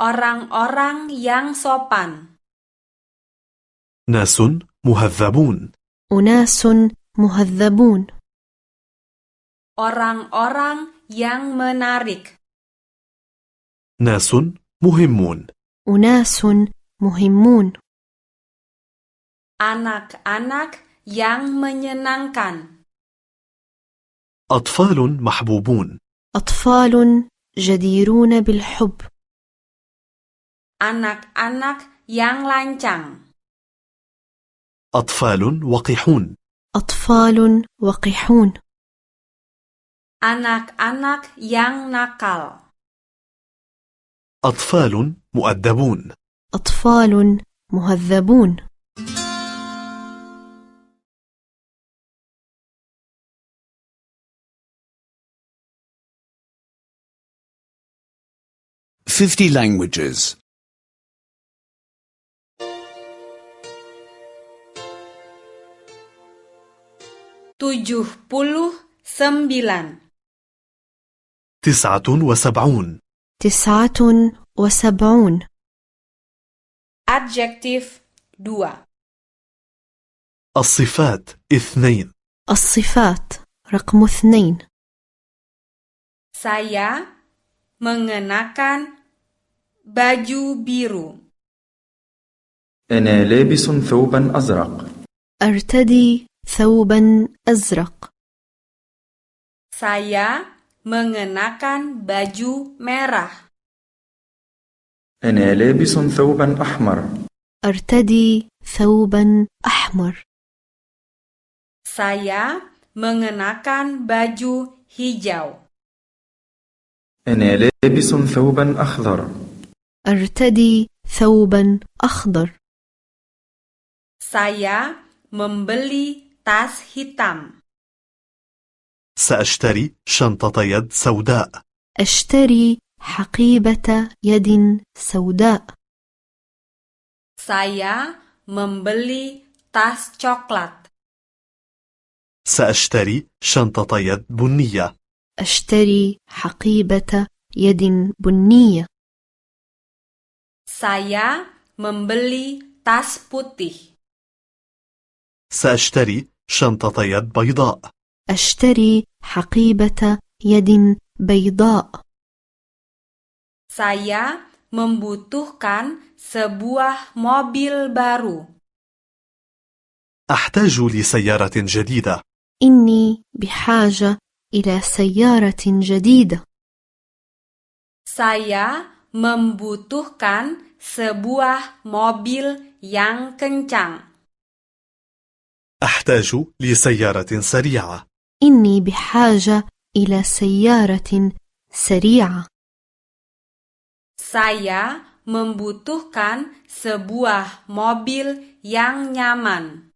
C: Orang-orang yang sopan.
D: ناس مهذبون
E: أناس مهذبون
C: Orang-orang yang menarik.
D: ناس مهمون
E: أناس مهمون
C: Anak-anak yang menyenangkan.
D: أطفال محبوبون
E: أطفال جديرون بالحب
C: Anak-anak yang lancang.
D: أطفال وقحون
E: أطفال وقحون
C: Anak-anak yang nakal.
D: أطفال مؤدبون
E: أطفال مهذبون
B: Fifty languages.
C: 79.
D: تسعة وسبعون
E: تسعة وسبعون
C: Adjektif 2.
D: الصفات اثنين
E: الصفات رقم اثنين
C: Saya mengenakan baju biru.
F: أنا لابس ثوبا أزرق
E: أرتدي ثوبا أزرق
C: Saya mengenakan baju merah.
F: أنا لابس ثوبا أحمر
E: أرتدي ثوبا أحمر
C: Saya mengenakan baju hijau.
F: أنا لابس ثوبا أخضر
E: أرتدي ثوبا أخضر
C: Saya membeli tas hitam.
D: سأشتري شنطة يد سوداء
E: أشتري حقيبة يد سوداء
C: Saya membeli tas coklat.
D: سأشتري شنطة يد بنية
E: أشتري حقيبة يد بنية
C: Saya membeli tas putih.
D: سأشتري شنطة يد بيضاء
E: أشتري حقيبة يد بيضاء
C: Saya membutuhkan sebuah mobil baru.
D: أحتاج لسيارة جديدة
E: إني بحاجة إلى سيارة جديدة
C: Saya membutuhkan sebuah mobil yang kencang.
D: أحتاج لسيارة سريعة
E: إني بحاجة إلى سيارة سريعة
C: Saya membutuhkan sebuah mobil yang nyaman.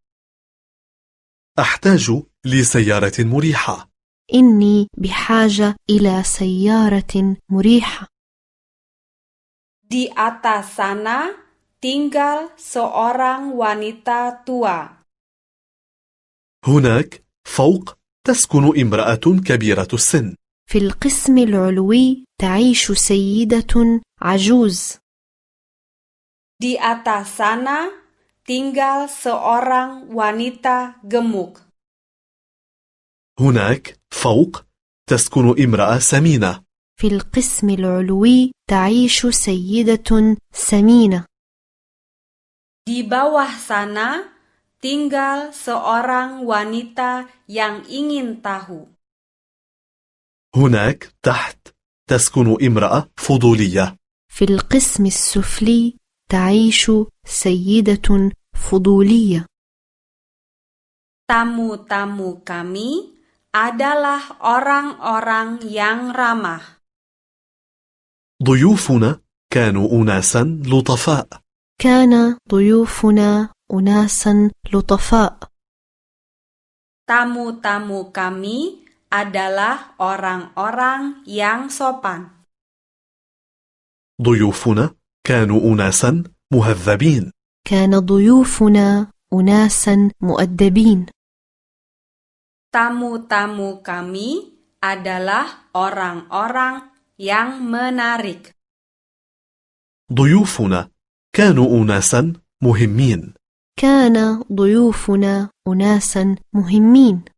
D: أحتاج لسيارة مريحة
E: إني بحاجة إلى سيارة مريحة
C: Di atas sana tinggal seorang wanita tua.
D: هناك فوق تسكن امرأة كبيرة السن
E: في القسم العلوي تعيش سيدة عجوز
C: Di atas sana tinggal seorang wanita gemuk.
D: هناك فوق تسكن امرأة سمينة
E: في القسم العلوي تعيش سيدة سمينة
C: Di bawah sana tinggal seorang wanita yang ingin tahu.
D: هناك تحت تسكن امرأة فضولية
E: في القسم السفلي تعيش سيدة فضولية
C: Tamu-tamu kami adalah orang-orang yang ramah.
D: ضيوفنا كانوا أناسا لطفاء
E: كان ضيوفنا أناسا لطفاء
C: Tamu-tamu kami adalah orang-orang yang sopan.
D: ضيوفنا كانوا أناسا مهذبين
E: كان ضيوفنا أناسا مؤدبين
C: Tamu-tamu kami adalah orang-orang yang menarik.
D: ضيوفنا كانوا أناسا مهمين
E: كان ضيوفنا أناسا مهمين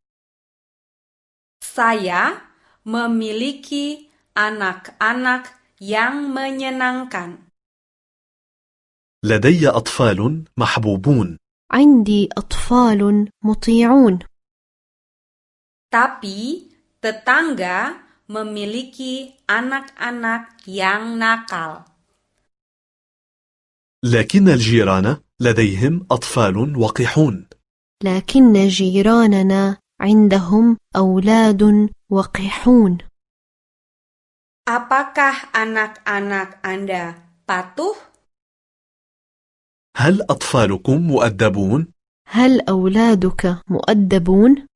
C: Saya memiliki anak-anak yang menyenangkan.
D: لدي أطفال محبوبون
E: عندي أطفال مطيعون
C: Tapi tetangga memiliki anak-anak yang nakal.
D: لكن الجيران لديهم أطفال وقحون
E: لكن جيراننا عندهم أولاد وقحون
C: Apakah anak-anak Anda patuh?
D: هل أطفالكم مؤدبون؟
E: هل أولادك مؤدبون؟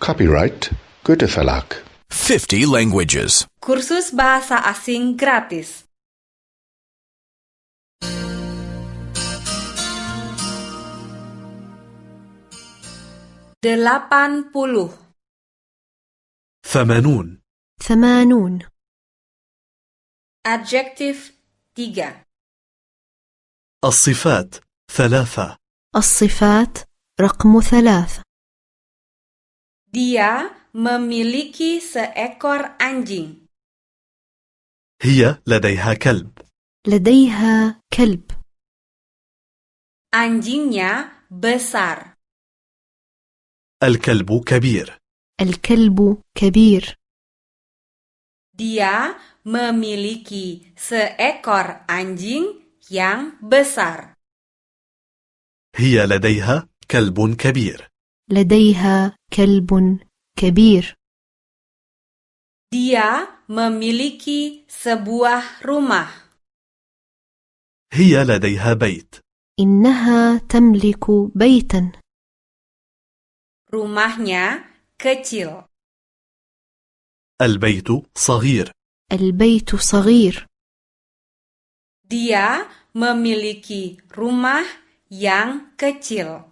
A: Copyright Goethe Verlag.
B: 50 languages.
C: Kursus bahasa asing gratis. Delapan puluh.
D: ثمانون
E: ثمانون
C: Adjektif tiga.
D: الصفات ثلاثة
E: الصفات رقم ثلاث
C: Dia memiliki seekor anjing.
D: هي لديها كلب
E: لديها كلب
C: Anjingnya besar.
D: الكلب كبير
E: الكلب كبير
C: Dia memiliki seekor anjing yang besar.
D: هي لديها كلب كبير
E: لديها كلب كبير
C: Dia memiliki sebuah rumah.
D: هي لديها بيت
E: إنها تملك بيتا
C: Rumahnya kecil.
D: البيت صغير
E: البيت صغير
C: Dia memiliki rumah yang kecil.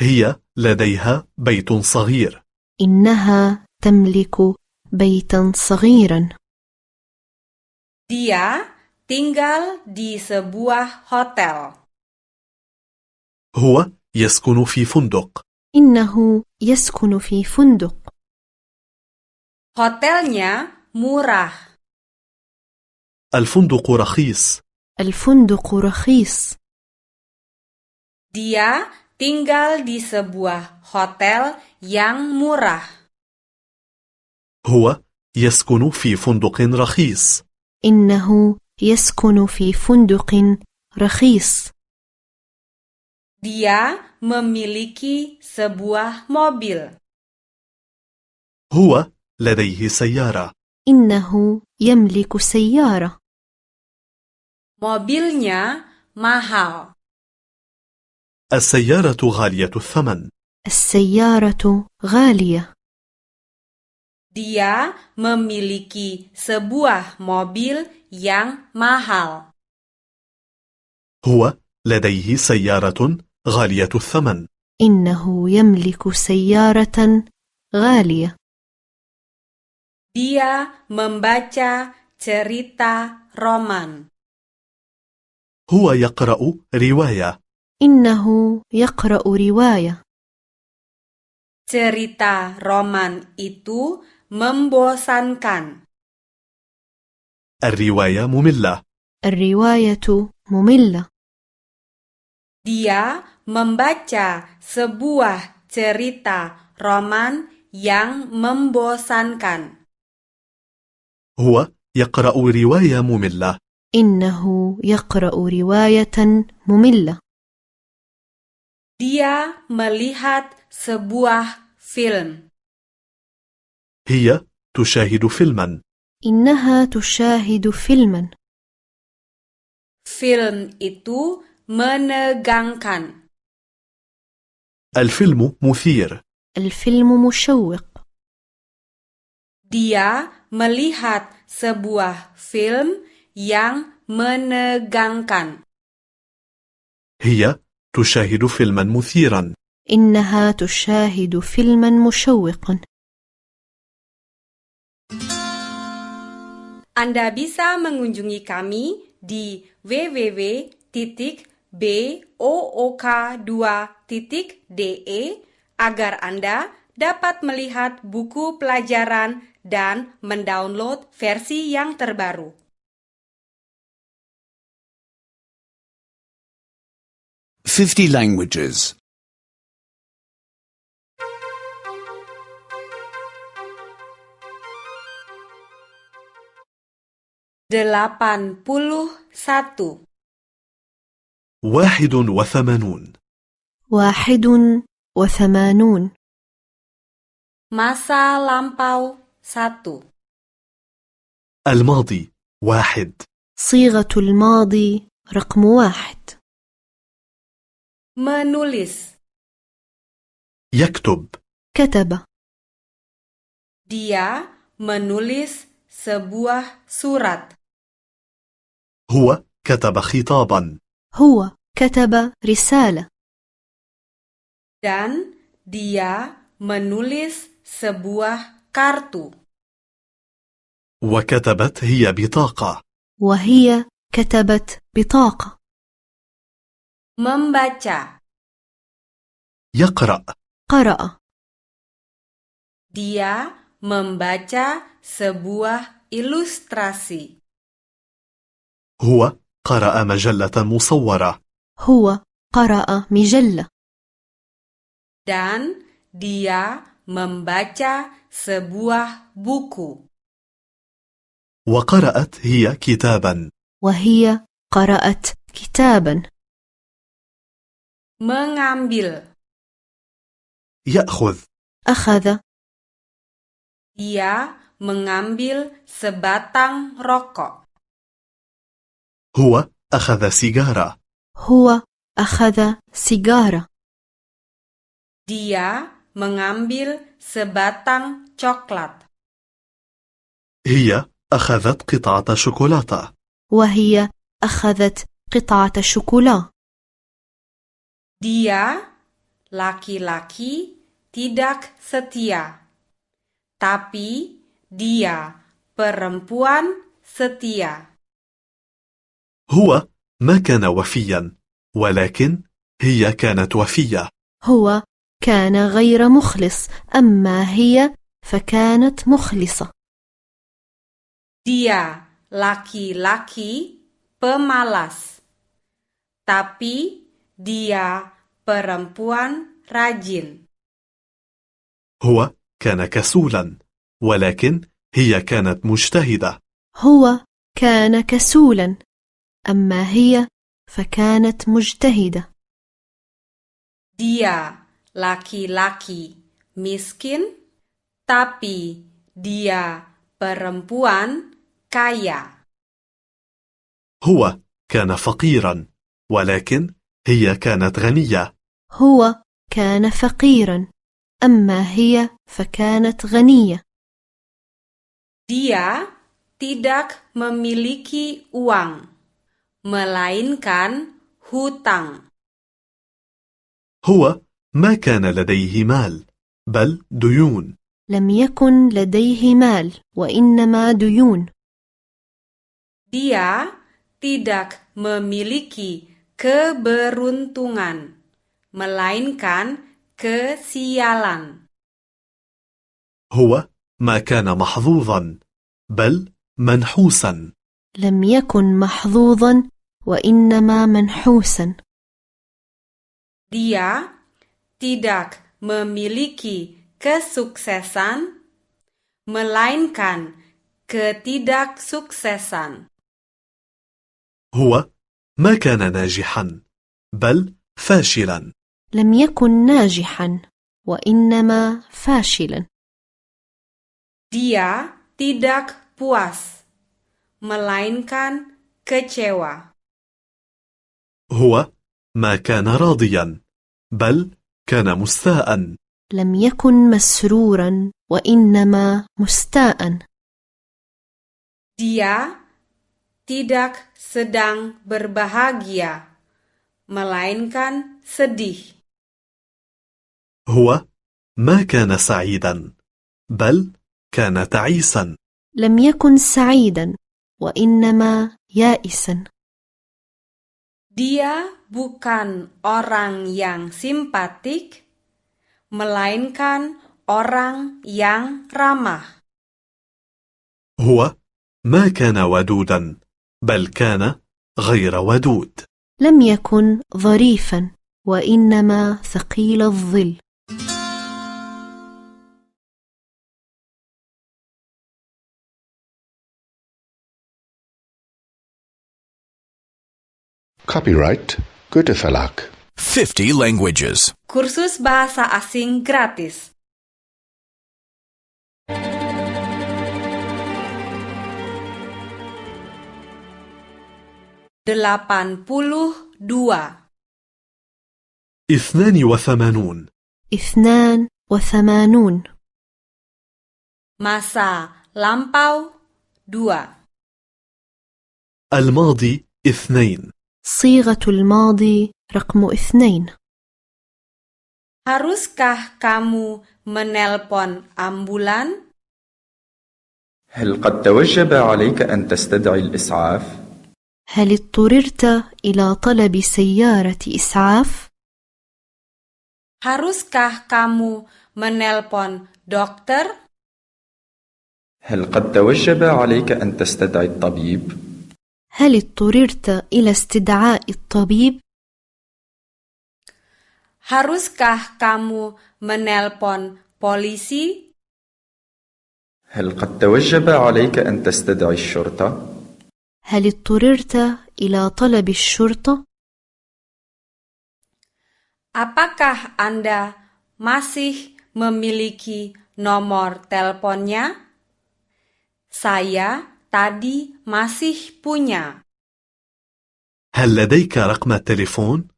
D: هي لديها بيت صغير
E: إنها تملك بيتا صغيرا
C: Dia tinggal di sebuah hotel.
D: هو يسكن في فندق
E: إنه يسكن في فندق
C: Hotelnya murah.
D: الفندق رخيص
E: الفندق رخيص
C: Dia tinggal di sebuah hotel yang murah.
D: هو يسكن في فندق رخيص
E: إنه يسكن في فندق رخيص
C: Dia memiliki sebuah mobil.
D: هو لديه سيارة
E: إنه يملك سيارة
C: Mobilnya mahal.
D: السيارة غالية الثمن
E: السيارة غالية
C: Dia memiliki sebuah mobil yang mahal.
D: هو لديه سيارة غالية الثمن
E: إنه يملك سيارة غالية
C: Dia membaca cerita roman.
D: هو يقرأ رواية
E: إنه يقرأ رواية
C: Cerita roman itu membosankan.
D: الرواية مملة
E: الرواية مملة
C: Dia membaca sebuah cerita roman yang membosankan.
D: هو يقرأ رواية مملة
E: إنه يقرأ رواية مملة
C: Dia melihat sebuah film.
D: هي تشاهد فيلما
E: إنها تشاهد فيلما
C: Film itu menegangkan.
D: الفيلم مثير
E: الفيلم مشوق
C: Dia melihat sebuah film yang menegangkan.
D: هي تشاهد فيلما مثيرا
E: إنها تشاهد فيلما مشوقا
C: Anda bisa mengunjungi kami di www.book2.de agar Anda dapat melihat buku pelajaran dan mendownload versi yang terbaru.
B: Fifty languages.
C: 81
D: واحد وثمانون
E: واحد وثمانون
C: Masa lampau 1
D: الماضي واحد
E: صيغة الماضي رقم واحد
C: Menulis
D: يكتب
E: كتب
C: Dia menulis sebuah surat.
D: هو كتب خطابا
E: هو كتب رسالة
C: dan dia menulis sebuah kartu.
D: وكتبت هي بطاقة
E: وهي كتبت بطاقة
C: Membaca.
D: يقرأ
E: قرأ
C: Dia membaca sebuah ilustrasi.
D: هو قرأ مجلة مصورة
E: هو قرأ مجلة
C: Dan dia membaca sebuah buku.
D: وقرأت هي كتابا
E: وهي قرأت كتابا
C: Mengambil.
D: يأخذ
E: أخذ
C: Dia mengambil sebatang rokok.
D: هو أخذ سيجارة
E: هو أخذ سيجارة
C: Dia mengambil sebatang coklat.
D: هي أخذت قطعة شوكولاتة
E: وهي أخذت قطعة شوكولا
C: Dia laki-laki tidak setia. Tapi dia perempuan setia.
D: هو ما كان وفيا ولكن هي كانت وفية
E: هو كان غير مخلص أما هي فكانت مخلصة
C: Dia laki-laki pemalas. Tapi dia perempuan rajin.
D: هو كان كسولا ولكن هي كانت مجتهدة
E: هو كان كسولا أما هي فكانت مجتهدة
C: Dia laki-laki miskin, tapi dia perempuan kaya.
D: هو كان فقيرا ولكن هي كانت غنية
E: هو كان فقيرا أما هي فكانت غنية
C: Dia tidak memiliki uang, melainkan hutang.
D: هو ما كان لديه مال بل ديون
E: لم يكن لديه مال وإنما ديون
C: Dia tidak memiliki keberuntungan, melainkan kesialan.
D: هو ما كان محظوظا بل منحوسا
E: لم يكن محظوظا وإنما منحوسا
C: Dia tidak memiliki kesuksesan, melainkan ketidaksuksesan.
D: هو ما كان ناجحا بل فاشلا
E: لم يكن ناجحا وإنما فاشلا
C: Dia tidak puas, melainkan kecewa.
D: هو ما كان راضيا بل كان مستاء
E: لم يكن مسرورا وإنما مستاء
C: Dia tidak sedang berbahagia, melainkan sedih.
D: هو ما كان سعيدا بل كان تعيسا
E: لم يكن سعيدا وإنما يائسا
C: Dia bukan orang yang simpatik, melainkan orang yang ramah.
D: هو ما كان ودودا بل كان غير ودود
E: لم يكن ظريفا وإنما ثقيل الظل
A: Copyright Goethe Verlag.
B: 50 languages.
C: Kursus bahasa asing gratis. Delapan puluh dua,
D: 82
E: اثنان وثمانون
C: masa lampau dua.
D: الماضي اثنين
E: صيغة الماضي رقم اثنين
C: Haruskah kamu menelpon ambulan?
F: هل قد توجب عليك أن تستدعي الإسعاف؟
E: هل اضطررت إلى طلب سيارة إسعاف؟
C: Haruskah kamu menelpon dokter?
F: هل قد توجب عليك أن تستدعي الطبيب؟
E: هل اضطررت إلى استدعاء الطبيب؟
C: Haruskah kamu menelpon polisi?
F: هل قد توجب عليك أن تستدعي الشرطة؟
E: هل اضطررت إلى طلب الشرطة؟
C: Apakah Anda masih memiliki nomor teleponnya? Saya tadi masih punya.
D: هل لديك رقم التليفون؟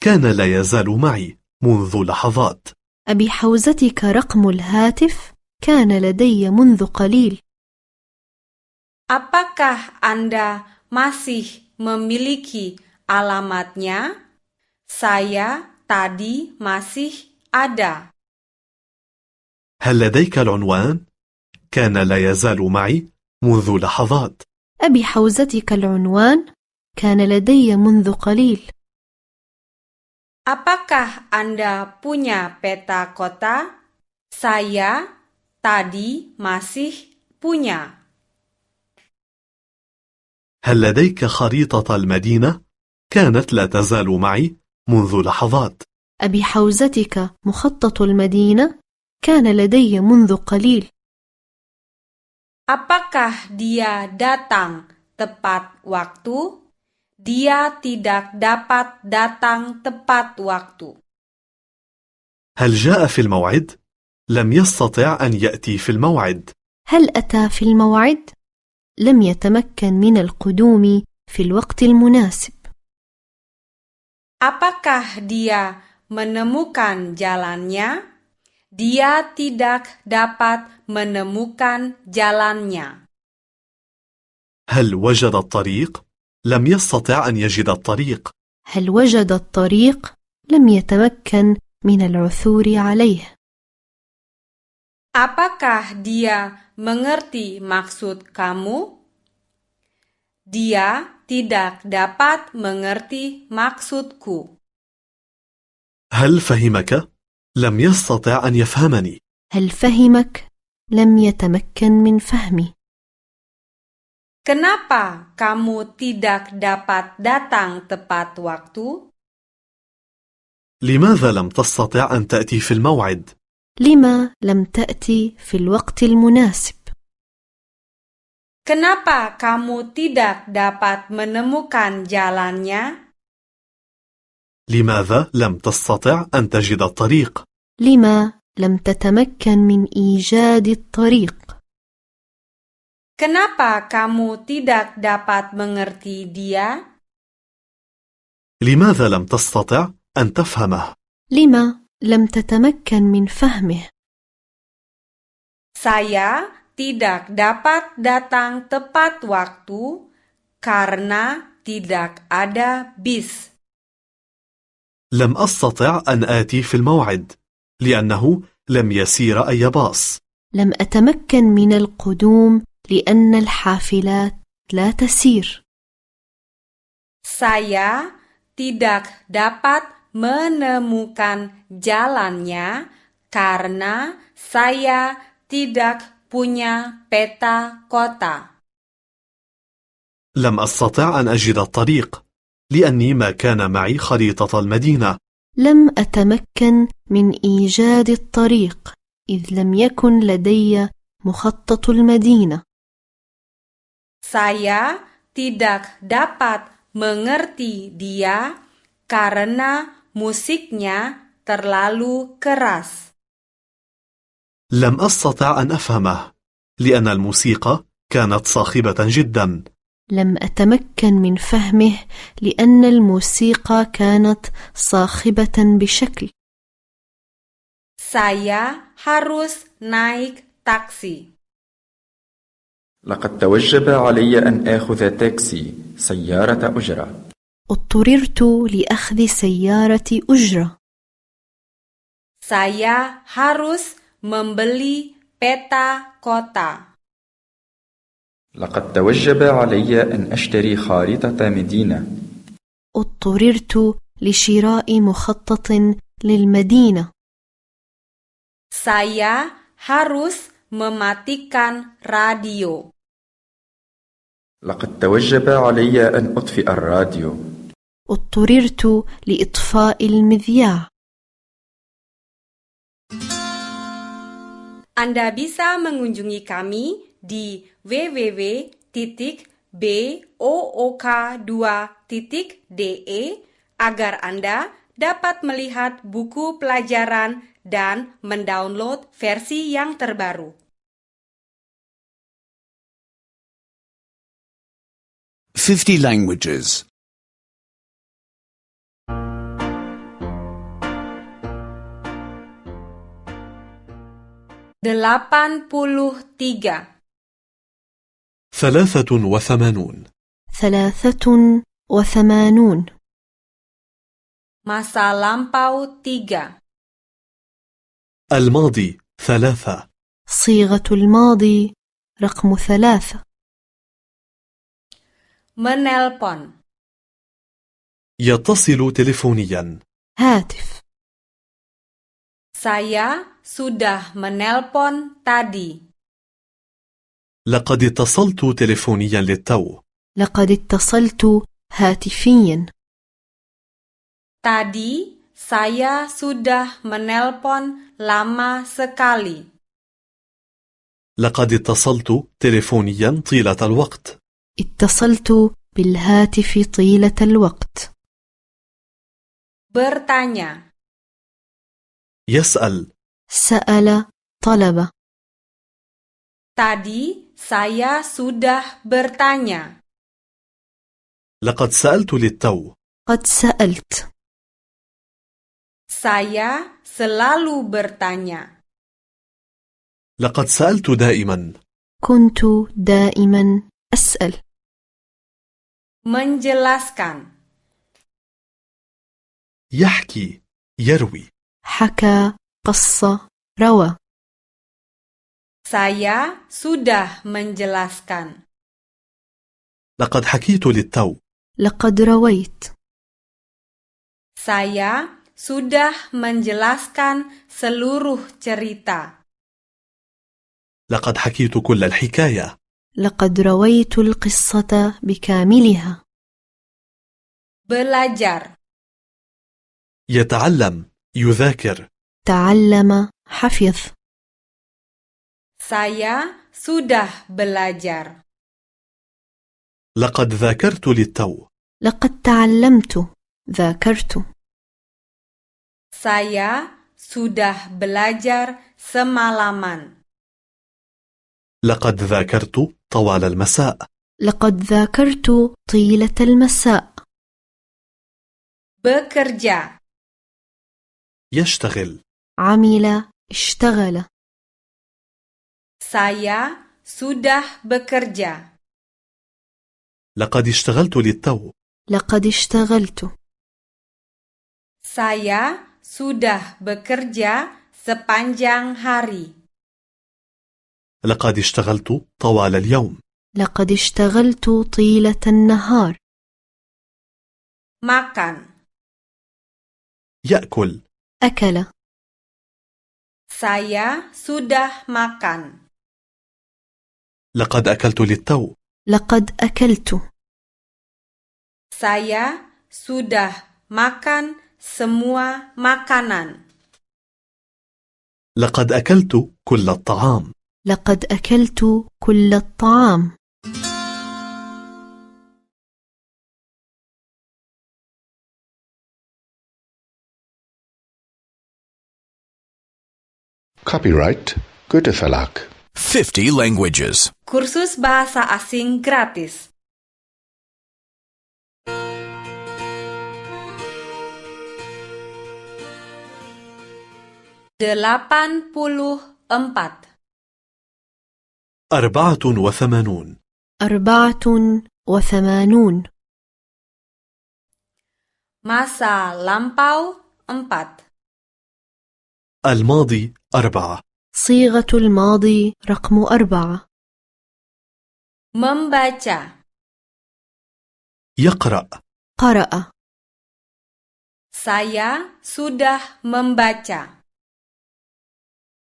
D: كان لا يزال معي منذ لحظات
E: أبحوزتك رقم الهاتف؟ كان لدي منذ قليل
C: Apakah Anda masih memiliki alamatnya? Saya tadi masih ada.
D: هل لديك العنوان؟ كان لا يزال معي منذ لحظات
E: أبحوزتك العنوان؟ كان لدي منذ قليل
C: Apakah Anda punya peta kota? Saya tadi masih punya.
D: هل لديك خريطة المدينة؟ كانت لا تزال معي منذ لحظات
E: أبحوزتك مخطط المدينة؟ كان لدي منذ قليل
C: Apakah dia datang tepat waktu? Dia tidak dapat datang tepat waktu.
D: هل جاء في الموعد؟ لم يستطع أن يأتي في الموعد
E: هل أتى في الموعد؟ لم يتمكن من القدوم في الوقت المناسب
C: Apakah dia menemukan jalannya? Dia tidak dapat menemukan jalannya.
D: هل وجد الطريق؟ لم يستطع أن يجد الطريق
E: هل وجد الطريق؟ لم يتمكن من العثور عليه
C: Apakah dia mengerti maksud kamu? Dia tidak dapat mengerti maksudku.
D: هل فهمك؟ لم يستطع أن يفهمني
E: هل فهمك؟ لم يتمكن من فهمي
C: Kenapa kamu tidak dapat datang tepat waktu?
D: لماذا لم تستطع أن تأتي في الموعد؟
E: لما لم تأتي في الوقت المناسب؟
C: Kenapa kamu tidak dapat menemukan jalannya?
D: لماذا لم تستطع أن تجد الطريق؟
E: لما لم تتمكن من إيجاد الطريق؟
C: Kenapa kamu tidak dapat mengerti dia?
D: لماذا لم تستطع أن تفهمه؟
E: لما لم تتمكن من فهمه؟
C: Saya tidak dapat datang tepat waktu karena tidak ada bis.
D: لم أستطع أن آتي في الموعد لأنه لم يسير أي باص
E: لم أتمكن من القدوم لأن الحافلات لا تسير
C: Saya tidak dapat menemukan jalannya karena saya tidak punya peta kota.
D: لم أستطع أن أجد الطريق لأني ما كان معي خريطة المدينة
E: لم أتمكن من إيجاد الطريق إذ لم يكن لدي مخطط المدينة
C: Saya tidak dapat mengerti dia karena musiknya terlalu keras.
D: لم أستطع أن أفهمه لأن الموسيقى كانت صاخبة جدا
E: لم أتمكن من فهمه لأن الموسيقى كانت صاخبة بشكل
C: Saya harus naik taksi.
F: لقد توجب علي أن آخذ تاكسي سيارة أجرة
E: اضطررت لأخذ سيارة أجرة
C: Saya harus membeli peta kota.
F: لقد توجب علي أن أشتري خارطة مدينة
E: اضطررت لشراء مخطط للمدينة
C: Saya harus mematikan radio.
F: لقد توجب علي أن أطفئ الراديو
E: اضطررت لإطفاء المذياع
C: Anda bisa mengunjungi kami di www.book2.de agar Anda dapat melihat buku pelajaran dan mendownload versi yang terbaru.
B: Fifty languages.
C: 83.
D: ثلاثة وثمانون
E: ثلاثة وثمانون
C: Masa lampau 3.
D: الماضي ثلاثة
E: صيغة الماضي رقم ثلاثة
C: Menelpon.
D: يتصل تلفونيا
E: هاتف
C: Saya sudah menelpon tadi.
D: لقد اتصلت تلفونيا للتو
E: لقد اتصلت هاتفيا
C: Tadi saya sudah menelpon lama sekali.
D: لقد اتصلت تلفونيا طيلة الوقت
E: اتصلت بالهاتف طيلة الوقت
C: Bertanya.
D: يسأل
E: سأل طلب
C: Tadi saya sudah bertanya.
D: لقد سألت للتو
E: قد سألت
C: Saya selalu bertanya.
D: لقد سألت دائما
E: كنت دائما أسأل
C: Menjelaskan.
D: يحكي يروي
E: حكى قص روى
C: Saya sudah menjelaskan.
D: لقد حكيت للتو
E: لقد رويت
C: Saya sudah menjelaskan seluruh cerita.
D: لقد حكيت كل الحكاية
E: لقد رويت القصة بكاملها
C: Belajar.
D: يتعلم يذاكر
E: تعلم حفظ
C: Saya sudah belajar.
D: لقد ذاكرت للتو
E: لقد تعلمت ذاكرت
C: Saya sudah belajar semalaman.
D: لقد ذاكرت طوال المساء
E: لقد ذاكرت طيلة المساء
C: Bekerja.
D: يشتغل
E: عمل اشتغل
C: Saya sudah bekerja.
D: لقد اشتغلت للتو
E: لقد اشتغلت
C: Saya sudah bekerja sepanjang hari.
D: لقد اشتغلت طوال اليوم
E: لقد اشتغلت طيلة النهار
C: Makan.
D: يأكل
E: أكل
C: Saya sudah makan.
D: لقد أكلت للتو
E: لقد أكلت
C: Saya sudah makan semua makanan.
D: لقد أكلت كل الطعام
E: لقد أكلت كل الطعام
A: Copyright Goethe Verlag.
B: Fifty languages.
C: Kursus bahasa asing gratis. Delapan puluh empat.
D: أربعة وثمانون
E: أربعة وثمانون
C: Masa lampau empat.
D: الماضي أربعة
E: صيغة الماضي رقم أربعة
C: Membaca.
D: يقرأ
E: قرأ
C: Saya sudah membaca.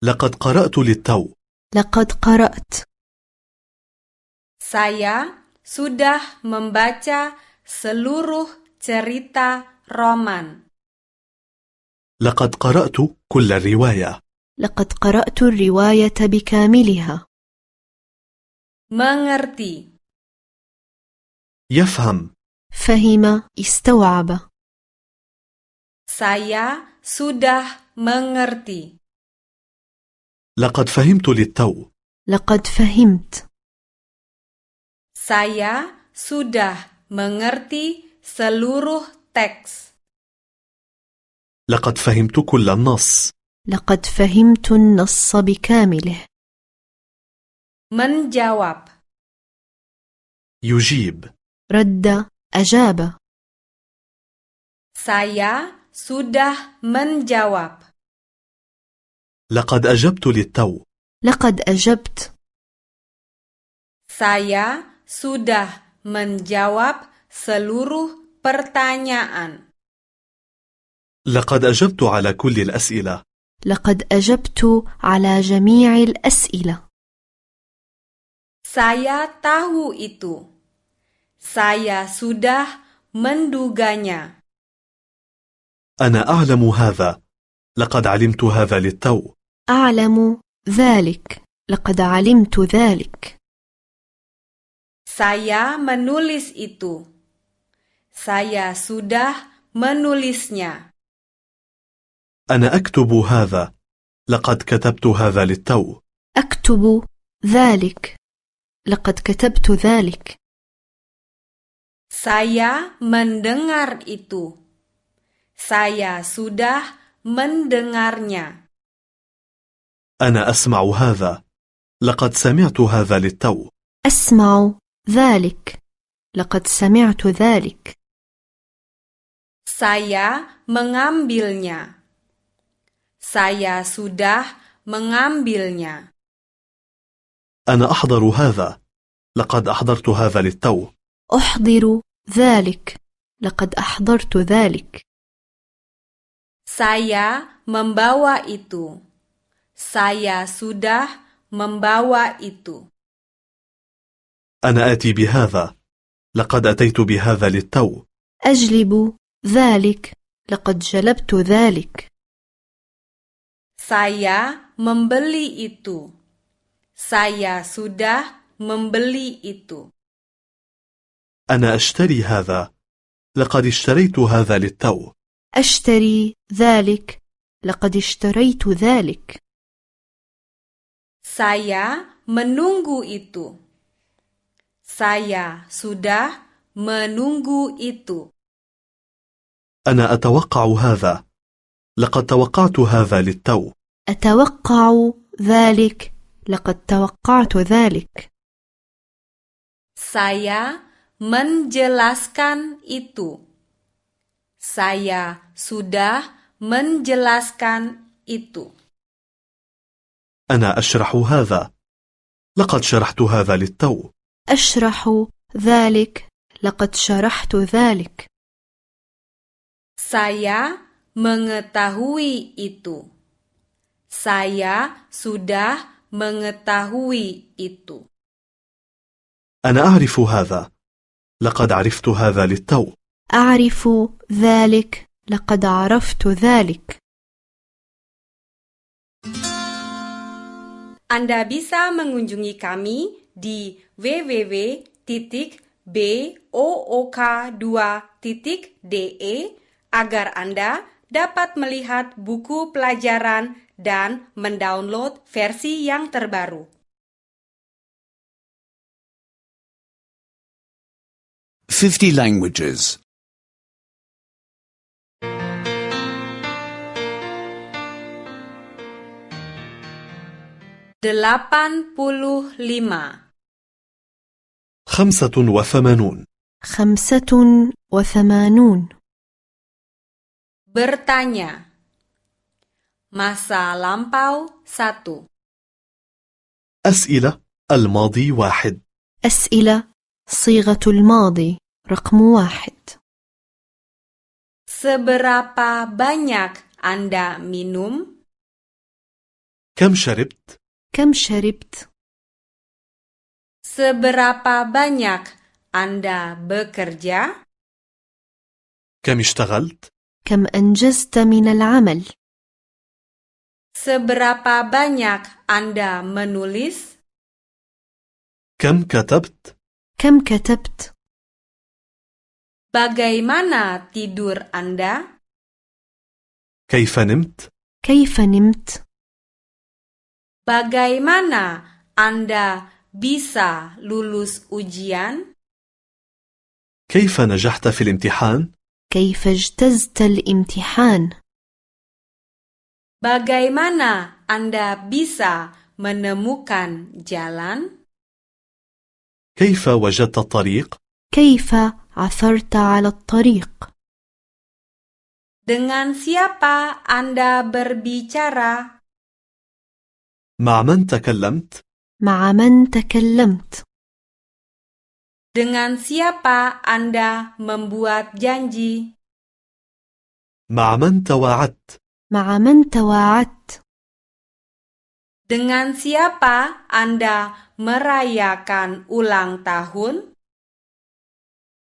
D: لقد قرأت للتو
E: لقد قرأت
C: Saya sudah membaca seluruh cerita roman.
D: لقد قرأت كل الرواية
E: لقد قرأت الرواية بكاملها.
C: mengerti,
D: يفهم
E: فهم استوعب.
C: saya sudah mengerti.
D: لقد فهمت للتو
E: لقد فهمت.
C: Saya sudah mengerti seluruh teks.
D: لقد فهمت كل النص
E: لقد فهمت النص بكامله.
C: Menjawab,
D: يجيب
E: رد أجاب.
C: saya sudah menjawab.
D: لقد أجبت للتو
E: لقد أجبت.
C: Saya sudah menjawab seluruh pertanyaan.
D: لقد أجبت على كل الأسئلة
E: لقد أجبت على جميع الأسئلة.
C: Saya tahu itu. Saya sudah menduganya.
D: أنا أعلم هذا لقد علمت هذا للتو
E: أعلم ذلك. لقد علمت ذلك.
C: Saya menulis itu. Saya sudah menulisnya.
D: أنا أكتب هذا لقد كتبت هذا للتو
E: أكتب ذلك. لقد كتبت ذلك.
C: Saya mendengar itu. Saya sudah mendengarnya.
D: أنا أسمع هذا لقد سمعت هذا للتو
E: أسمع ذلك. لقد سمعت ذلك.
C: Saya mengambilnya. Saya sudah mengambilnya.
D: أنا أحضر هذا لقد أحضرت هذا للتو
E: أحضر ذلك. لقد أحضرت ذلك.
C: Saya membawa itu. Saya sudah membawa itu.
D: أنا آتي بهذا لقد أتيت بهذا للتو
E: أجلب ذلك. لقد جلبت ذلك.
C: Saya membeli itu. Saya sudah membeli itu.
D: أنا أشتري هذا لقد اشتريت هذا للتو
E: أشتري ذلك. لقد اشتريت ذلك.
C: Saya menunggu itu. Saya sudah menunggu itu.
D: أنا أتوقع هذا لقد توقعت هذا للتو
E: أتوقع ذلك. لقد توقعت ذلك.
C: Saya menjelaskan itu. Saya sudah menjelaskan itu.
D: أنا أشرح هذا لقد شرحت هذا للتو
E: أشرح ذلك. لقد شرحت ذلك.
C: Saya mengetahui itu. Saya sudah mengetahui itu.
D: أنا أعرف هذا لقد عرفت هذا للتو
E: أعرف ذلك. لقد عرفت ذلك.
C: Anda bisa mengunjungi kami di www.book2.de agar Anda dapat melihat buku pelajaran dan mendownload versi yang terbaru.
B: 50 languages.
C: 85
D: خمسة وثمانون
E: خمسة وثمانون
C: bertanya Masa lampau 1
D: أسئلة الماضي واحد
E: أسئلة صيغة الماضي رقم واحد
C: Seberapa banyak Anda minum?
D: كم شربت؟
E: كم شربت؟
C: Seberapa banyak Anda bekerja?
D: كم اشتغلت؟
E: كم أنجزت من العمل؟
C: Seberapa banyak Anda menulis?
D: كم كتبت؟
E: كم كتبت؟
C: Bagaimana tidur Anda?
D: كيف نمت؟
E: كيف نمت؟
C: Bagaimana Anda bisa lulus ujian?
D: كيف نجحت في الامتحان؟
E: كيف اجتزت الامتحان؟
C: Bagaimana Anda bisa menemukan jalan?
D: كيف وجدت الطريق؟
E: كيف عثرت على الطريق؟
C: Dengan siapa Anda berbicara?
D: مع من تكلمت؟
E: مع من تكلمت؟
C: Dengan siapa Anda membuat janji?
D: مع من تواعدت؟
E: مع من تواعدت؟
C: Dengan siapa Anda merayakan ulang tahun?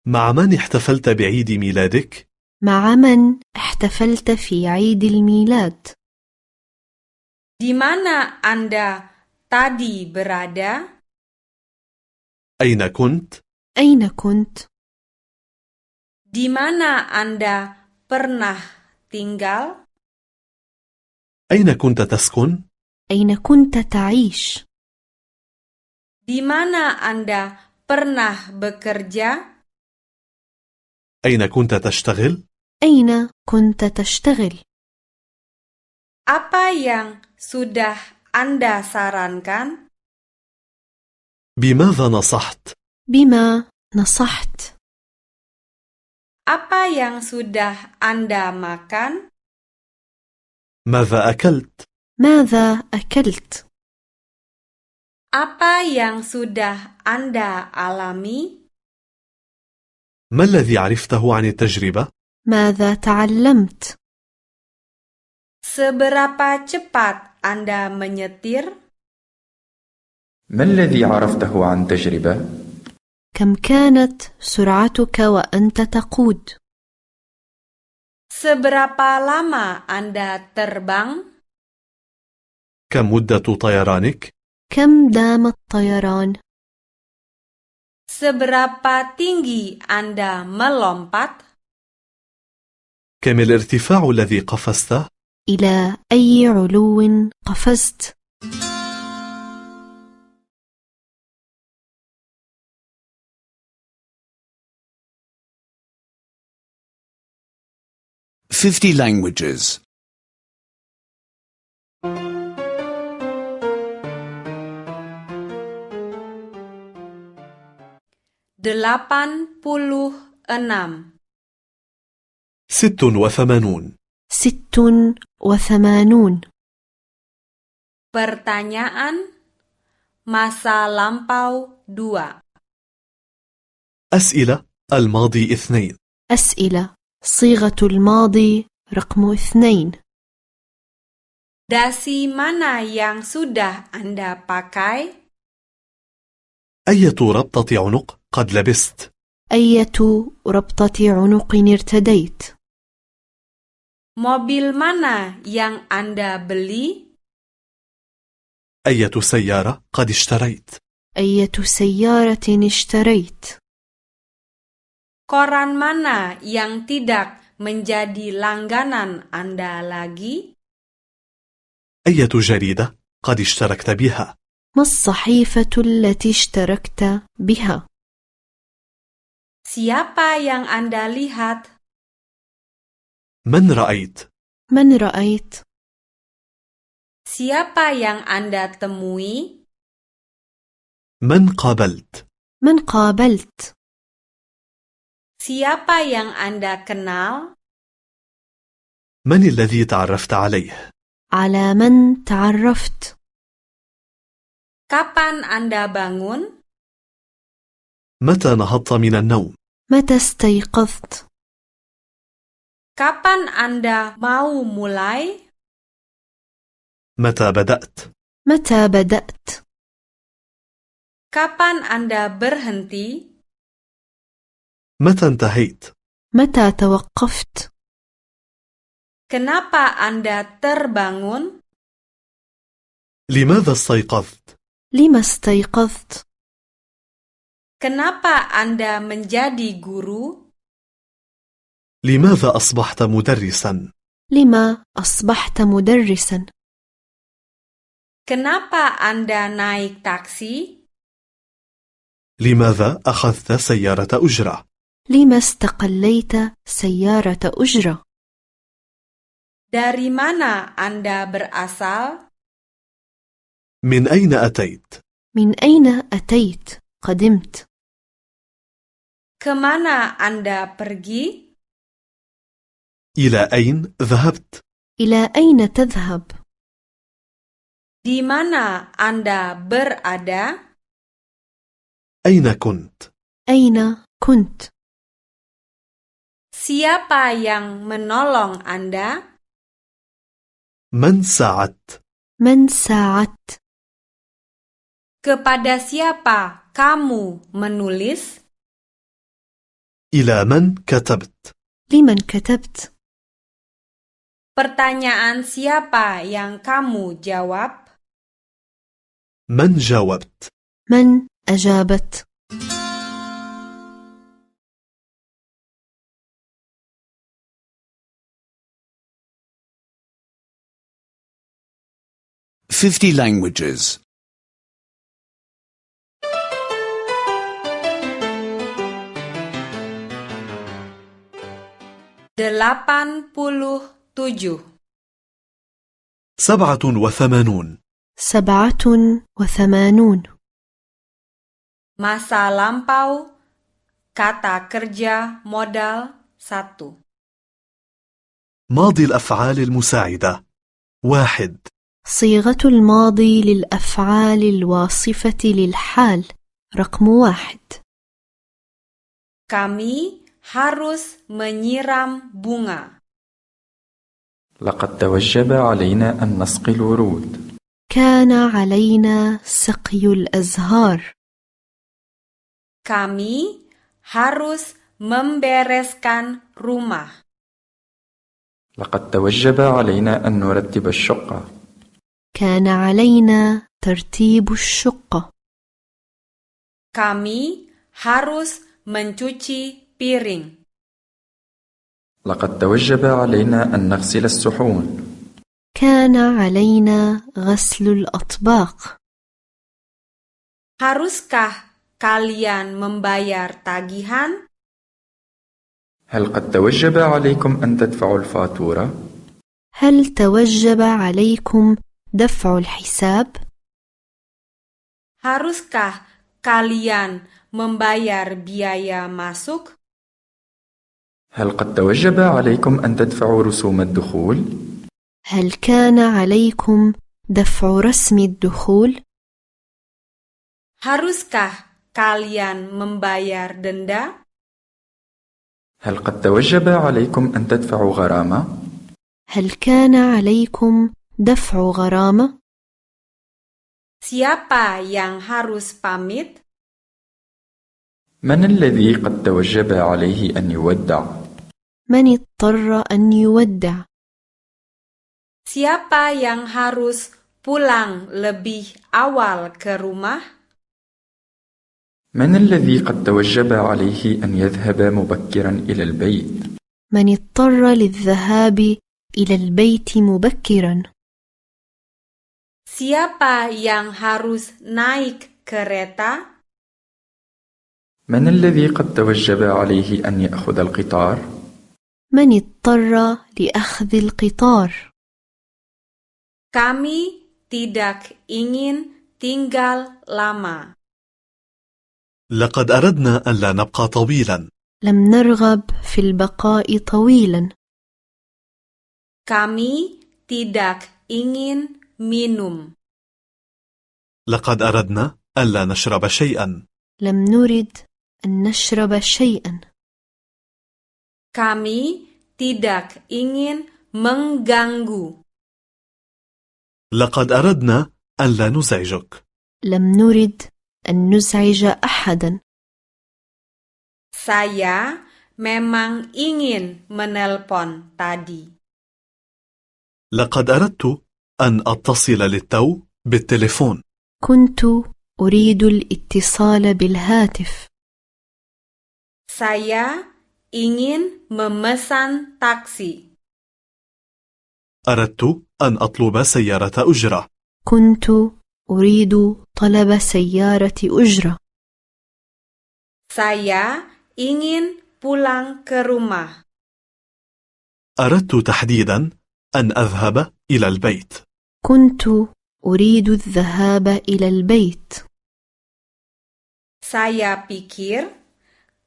D: مع من احتفلت بعيد ميلادك؟
E: مع من احتفلت في عيد الميلاد؟
C: Di mana Anda tadi berada?
D: أين كنت؟
E: أين كنت؟
C: Di mana Anda pernah tinggal?
D: أين كنت تسكن؟
E: أين كنت تعيش؟
C: Di mana Anda pernah bekerja?
D: أين كنت تشتغل؟
E: أين كنت تشتغل؟
C: Apa yang sudah Anda sarankan?
D: بماذا نصحت؟
E: بما نصحت؟
C: Apa yang sudah Anda makan?
D: ماذا أكلت؟
E: ماذا أكلت؟
C: Apa yang sudah Anda alami?
D: ما الذي عرفته عن التجربة؟
E: ماذا تعلمت؟
C: Seberapa cepat Anda menyetir?
F: ما الذي عرفته عن تجربة؟
E: كم كانت سرعتك وأنت تقود؟
C: Seberapa lama Anda terbang?
D: كم مدة طيرانك؟
E: كم دام الطيران؟
C: Seberapa tinggi Anda melompat?
D: كم الارتفاع الذي قفزته؟
E: إلى أي علو قفزت؟
B: Fifty languages.
C: 86.
D: 86
E: ست وثمانون
C: Pertanyaan Masa lampau 2
D: أسئلة الماضي اثنين
E: أسئلة صيغة الماضي رقم اثنين
C: Dasi mana yang sudah Anda pakai?
D: أية ربطة عنق قد لبست؟
E: أية ربطة عنق ارتديت؟
C: Mobil mana yang Anda beli?
D: أية سيارة قد اشتريت؟
E: أية سيارة اشتريت؟
C: Koran mana yang tidak menjadi langganan Anda lagi?
D: أية جريدة قد اشتركت بها؟
E: ما الصحيفة التي اشتركت بها؟
C: Siapa yang Anda lihat?
D: من رأيت؟
E: من رأيت؟
C: Siapa yang Anda temui?
D: من قابلت؟
E: من قابلت؟
C: Siapa yang Anda kenal?
D: من الذي تعرفت عليه؟
E: على من تعرفت؟
C: Kapan Anda bangun?
D: متى نهضت من النوم؟
E: متى استيقظت؟
C: Kapan Anda mau mulai?
D: متى بدأت؟
E: متى بدأت؟
C: Kapan Anda berhenti?
D: متى انتهيت؟
E: متى توقفت؟
C: Kenapa Anda terbangun?
D: لماذا استيقظت؟
E: لم استيقظت؟
C: Kenapa Anda menjadi guru?
D: لماذا أصبحت مدرسا؟
E: لما أصبحت مدرسا؟
C: Kenapa Anda naik taksi?
D: لماذا أخذت سيارة أجرة؟
E: لما استقليت سيارة أجرة؟
C: Dari mana Anda berasal?
D: من أين أتيت؟
E: من أين أتيت؟ قدمت
C: Kemana Anda pergi?
D: إلى أين ذهبت؟
E: إلى أين تذهب؟
C: Di mana Anda berada?
D: أين كنت؟
E: أين كنت؟
C: Siapa yang menolong Anda?
D: من ساعدت؟
E: من ساعدت؟
C: Kepada siapa kamu menulis?
D: إلى من كتبت؟
E: لمن كتبت؟
C: Pertanyaan siapa yang kamu jawab?
D: من جاوبت؟
E: من أجابت؟
B: Fifty languages.
C: 87.
D: سبعة وثمانون
E: سبعة وثمانون
C: Masa lampau Kata kerja modal 1
D: ماضي الأفعال المساعدة واحد
E: صيغة الماضي للأفعال الواصفة للحال رقم واحد
C: Kami harus menyiram bunga.
F: لقد توجب علينا أن نسقي الورود
E: كان علينا سقي الأزهار
C: Kami harus membereskan rumah.
F: لقد توجب علينا أن نرتب الشقة
E: كان علينا ترتيب الشقة
C: Kami harus mencuci piring.
F: لقد توجب علينا أن نغسل الصحون
E: كان علينا غسل الأطباق
C: Haruskah kalian membayar tagihan?
F: هل قد توجب عليكم أن تدفعوا الفاتورة؟
E: هل توجب عليكم دفع الحساب؟
C: Haruskah kalian membayar biaya masuk?
F: هل قد توجب عليكم أن تدفعوا رسوم الدخول؟
E: هل كان عليكم دفع رسم الدخول؟
C: Haruskah kalian membayar denda?
F: هل قد توجب عليكم أن تدفعوا غرامة؟
E: هل كان عليكم دفع غرامة؟
C: Siapa yang harus pamit?
F: من الذي قد توجب عليه أن يودع؟
E: من اضطر أن يودع؟
C: Siapa yang harus pulang lebih awal ke rumah?
F: من الذي قد توجب عليه أن يذهب مبكرا إلى البيت؟
E: من اضطر للذهاب إلى البيت مبكرا؟
C: Siapa yang harus naik kereta?
F: من الذي قد توجب عليه أن يأخذ القطار؟
E: من اضطر لأخذ القطار؟
C: Kami tidak ingin tinggal lama.
D: لقد أردنا ألا نبقى طويلا
E: لم نرغب في البقاء طويلا
C: Kami tidak ingin minum.
D: لقد أردنا ألا نشرب شيئا
E: لم نرد أن نشرب شيئا
C: Kami tidak ingin mengganggu.
D: لقد أردنا ألا نزعجك
E: لم نرد أن نزعج أحدا
C: Saya memang ingin menelpon tadi.
D: لقد أردت أن أتصل للتو بالتليفون
E: كنت أريد الاتصال بالهاتف
C: Saya ingin memesan taksi.
D: أردت أن أطلب سيارة أجرة
E: كنت أريد طلب سيارة أجرة
C: Saya ingin pulang ke rumah.
D: أردت تحديدا أن أذهب إلى البيت
E: كنت أريد الذهاب إلى البيت
C: Saya pikir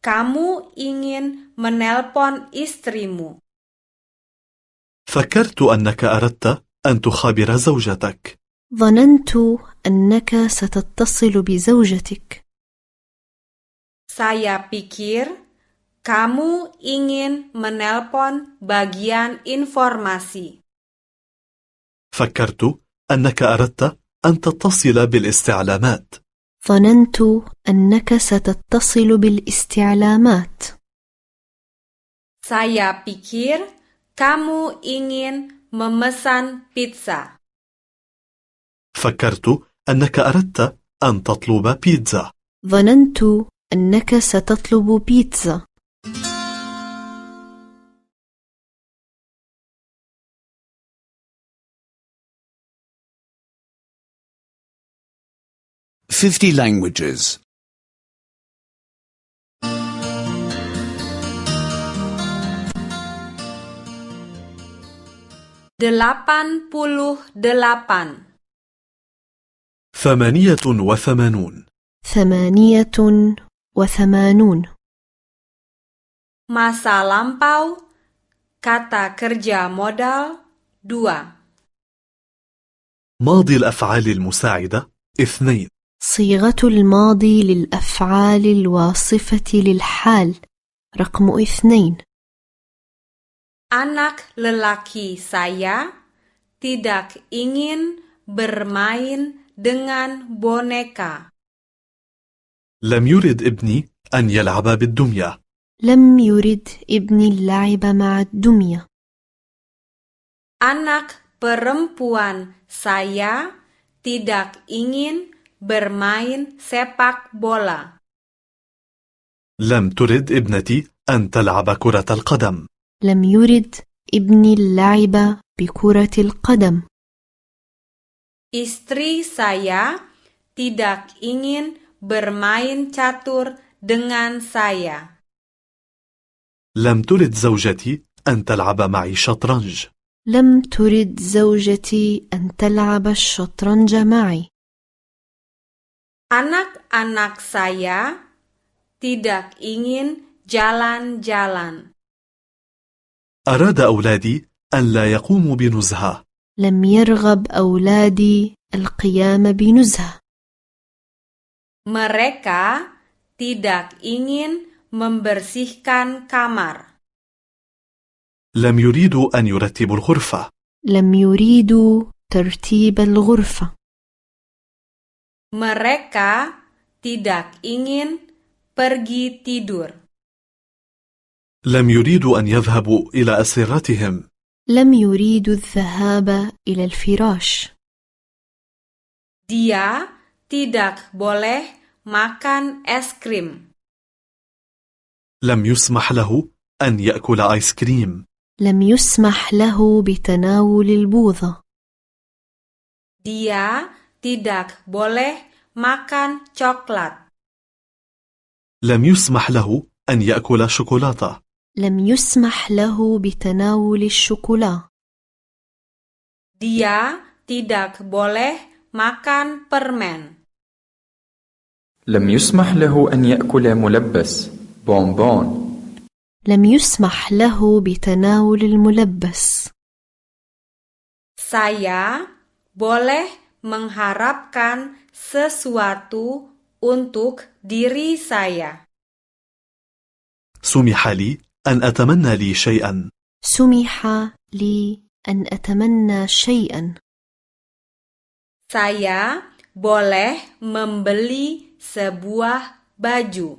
C: kamu ingin menelpon istrimu.
D: فكرت أنك أردت أن تخابر زوجتك
E: ظننت أنك ستتصل بزوجتك
C: Saya pikir kamu ingin menelpon bagian informasi.
D: فكرت أنك أردت أن تتصل بالاستعلامات
E: ظننت أنك ستتصل بالاستعلامات
C: Saya pikir kamu ingin memesan pizza.
D: فكرت أنك أردت أن تطلب بيتزا
E: ظننت أنك ستطلب بيتزا
B: Fifty languages.
C: 88.
D: ثمانية وثمانون
E: ثمانية وثمانون
C: Masa lampau Kata kerja modal 2
D: ماضي الأفعال المساعدة اثنين
E: صيغة الماضي للأفعال الواصفة للحال رقم اثنين
C: Anak lelaki saya tidak ingin bermain dengan boneka.
D: لم يرد ابني أن يلعب بالدمية
E: لم يرد ابني اللعب مع الدمية
C: Anak perempuan saya tidak ingin bermain sepak bola.
D: لم ترد ابنتي أن تلعب كرة القدم
E: لم يرد ابني اللعب بكرة القدم
C: Istri saya tidak ingin bermain catur dengan saya.
D: لم ترد زوجتي أن تلعب معي شطرنج
E: لم ترد زوجتي أن تلعب الشطرنج معي
C: Anak-anak saya tidak ingin jalan-jalan.
D: أراد أولادي أن لا يقوموا بنزهة
E: لم يرغب أولادي القيام بنزهة
C: Mereka tidak ingin membersihkan kamar.
D: لم يريدوا أن يرتبوا الغرفة
E: لم يريدوا ترتيب الغرفة
C: Mereka tidak ingin pergi tidur.
D: لم يريدوا أن يذهبوا إلى أسرتهم
E: لم يريدوا الذهاب إلى الفراش
C: Dia tidak boleh makan es krim.
D: لم يسمح له أن يأكل آيس كريم
E: لم يسمح له بتناول البوظة
C: Dia tidak boleh makan coklat.
D: لم يسمح له أن يأكل شوكولاتة
E: لم يسمح له بتناول الشوكولا
C: Dia tidak boleh makan permen.
F: لم يسمح له أن يأكل ملبس بونبون
E: لم يسمح له بتناول الملبس
C: Saya boleh mengharapkan sesuatu untuk diri saya.
D: سمح لي أن أتمنى لي شيئا
E: سمح لي أن أتمنى شيئا
C: Saya boleh membeli sebuah baju.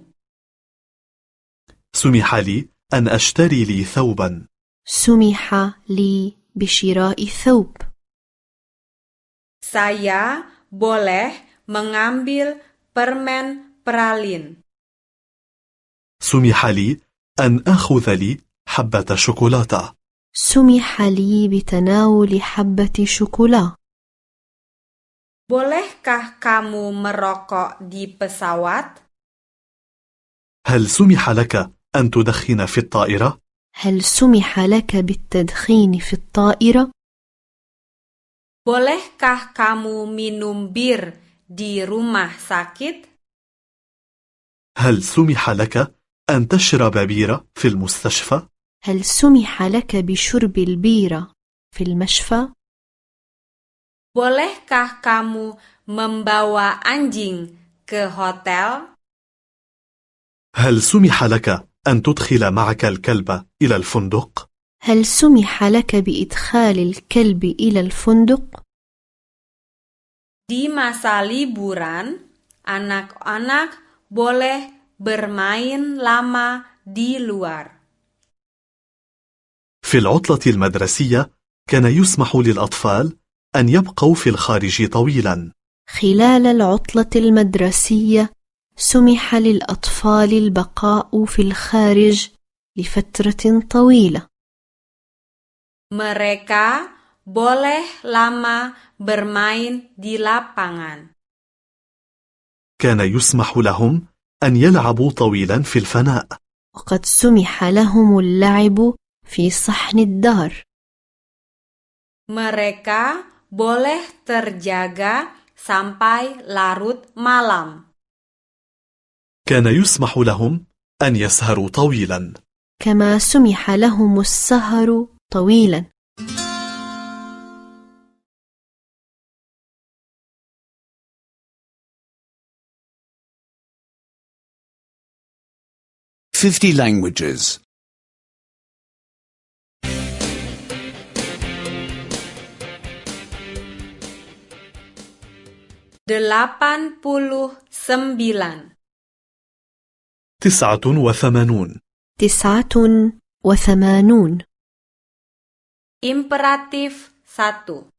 D: سمح لي أن أشتري لي ثوبا
E: سمح لي بشراء ثوب
C: Saya boleh mengambil permen peralin.
D: سمح لي أن أخذ لي حبة شوكولاتة
E: سمح لي بتناول حبة شوكولا
C: Bolehkah kamu merokok di pesawat?
D: هل سمح لك أن تدخن في الطائرة؟
E: هل سمح لك بالتدخين في الطائرة؟
C: Bolehkah kamu minum bir di rumah sakit?
D: هل سمح لك أن تشرب بيرة في المستشفى؟
E: هل سمح لك بشرب البيرة في المشفى؟
C: Bolehkah kamu membawa anjing ke hotel?
D: هل سمح لك أن تدخل معك الكلب إلى الفندق؟
E: هل سمح لك بإدخال الكلب إلى الفندق؟
C: Di masa liburan, anak-anak boleh bermain lama di luar.
D: في العطلة المدرسية كان يسمح للأطفال أن يبقوا في الخارج طويلا
E: خلال العطلة المدرسية سمح للأطفال البقاء في الخارج لفترة طويلة
C: Mereka boleh lama bermain di lapangan.
D: كان يسمح لهم أن يلعبوا طويلا في الفناء
E: وقد سمح لهم اللعب في صحن الدار
C: Mereka boleh terjaga sampai larut malam.
D: كان يسمح لهم أن يسهروا طويلا
E: كما سمح لهم السهر طويلا
B: Fifty languages.
C: 89.
D: تسعة وثمانون
E: تسعة وثمانون
C: Imperatif 1.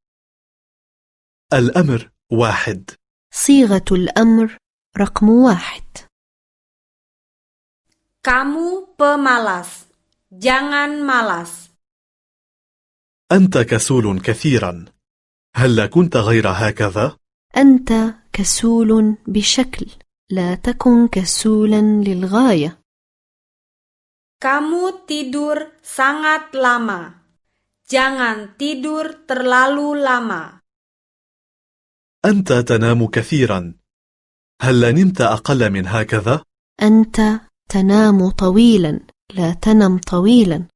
D: الأمر واحد
E: صيغة الأمر رقم واحد
C: Kamu pemalas. Jangan malas.
D: أنت كسول كثيرا هل كنت غير هكذا؟
E: أنت كسول بشكل لا تكن كسولا للغاية
C: Kamu tidur sangat lama. Jangan tidur terlalu lama.
D: أنت تنام كثيرا هل نمت أقل من هكذا؟
E: أنت تنام طويلا لا تنم طويلا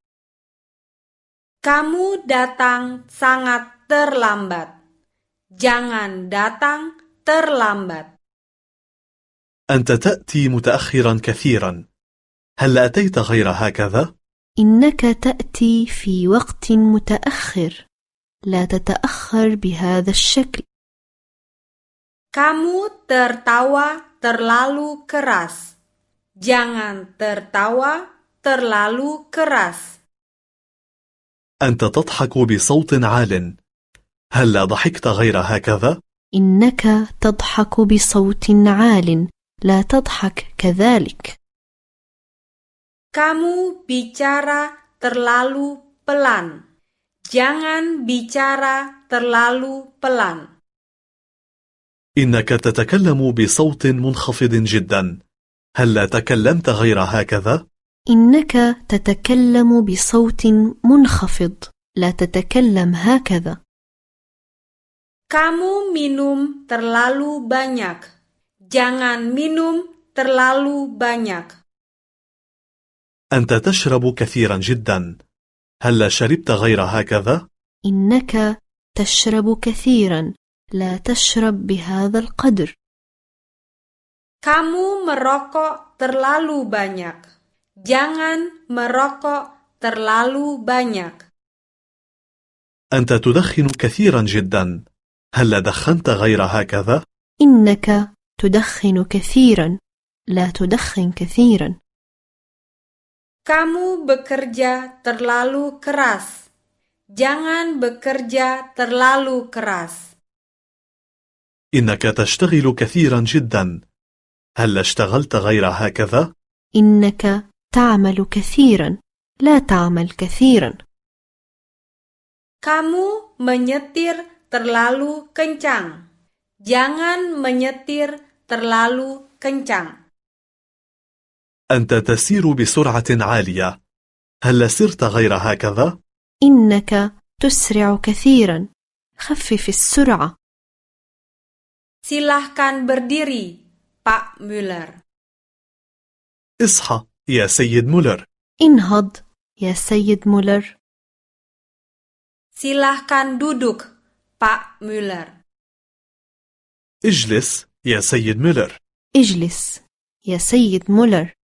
C: Kamu datang sangat terlambat. Jangan datang terlambat.
D: أنت تأتي متأخرا كثيرا هل أتيت غير هكذا؟
E: إنك تأتي في وقت متأخر لا تتأخر بهذا الشكل
C: Kamu tertawa terlalu keras. Jangan tertawa terlalu keras.
D: أنت تضحك بصوت عال هل ضحكت غير هكذا؟
E: إنك تضحك بصوت عال لا تضحك كذلك
C: Kamu bicara terlalu pelan. Jangan bicara terlalu pelan.
D: إنك تتكلم بصوت منخفض جدا هل تكلمت غير هكذا؟
E: إنك تتكلم بصوت منخفض لا تتكلم هكذا
C: Kamu minum terlalu banyak. Jangan minum terlalu banyak.
D: أنت تشرب كثيرا جدا هل شربت غير هكذا؟
E: إنك تشرب كثيرا لا تشرب بهذا القدر
C: Kamu merokok terlalu banyak. Jangan merokok terlalu banyak.
D: أنت تدخن كثيرا جدا هل دخنت غير هكذا؟
E: إنك تدخن كثيرا لا تدخن كثيرا
C: Kamu bekerja terlalu keras. Jangan bekerja terlalu keras.
D: إنك تشتغل كثيرا جدا هل اشتغلت غير هكذا؟
E: إنك تعمل كثيرا لا تعمل كثيرا
C: Kamu menyetir terlalu kencang. Jangan menyetir terlalu kencang.
D: أنت تسير بسرعة عالية هل سرت غير هكذا؟
E: إنك تسرع كثيرا خفف السرعة
C: Silahkan berdiri, Pak Müller.
D: اصحى يا سيد مولر
E: انهض يا سيد مولر
C: Silahkan duduk, Pak Müller.
D: اجلس يا سيد ميلر
E: اجلس يا سيد مولر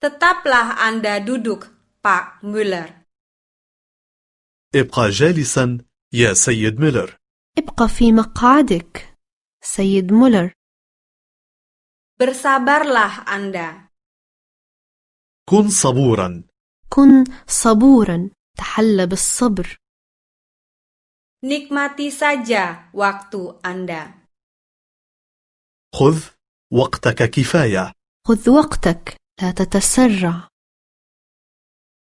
C: Tetaplah Anda duduk, Pak Müller.
D: ابقى جالسا يا سيد ميلر
E: ابقى في مقعدك سيد مولر
C: Bersabarlah Anda.
D: كن صبورا
E: كن صبورا تحل بالصبر
C: Nikmati saja waktu Anda.
D: خذ وقتك كفاية
E: خذ وقتك لا تتسرع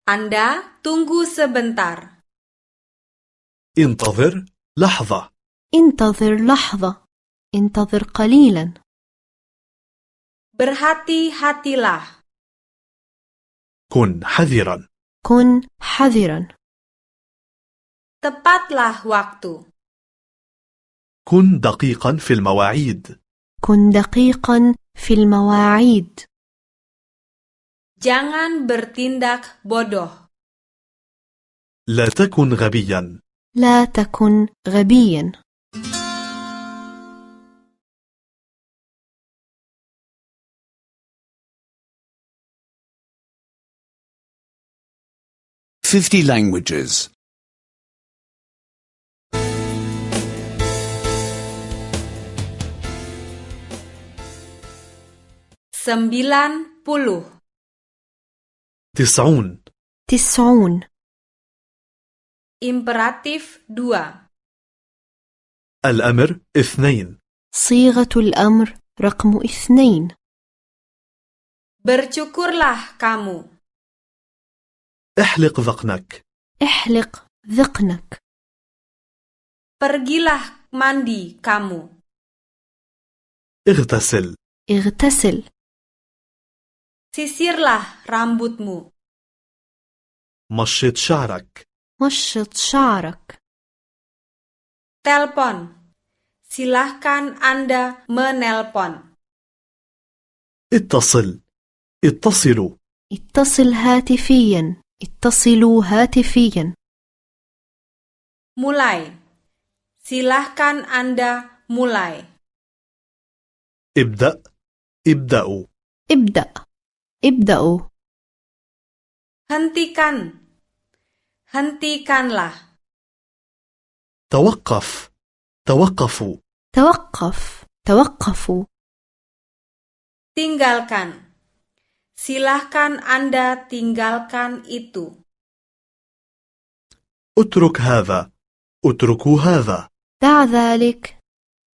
C: Anda tunggu sebentar.
D: انتظر لحظة
E: انتظر لحظة انتظر قليلا
C: Berhati-hatilah.
D: كن حذرا
E: كن حذرا
C: Tepatlah waktu.
D: كن دقيقا في المواعيد
E: كن دقيقا في المواعيد
C: Jangan bertindak bodoh.
D: لا تكن غبيا
E: لا تكن غبيا
B: Fifty languages.
C: 90.
D: تسعون
E: تسعون
C: Imperatif 2.
D: الأمر اثنين
E: صيغة الأمر رقم اثنين
C: Bercukurlah kamu.
D: احلق ذقنك
E: احلق ذقنك
C: Pergilah mandi kamu.
D: اغتسل
E: اغتسل
C: Sisirlah rambutmu.
D: مشط شعرك
E: مشط شعرك
C: Telpon. Silahkan Anda menelpon.
D: اتصل اتصلوا
E: اتصل هاتفيا اتصلوا هاتفيا
C: Mulai. Silahkan Anda mulai.
D: ابدأ ابدأوا
E: ابدأ ابدأوا
C: Hentikan. Hentikanlah.
D: توقف توقفوا
E: توقف توقفوا
C: Tinggalkan. Silahkan Anda tinggalkan itu.
D: اترك هذا اتركوا هذا
E: دع ذلك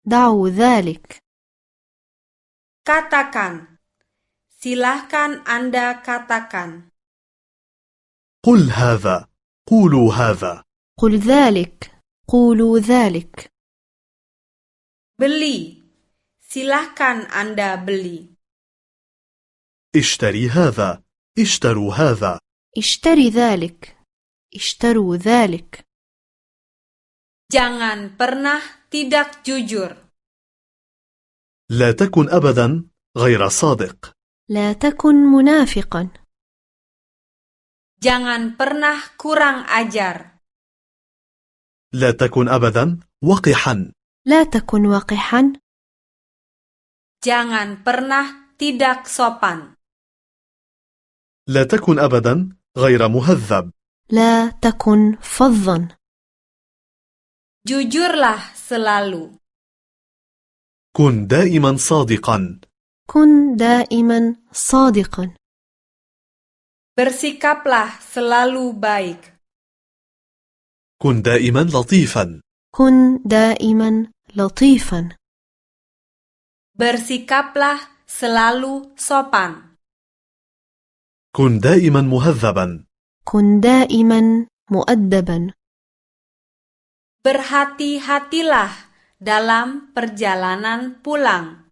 E: دعوا ذلك
C: Katakan. Silahkan Anda katakan.
D: قل هذا قولوا هذا
E: قل ذلك قولوا ذلك
C: Beli. Silahkan Anda beli.
D: اشتري هذا اشتروا هذا
E: اشتري ذلك اشتروا ذلك
C: Jangan pernah tidak jujur.
D: لا تكن أبدا غير صادق
E: لا تكن منافقا
C: Jangan pernah kurang ajar.
D: لا تكن أبدا وقحا
E: لا تكن وقحا
C: Jangan pernah tidak sopan.
D: لا تكن أبدا غير مهذب
E: لا تكن فظا
C: Jujurlah selalu.
D: كن دائما صادقا
E: كن دائما صادقا
C: Bersikaplah selalu baik.
D: كن دائما لطيفا
E: كن دائما لطيفا
C: Bersikaplah selalu sopan.
D: كن دائما مهذبا
E: كن دائما مؤدبا
C: Berhati-hatilah dalam perjalanan pulang.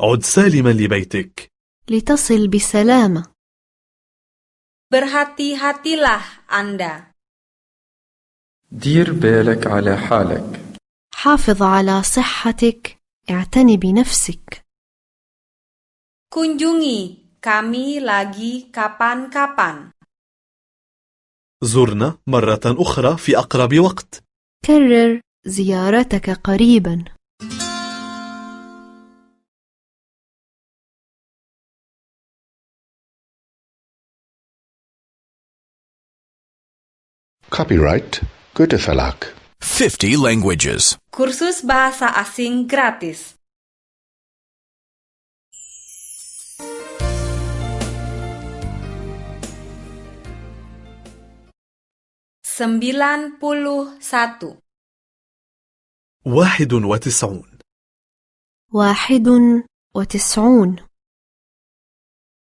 D: عد سالما لبيتك
E: لتصل بسلامة
C: Berhati-hatilah Anda.
F: دير بالك على حالك
E: حافظ على صحتك اعتني بنفسك
C: Kunjungi kami lagi kapan-kapan.
D: زرنا مرة أخرى في أقرب وقت
E: كرر زيارتك قريبا
A: Copyright Goethe Verlag.
B: 50 languages.
C: Kursus bahasa asing gratis. Sembilan puluh satu.
D: واحد وتسعون
E: واحد وتسعون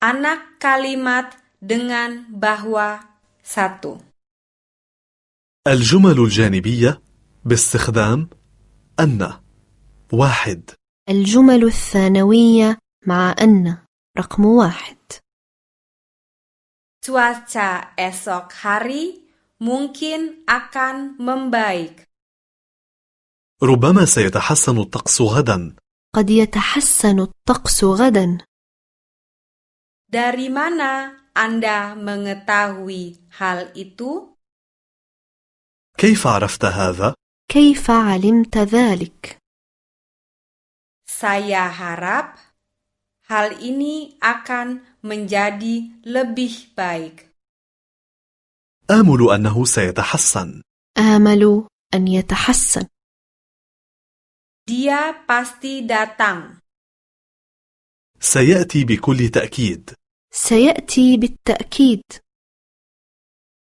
C: Anak kalimat dengan bahwa satu.
D: الجمل الجانبية باستخدام أن واحد
E: الجمل الثانوية مع أن رقم واحد
C: Cuaca esok hari mungkin akan membaik.
D: ربما سيتحسن الطقس غدا
E: قد يتحسن الطقس غدا
C: Dari mana Anda mengetahui hal itu?
D: كيف عرفت هذا؟
E: كيف علمت ذلك؟
C: Saya harap hal ini akan menjadi lebih baik.
D: آمل أنه سيتحسن
E: آمل أن يتحسن
C: Dia pasti datang.
D: سيأتي بكل تأكيد
E: سيأتي بالتأكيد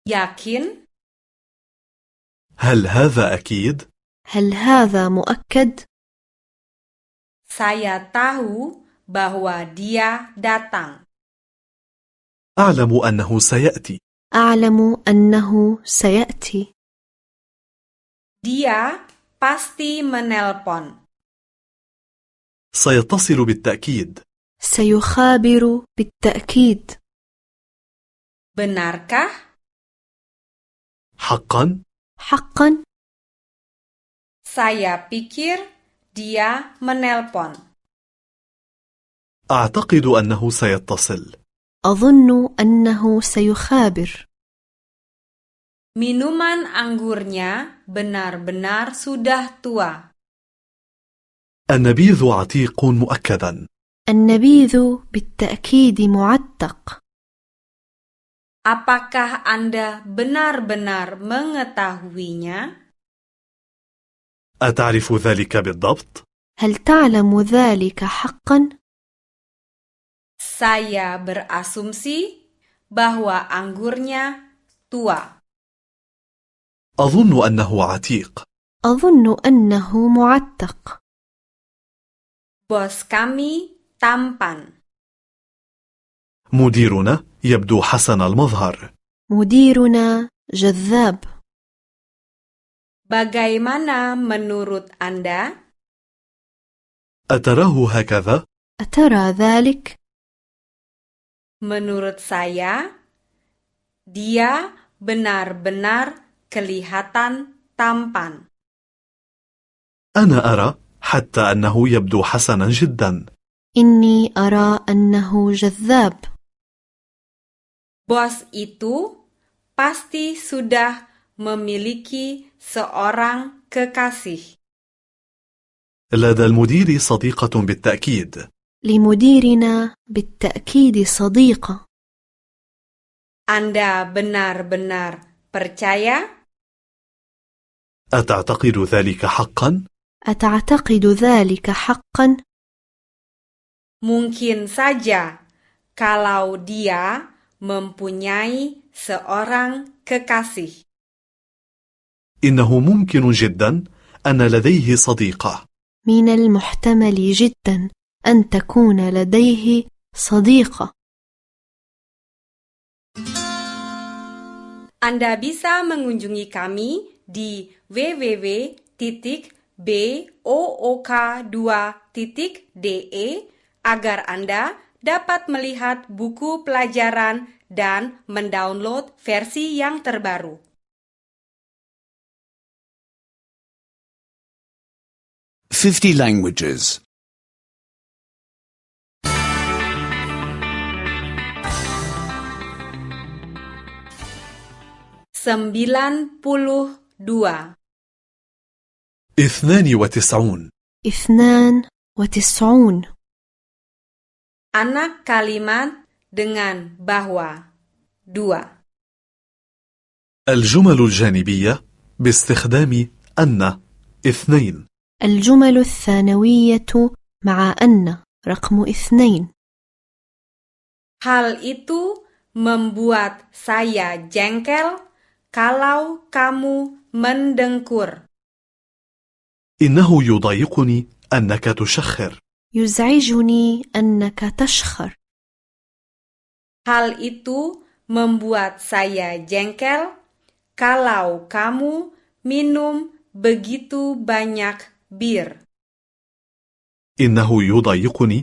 C: Yakin?
D: هل هذا أكيد؟
E: هل هذا مؤكد؟
C: Saya tahu bahwa dia datang.
D: أعلم أنه سيأتي
E: أعلم أنه سيأتي
C: Dia pasti menelpon.
D: سيتصل بالتأكيد
E: سيخابر بالتأكيد
C: Benarkah?
D: حقا
E: حقا
C: Saya pikir dia menelpon.
D: أعتقد أنه سيتصل
E: أظن أنه سيخابر
C: Minuman anggurnya benar-benar sudah tua.
D: النبيذ عتيق مؤكدا
E: النبيذ بالتأكيد معتق
C: Apakah Anda benar-benar mengetahuinya?
D: أتعرف ذلك بالضبط؟
E: هل تعلم ذلك حقا؟
C: Saya berasumsi bahwa anggurnya tua.
D: أظن أنه عتيق
E: أظن أنه معتق
C: Bos kami tampan.
D: مديرنا يبدو حسن المظهر
E: مديرنا جذاب
C: Bagaimana menurut Anda?
D: أتراه هكذا؟
E: أترى ذلك؟
C: Menurut saya, dia benar-benar kelihatan tampan.
D: أنا أرى حتى أنه يبدو حسنا جدا
E: إني أرى أنه جذاب
C: Bos itu pasti sudah memiliki seorang kekasih.
D: لدى المدير صديقة بالتأكيد
E: لمديرنا بالتأكيد صديقة
C: Anda benar-benar percaya?
D: أتعتقد ذلك حقا؟
E: أتعتقد ذلك حقا؟
C: Mungkin saja kalau dia mempunyai seorang kekasih.
D: إنه ممكن جدا أن لديه صديقة
E: من المحتمل جدا أن تكون لديه صديقة
C: Anda bisa mengunjungi kami di www.book2.de agar Anda dapat melihat buku pelajaran dan mendownload versi yang terbaru.
B: Fifty languages.
C: 92.
D: 92
E: اثنان وتسعون
C: Anak kalimat dengan bahwa. 2.
D: الجمل الجانبية باستخدام أن اثنين
E: الجمل الثانوية مع أن رقم اثنين
C: Hal itu membuat saya jengkel kalau kamu mendengkur.
D: إنه يضايقني أنك تشخر
E: يزعجني أنك تشخر
C: Hal itu membuat saya jengkel kalau kamu minum begitu banyak bir.
D: إنه يضايقني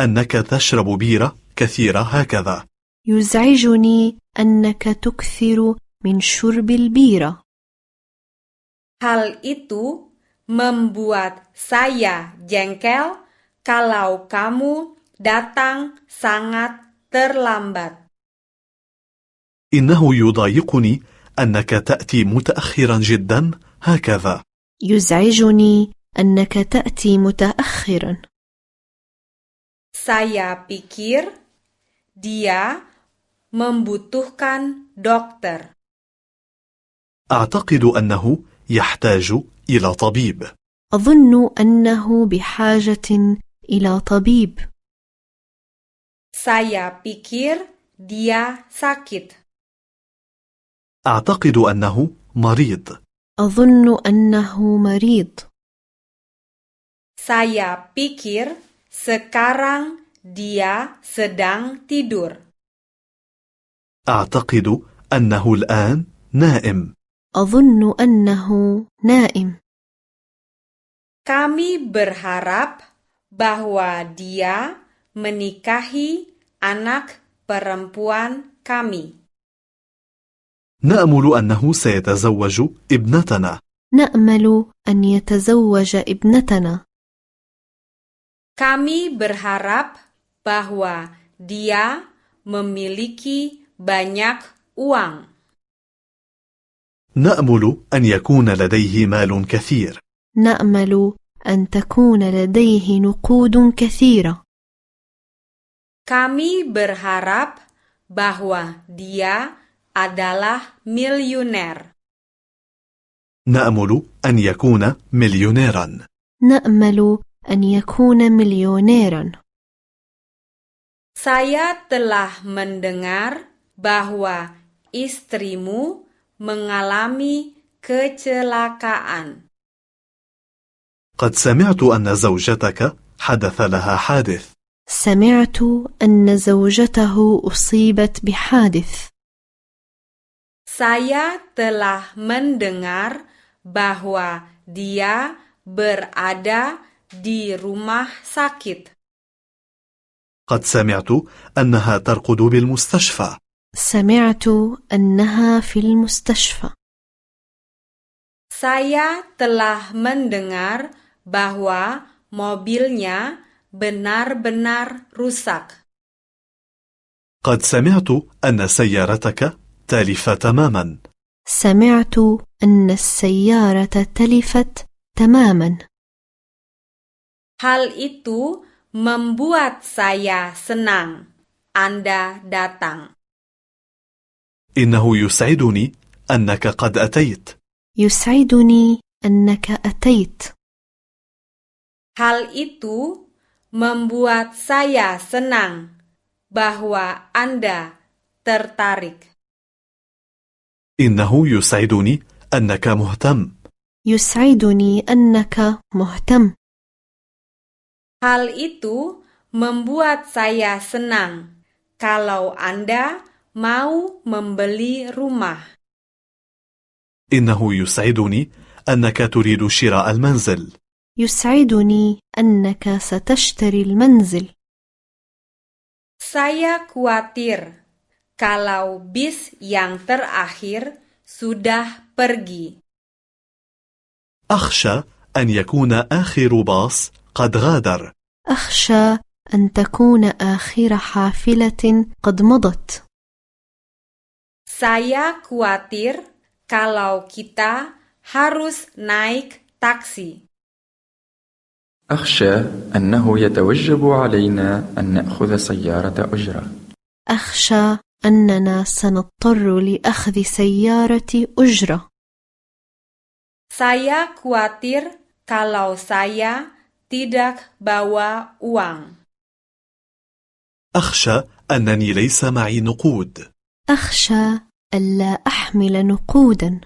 D: أنك تشرب بيرة كثيرة هكذا
E: يزعجني أنك تكثر من شرب البيرة
C: Hal itu membuat saya jengkel kalau kamu datang sangat terlambat.
D: إنه يضايقني أنك تأتي متأخرا جدا هكذا
E: يزعجني أنك تأتي متأخرا
C: Saya pikir dia membutuhkan dokter.
D: أعتقد أنه يحتاج إلى طبيب
E: أظن أنه بحاجة إلى طبيب
C: Saya pikir dia sakit.
D: أعتقد أنه مريض
E: أظن أنه مريض
C: Saya pikir sekarang dia sedang tidur.
D: أعتقد أنه الآن نائم
E: أظن أنه نائم
C: Kami berharap bahwa dia menikahi anak perempuan kami.
D: نأمل أنه سيتزوج ابنتنا
E: نأمل أن يتزوج ابنتنا
C: Kami berharap bahwa dia memiliki banyak uang.
D: نأمل أن يكون لديه مال كثير
E: نأمل أن تكون لديه نقود كثيرة
C: Kami berharap bahwa dia adalah miliuner.
D: نأمل أن يكون مليونيرا
E: نأمل أن يكون مليونيرا
C: Saya telah mendengar bahwa istrimu mengalami kecelakaan.
D: قد سمعت أن زوجتك حدث لها حادث
E: سمعت أن زوجته أصيبت بحادث
C: Saya telah mendengar bahwa dia berada di rumah sakit.
D: قد سمعت أنها ترقد بالمستشفى
E: سمعت أنها في المستشفى
C: Saya telah mendengar bahwa mobilnya benar-benar rusak.
D: قد سمعت أن سيارتك تالفة تماما
E: سمعت أن السيارة تلفت تماما
C: Hal itu membuat saya senang. Anda datang.
D: إنه يسعدني أنك قد أتيت
E: يسعدني أنك أتيت
C: Hal itu membuat saya senang bahwa Anda tertarik.
D: إنه يسعدني أنك مهتم
E: يسعدني أنك مهتم
C: Hal itu membuat saya senang kalau Anda mau membeli rumah.
D: إنه يسعدني أنك تريد شراء المنزل
E: يسعدني أنك ستشتري المنزل
C: Saya khawatir kalau bis yang terakhir sudah pergi.
D: أخشى أن يكون آخر باص قد غادر
E: أخشى أن تكون آخر حافلة قد مضت
C: Saya khawatir kalau kita harus naik taksi.
F: أخشى أنه يتوجب علينا أن نأخذ سيارة أجرة
E: أخشى أننا سنضطر لأخذ سيارة أجرة
C: Saya khawatir kalau saya tidak bawa uang.
D: أخشى أنني ليس معي نقود
E: أخشى ألا أحمل نقودا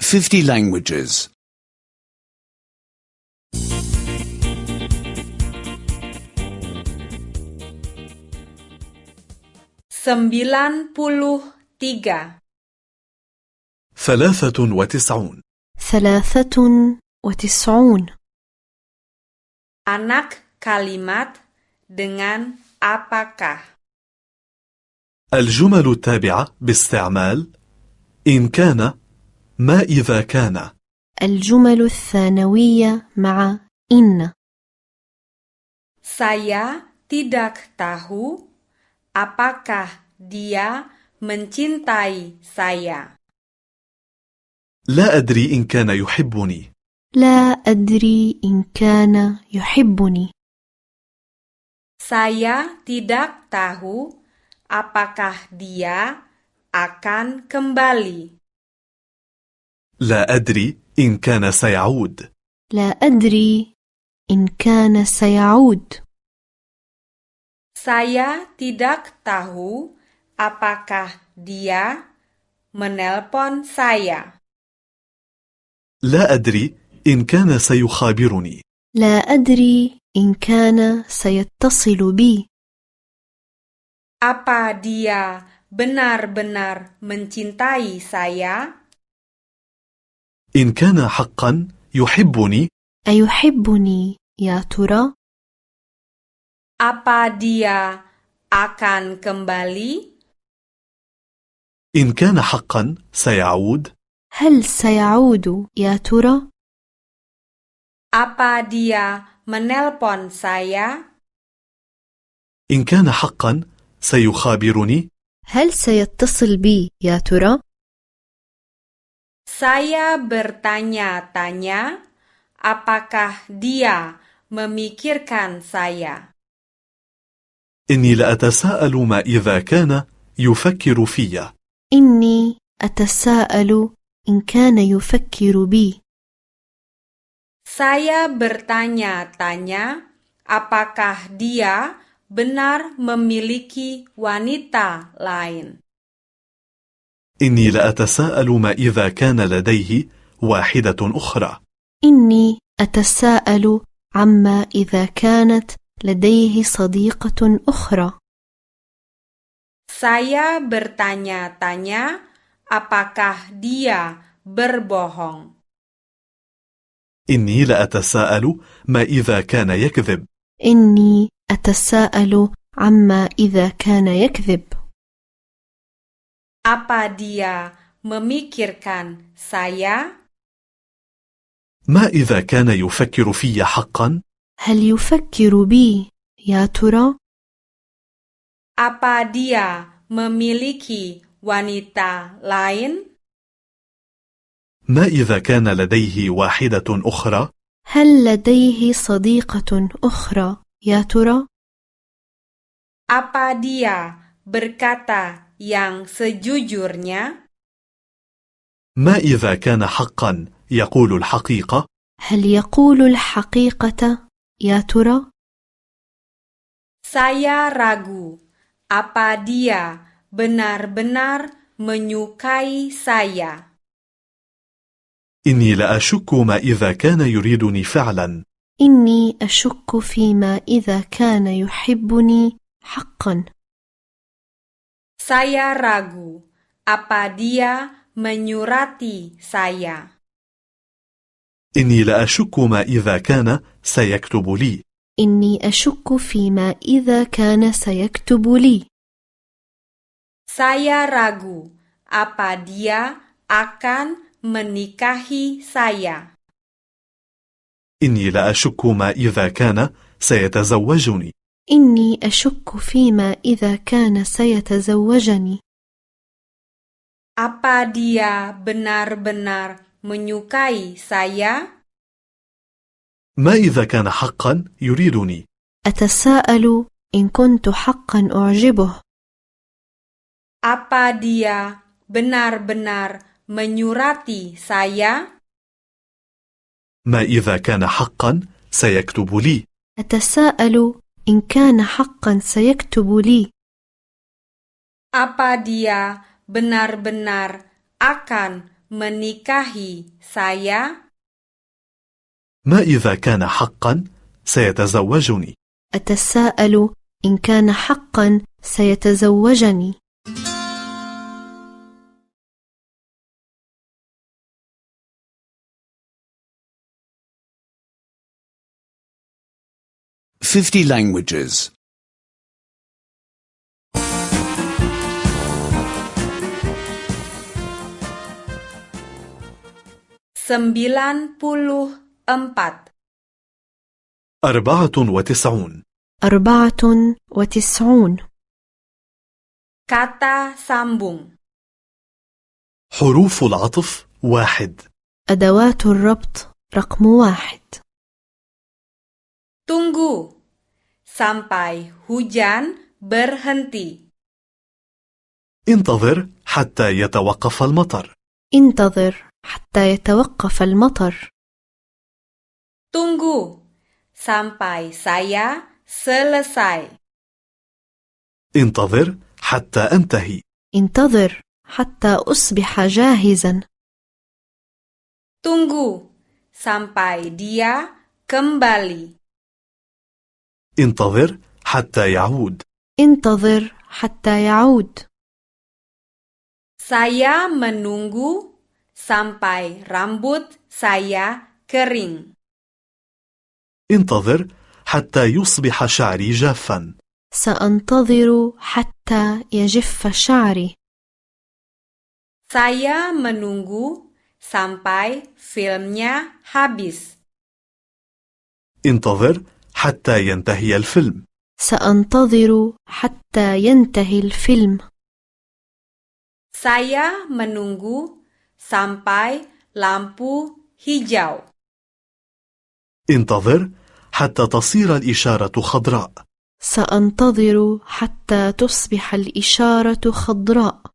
B: Fifty languages.
C: 93.
D: 93
E: ثلاثة وتسعون
C: Anak kalimat dengan apakah?
D: الجمل التابعة باستعمال إن كان ما إذا كان
E: الجمل الثانوية مع إن
C: Saya tidak tahu apakah dia mencintai saya.
D: لا أدري إن كان يحبني
E: لا أدري إن كان يحبني
C: Saya tidak tahu apakah dia akan kembali.
D: لا أدري إن كان سيعود
E: لا أدري إن كان سيعود
C: Saya tidak tahu apakah dia menelpon saya.
D: لا أدري إن كان سيخابرني
E: لا أدري إن كان سيتصل بي
C: Apa dia benar-benar mencintai saya?
D: إن كان حقا يحبني
E: أيحبني يا ترى؟
C: Apa dia akan kembali?
D: إن كان حقا سيعود
E: هل سيعود يا ترى؟
C: Apa dia menelpon saya?
D: إن كان حقا سيخابرني
E: هل سيتصل بي يا ترى؟
C: Saya bertanya-tanya apakah dia memikirkan saya.
D: إني لأتساءل ما إذا كان يفكر في
E: إني أتساءل إن كان يفكر بي
C: Saya bertanya-tanya apakah dia benar memiliki wanita lain.
D: إني لأتساءل ما إذا كان لديه واحدة أخرى
E: إني أتساءل عما إذا كانت لديه صديقة أخرى
C: Saya bertanya-tanya apakah dia berbohong.
D: إني لأتساءل ما إذا كان يكذب
E: إني أتساءل عما إذا كان يكذب
C: Apa dia memikirkan saya?
D: ما إذا كان يفكر في حقا
E: هل يفكر بي يا ترى؟
C: Apa dia memiliki wanita lain?
D: ما إذا كان لديه واحدة أخرى
E: هل لديه صديقة أخرى يا ترى؟
C: Apa dia berkata yang sejujurnya?
D: ما إذا كان حقا يقول الحقيقة
E: هل يقول الحقيقة يا ترى؟
C: Saya ragu. Apa dia benar-benar menyukai saya?
D: إني لأشك ما إذا كان يريدني فعلا
E: إني أشك فيما إذا كان يحبني حقا
C: Saya ragu. Apa dia menyurati saya?
D: إني لأشك ما إذا كان سيكتب لي
E: إني أشك فيما إذا كان سيكتب لي
C: Saya ragu. Apa dia akan menikahi saya?
D: إني لأشك ما إذا كان سيتزوجني
E: إني أشك فيما إذا كان سيتزوجني
C: Apa dia benar-benar menyukai saya?
D: ما إذا كان حقا يريدني
E: أتساءل إن كنت حقا أعجبه
C: Apa dia benar-benar menyurati saya?
D: ما إذا كان حقا سيكتب لي
E: أتساءل إن كان حقا سيكتب لي
C: Apa dia benar-benar akan menikahi saya?
D: ما إذا كان حقا سيتزوجني
E: أتساءل إن كان حقا سيتزوجني
B: Fifty languages.
C: 94
D: أربعة وتسعون
E: أربعة وتسعون
C: Kata sambung
D: حروف العطف واحد
E: أدوات الربط رقم واحد
C: Tunggu Sampai hujan berhenti
D: انتظر حتى يتوقف المطر
E: انتظر حتى يتوقف المطر
C: Tunggu Sampai saya selesai
D: انتظر حتى أنتهي
E: انتظر حتى أصبح جاهزا
C: Tunggu sampai dia kembali.
D: انتظر حتى يعود
E: انتظر حتى يعود
C: Saya menunggu sampai rambut saya kering.
D: انتظر حتى يصبح شعري جافا
E: سأنتظر حتى يجف شعري
C: Saya menunggu sampai filmnya habis.
D: انتظر حتى ينتهي الفيلم
E: سأنتظر حتى ينتهي الفيلم
C: Saya menunggu sampai lampu hijau.
D: انتظر حتى تصير الإشارة خضراء
E: سأنتظر حتى تصبح الإشارة خضراء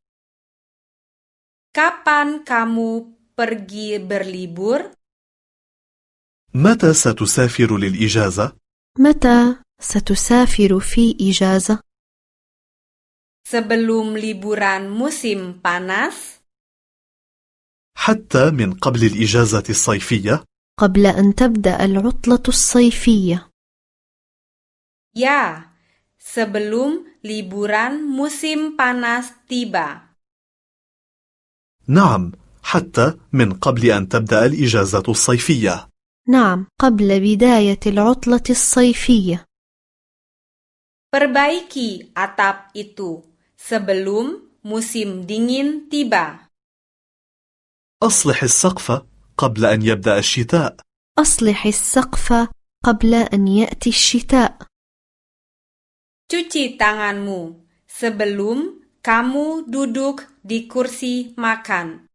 C: Kapan kamu pergi berlibur?
D: متى ستسافر للإجازة؟
E: متى ستسافر في إجازة؟
C: Sebelum liburan musim panas?
D: حتى من قبل الإجازة الصيفية
E: قبل أن تبدأ العطلة الصيفية
C: Ya, sebelum liburan musim panas tiba.
D: نعم حتى من قبل أن تبدأ الإجازة الصيفية
E: نعم قبل بداية العطلة الصيفية
C: Perbaiki atap itu sebelum musim dingin tiba.
D: أصلح السقف قبل أن يبدأ الشتاء
E: أصلح السقف قبل أن يأتي الشتاء
C: Cuci tanganmu sebelum kamu duduk di kursi makan.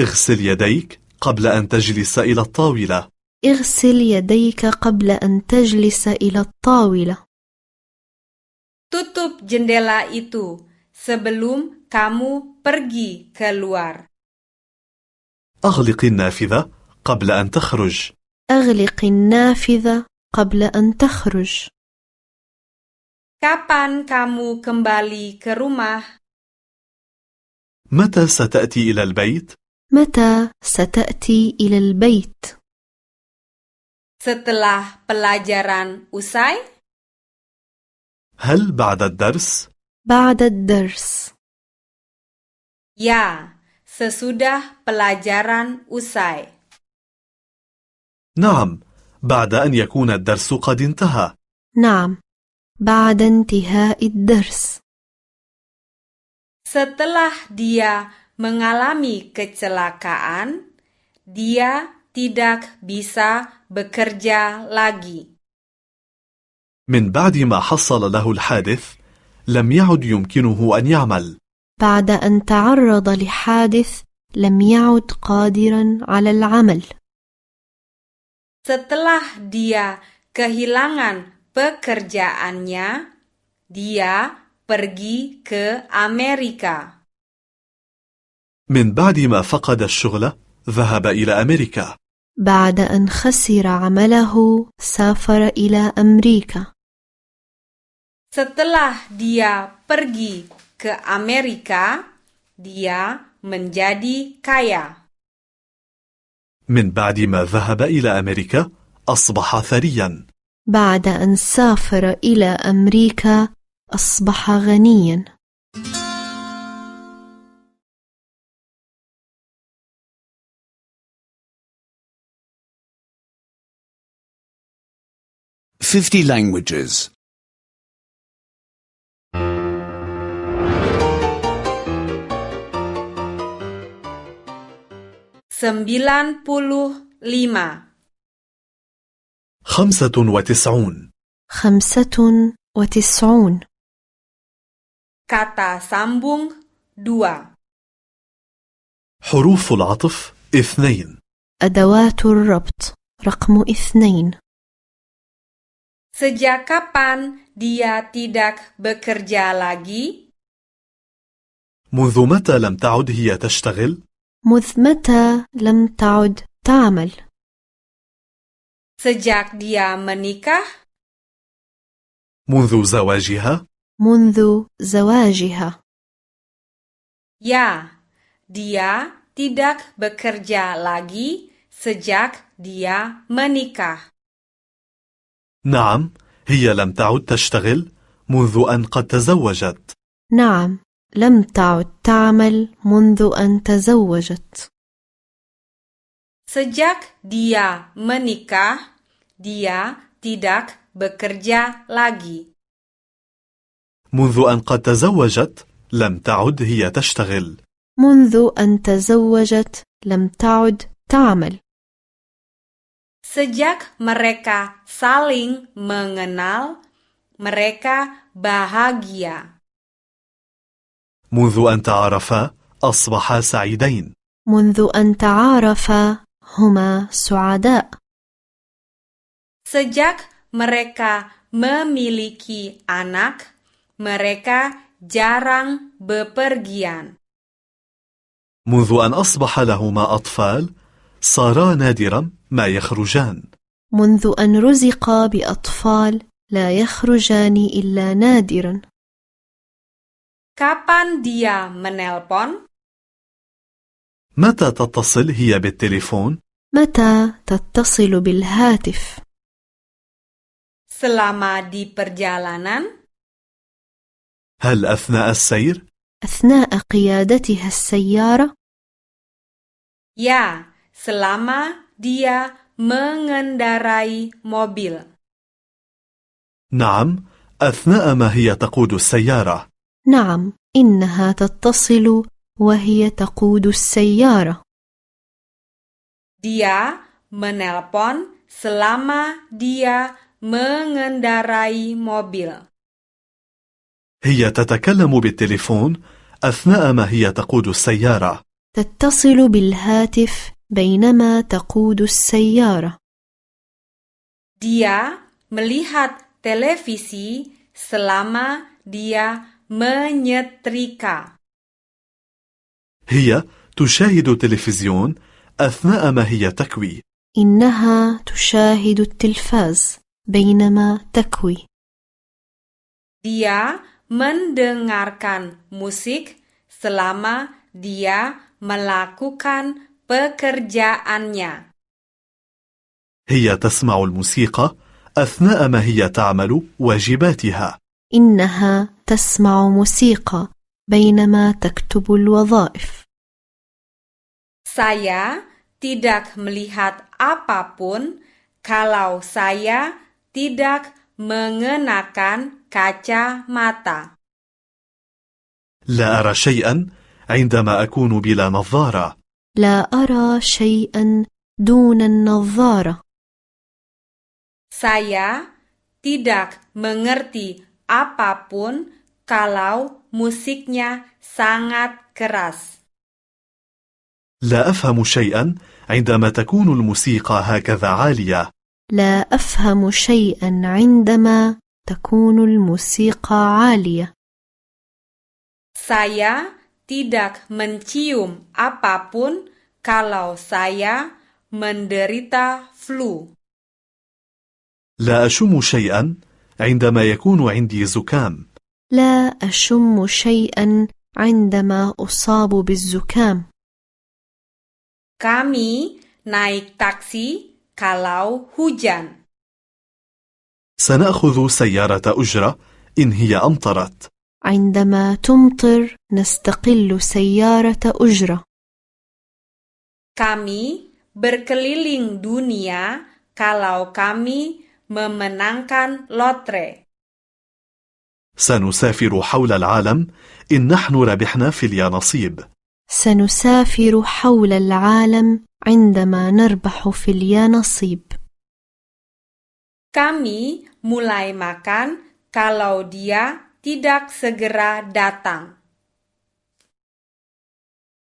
D: اغسل يديك قبل أن تجلس إلى الطاولة
E: اغسل يديك قبل أن تجلس إلى الطاولة
C: Tutup jendela itu sebelum kamu pergi keluar.
D: أغلق النافذة قبل أن تخرج
E: أغلق النافذة قبل أن تخرج
C: Kapan kamu kembali ke rumah?
D: متى ستأتي إلى البيت؟
E: متى ستأتي إلى البيت؟
C: Setelah pelajaran usai?
D: هل بعد الدرس؟
E: بعد الدرس
C: Ya, sesudah pelajaran usai.
D: نعم، بعد أن يكون الدرس قد انتهى.
E: نعم بعد انتهاء الدرس
C: Setelah dia mengalami kecelakaan, dia tidak bisa bekerja lagi.
D: من بعد ما حصل له الحادث، لم يعد يمكنه أن يعمل.
E: بعد أن تعرض لحادث لم يعد قادرا على العمل
C: Setelah dia kehilangan pekerjaannya, dia pergi ke Amerika.
D: من بعد ما فقد الشغل، ذهب إلى أمريكا.
E: بعد أن خسر عمله سافر إلى أمريكا
C: Setelah dia pergi ke Amerika, dia menjadi kaya.
D: من بعد ما ذهب إلى أمريكا، أصبح ثرياً.
E: بعد أن سافر إلى أمريكا أصبح غنيا
B: Fifty languages.
C: 95.
D: خمسة وتسعون
E: خمسة وتسعون
C: Kata sambung 2.
D: حروف العطف اثنين
E: أدوات الربط رقم اثنين
C: Sejak kapan dia tidak bekerja lagi?
D: منذ متى لم تعد هي تشتغل؟
E: مذ متى لم تعد تعمل
C: Sejak dia menikah?
D: منذ زواجها؟
E: منذ زواجها
C: Ya, dia tidak bekerja lagi sejak dia menikah.
D: نعم هي لم تعد تشتغل منذ أن قد تزوجت
E: نعم لم تعد تعمل منذ أن تزوجت
C: Sejak dia menikah, dia tidak bekerja lagi.
D: منذ أن قد تزوجت لم تعد هي تشتغل
E: منذ أن تزوجت لم تعد تعمل
C: Sejak mereka saling mengenal, mereka bahagia.
D: منذ أن تعارفا أصبحا سعيدين
E: منذ أن تعارفا هما سعداء
C: Sejak mereka memiliki anak, mereka jarang bepergian.
D: منذ أن أصبح لهما أطفال صارا نادرا ما يخرجان
E: منذ أن رزقا بأطفال لا يخرجان إلا نادرا
C: Kapan dia menelpon?
D: متى تتصل هي بالتليفون؟
E: متى تتصل بالهاتف
C: Selama di perjalanan?
D: هل أثناء السير؟
E: أثناء قيادتها السيارة
C: Ya, selama dia mengendarai mobil.
D: نعم أثناء ما هي تقود السيارة
E: نعم إنها تتصل وهي تقود السيارة
C: Dia menelpon selama dia mengendarai mobil.
D: هي تتكلم بالتليفون أثناء ما هي تقود السيارة
E: تتصل بالهاتف بينما تقود السيارة
C: Dia melihat televisi selama dia menyetrika.
D: هي تشاهد تلفزيون أثناء ما هي تكوي
E: إنها تشاهد التلفاز بينما تكوي
C: Dia mendengarkan musik selama dia melakukan pekerjaannya.
D: هي تسمع الموسيقى أثناء ما هي تعمل واجباتها
E: إنها تسمع موسيقى بينما تكتب الوظائف
C: Saya tidak melihat apapun kalau saya tidak mengenakan kacamata.
D: لا أرى شيئا عندما أكون بلا نظارة
E: لا أرى شيئا دون النظارة
C: Saya tidak mengerti apapun kalau musiknya sangat keras.
D: لا أفهم شيئا عندما تكون الموسيقى هكذا عالية
E: لا أفهم شيئا عندما تكون الموسيقى عالية
C: Saya tidak mencium apapun kalau saya menderita flu.
D: لا أشم شيئا عندما يكون عندي زكام
E: لا أشم شيئا عندما أصاب بالزكام
C: Kami naik taksi kalau hujan.
D: سنأخذ سيارة أجرة إن هي أمطرت
E: عندما تمطر نستقل سيارة أجرة
C: Kami berkeliling dunia kalau kami memenangkan lotre.
D: سنسافر حول العالم إن نحن ربحنا في اليانصيب
E: سنسافر حول العالم عندما نربح في اليانصيب
C: Kami mulai makan kalau dia tidak segera datang.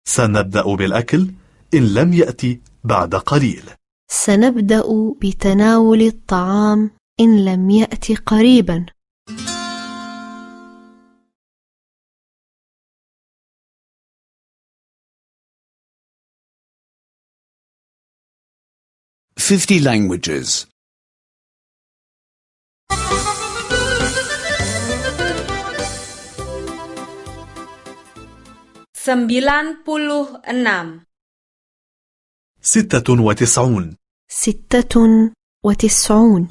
D: سنبدأ بالأكل إن لم يأتي بعد قليل
E: سنبدأ بتناول الطعام إن لم يأتي قريبا
B: Fifty languages.
C: 96.
D: 96
E: ستة وتسعون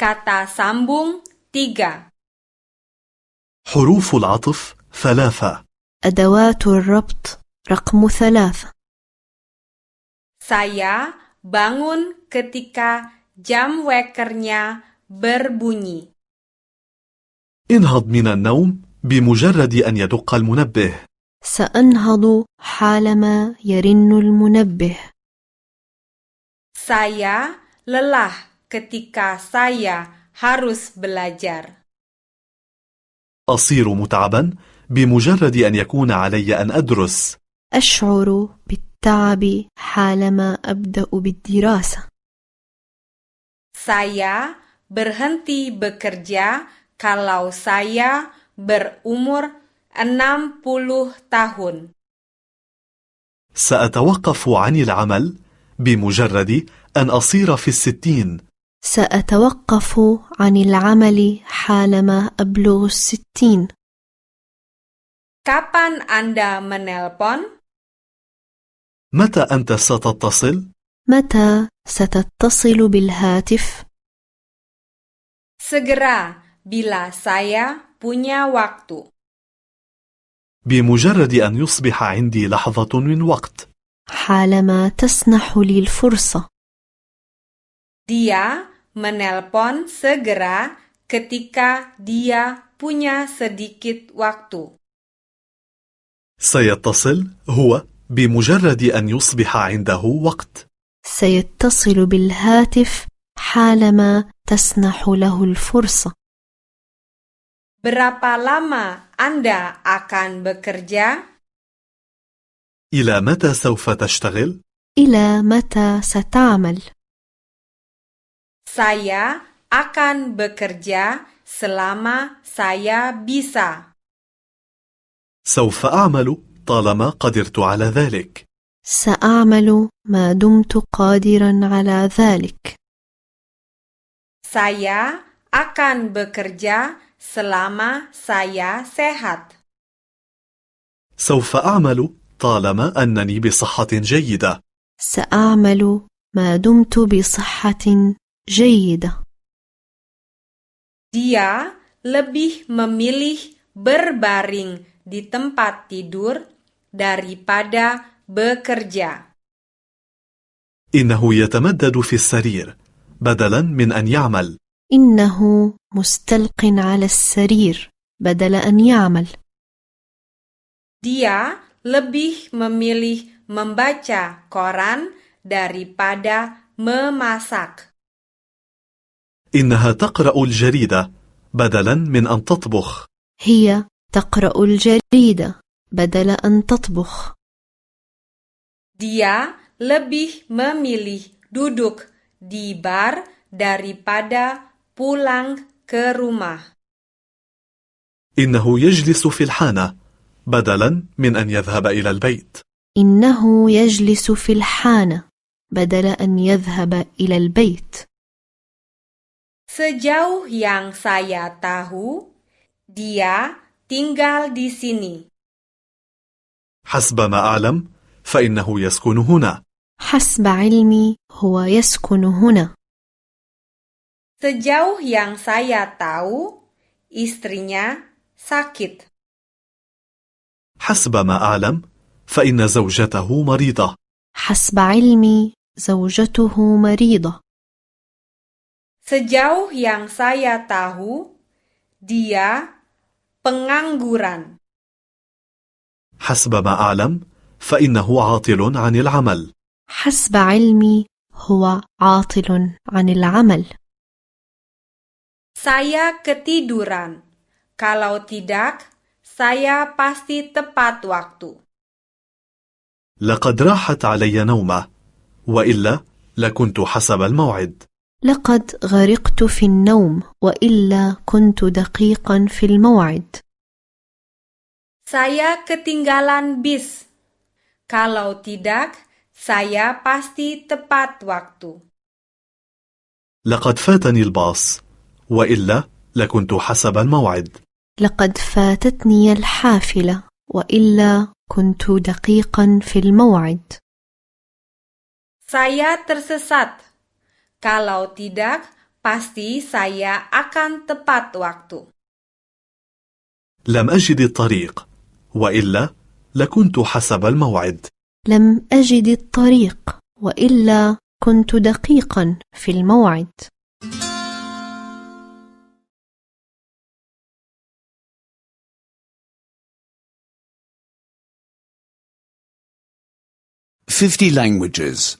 C: Kata sambung 3.
D: حروف العطف ثلاثة
E: أدوات الربط رقم ثلاثة
C: Saya bangun ketika jam wekernya berbunyi.
D: انهض من النوم بمجرد أن يدق المنبه
E: سأنهض حالما يرن المنبه
C: Saya lelah ketika saya harus belajar.
D: أصير متعبا بمجرد أن يكون علي أن أدرس
E: أشعر بالتعب حالما أبدأ بالدراسة
C: Saya berhenti bekerja kalau saya berumur 60 tahun.
D: سأتوقف عن العمل بمجرد أن أصير في الستين
E: سأتوقف عن العمل حالما أبلغ الستين
C: Kapan Anda menelpon?
D: متى أنت ستتصل؟
E: متى ستتصل بالهاتف؟
C: Segera bila saya punya waktu.
D: بمجرد أن يصبح عندي لحظة من وقت
E: حالما تسنح لي الفرصة
C: Dia menelpon segera ketika dia punya sedikit waktu.
D: سيتصل هو بمجرد أن يصبح عنده وقت
E: سيتصل بالهاتف حالما تسنح له الفرصة
C: Berapa lama Anda akan bekerja?
D: إلى متى سوف تشتغل؟
E: إلى متى ستعمل؟
C: Saya akan bekerja selama saya bisa.
D: سوف أعمل طالما قدرت على ذلك
E: سأعمل ما دمت قادرا على ذلك
C: Saya akan bekerja selama saya sehat.
D: سوف أعمل طالما أنني بصحة جيدة
E: سأعمل ما دمت بصحة جيدة
C: Dia lebih memilih berbaring di tempat tidur daripada bekerja.
D: إنه يتمدد في السرير بدلا من أن يعمل
E: إنه مستلق على السرير بدل أن يعمل
C: Dia lebih memilih membaca koran daripada memasak.
D: إنها تقرأ الجريدة بدلا من أن تطبخ
E: هي تقرأ الجريدة بدل أن تطبخ
C: Dia lebih memilih duduk di bar daripada pulang ke rumah.
D: إنه يجلس في الحانة بدلا من أن يذهب إلى البيت
E: إنه يجلس في الحانة بدل أن يذهب إلى البيت
C: Sejauh yang saya tahu, dia tinggal di sini.
D: حسب ما أعلم فإنه يسكن هنا
E: حسب علمي هو يسكن هنا
C: Sejauh yang saya tahu, istrinya sakit.
D: حسب ما أعلم فإن زوجته مريضة
E: حسب علمي زوجته مريضة
C: Sejauh yang saya tahu, dia pengangguran.
D: حسب ما أعلم فإنه عاطل عن العمل
E: حسب علمي هو عاطل عن العمل
C: Saya ketiduran. Kalau tidak, saya pasti tepat waktu.
D: لقد راحت علي نومة وإلا لكنت حسب الموعد
E: لقد غرقت في النوم وإلا كنت دقيقا في الموعد
C: Saya ketinggalan bis. Kalau tidak, saya pasti tepat waktu.
D: لقد فاتني الباص وإلا لكنت حسب الموعد
E: لقد فاتتني الحافلة وإلا كنت دقيقا في الموعد
C: Saya tersesat. Kalau tidak, pasti saya akan tepat waktu.
D: لم أجد الطريق وإلا لكنت حسب الموعد
E: لم أجد الطريق وإلا كنت دقيقا في الموعد
B: Fifty languages.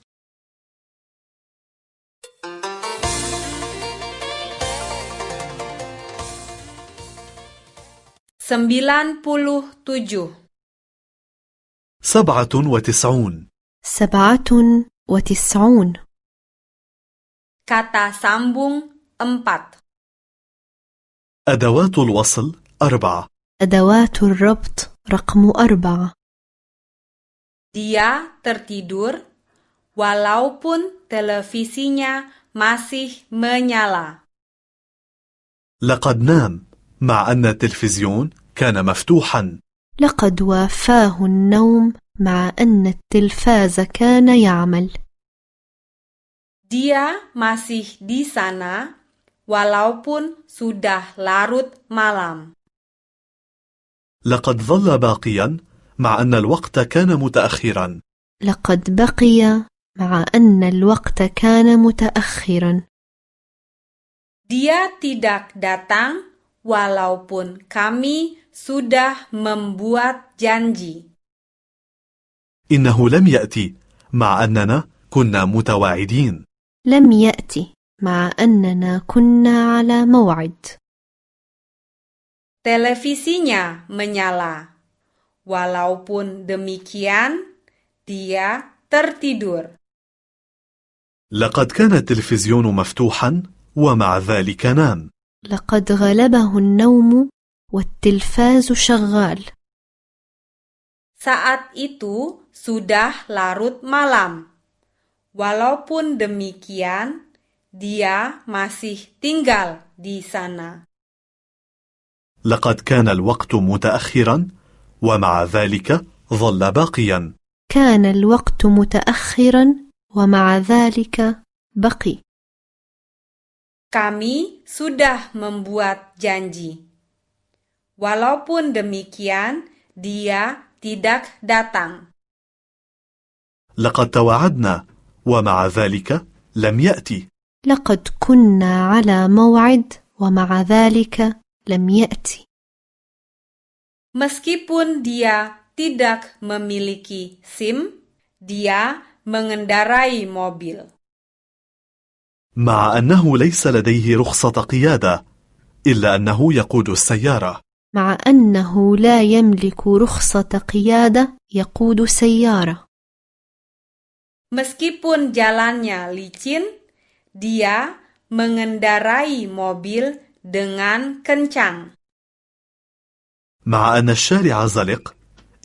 C: 97.
D: سبعة وتسعون
E: سبعة وتسعون
C: Kata sambung 4.
D: أدوات الوصل أربعة
E: أدوات الربط رقم أربعة
C: Dia tertidur walaupun televisinya masih menyala.
D: لقد نام مع أن التلفزيون كان مفتوحا
E: لقد وافاه النوم مع أن التلفاز كان يعمل
C: Dia masih di sana walaupun sudah larut malam.
D: لقد ظل باقيا مع أن الوقت كان متأخرا
E: لقد بقي مع أن الوقت كان متأخرا
C: Dia tidak datang walaupun kami sudah membuat janji.
D: إنه لم يأتي مع أننا كنا متواعدين
E: لم يأتي مع أننا كنا على موعد
C: Televisinya menyala. Walaupun demikian, dia tertidur.
D: لقد كان التلفزيون مفتوحا ومع ذلك نام
E: لقد غلبه النوم والتلفاز شغال
C: Saat itu sudah larut malam. Walaupun demikian, Dia masih tinggal di sana.
D: لقد كان الوقت متأخرا ومع ذلك ظل باقيا
E: كان الوقت متأخرا ومع ذلك بقي
C: Kami sudah membuat janji. Walaupun demikian, dia tidak datang.
D: لقد توعدنا ومع ذلك لم يأتي
E: لقد كنا على موعد ومع ذلك لم يأتي
C: Meskipun dia tidak memiliki SIM, dia mengendarai mobil.
D: مع أنه ليس لديه رخصة قيادة إلا أنه يقود السيارة
E: مع أنه لا يملك رخصة قيادة يقود سيارة
C: Meskipun jalannya licin, dia mengendarai mobil dengan kencang.
D: مع أن الشارع زلق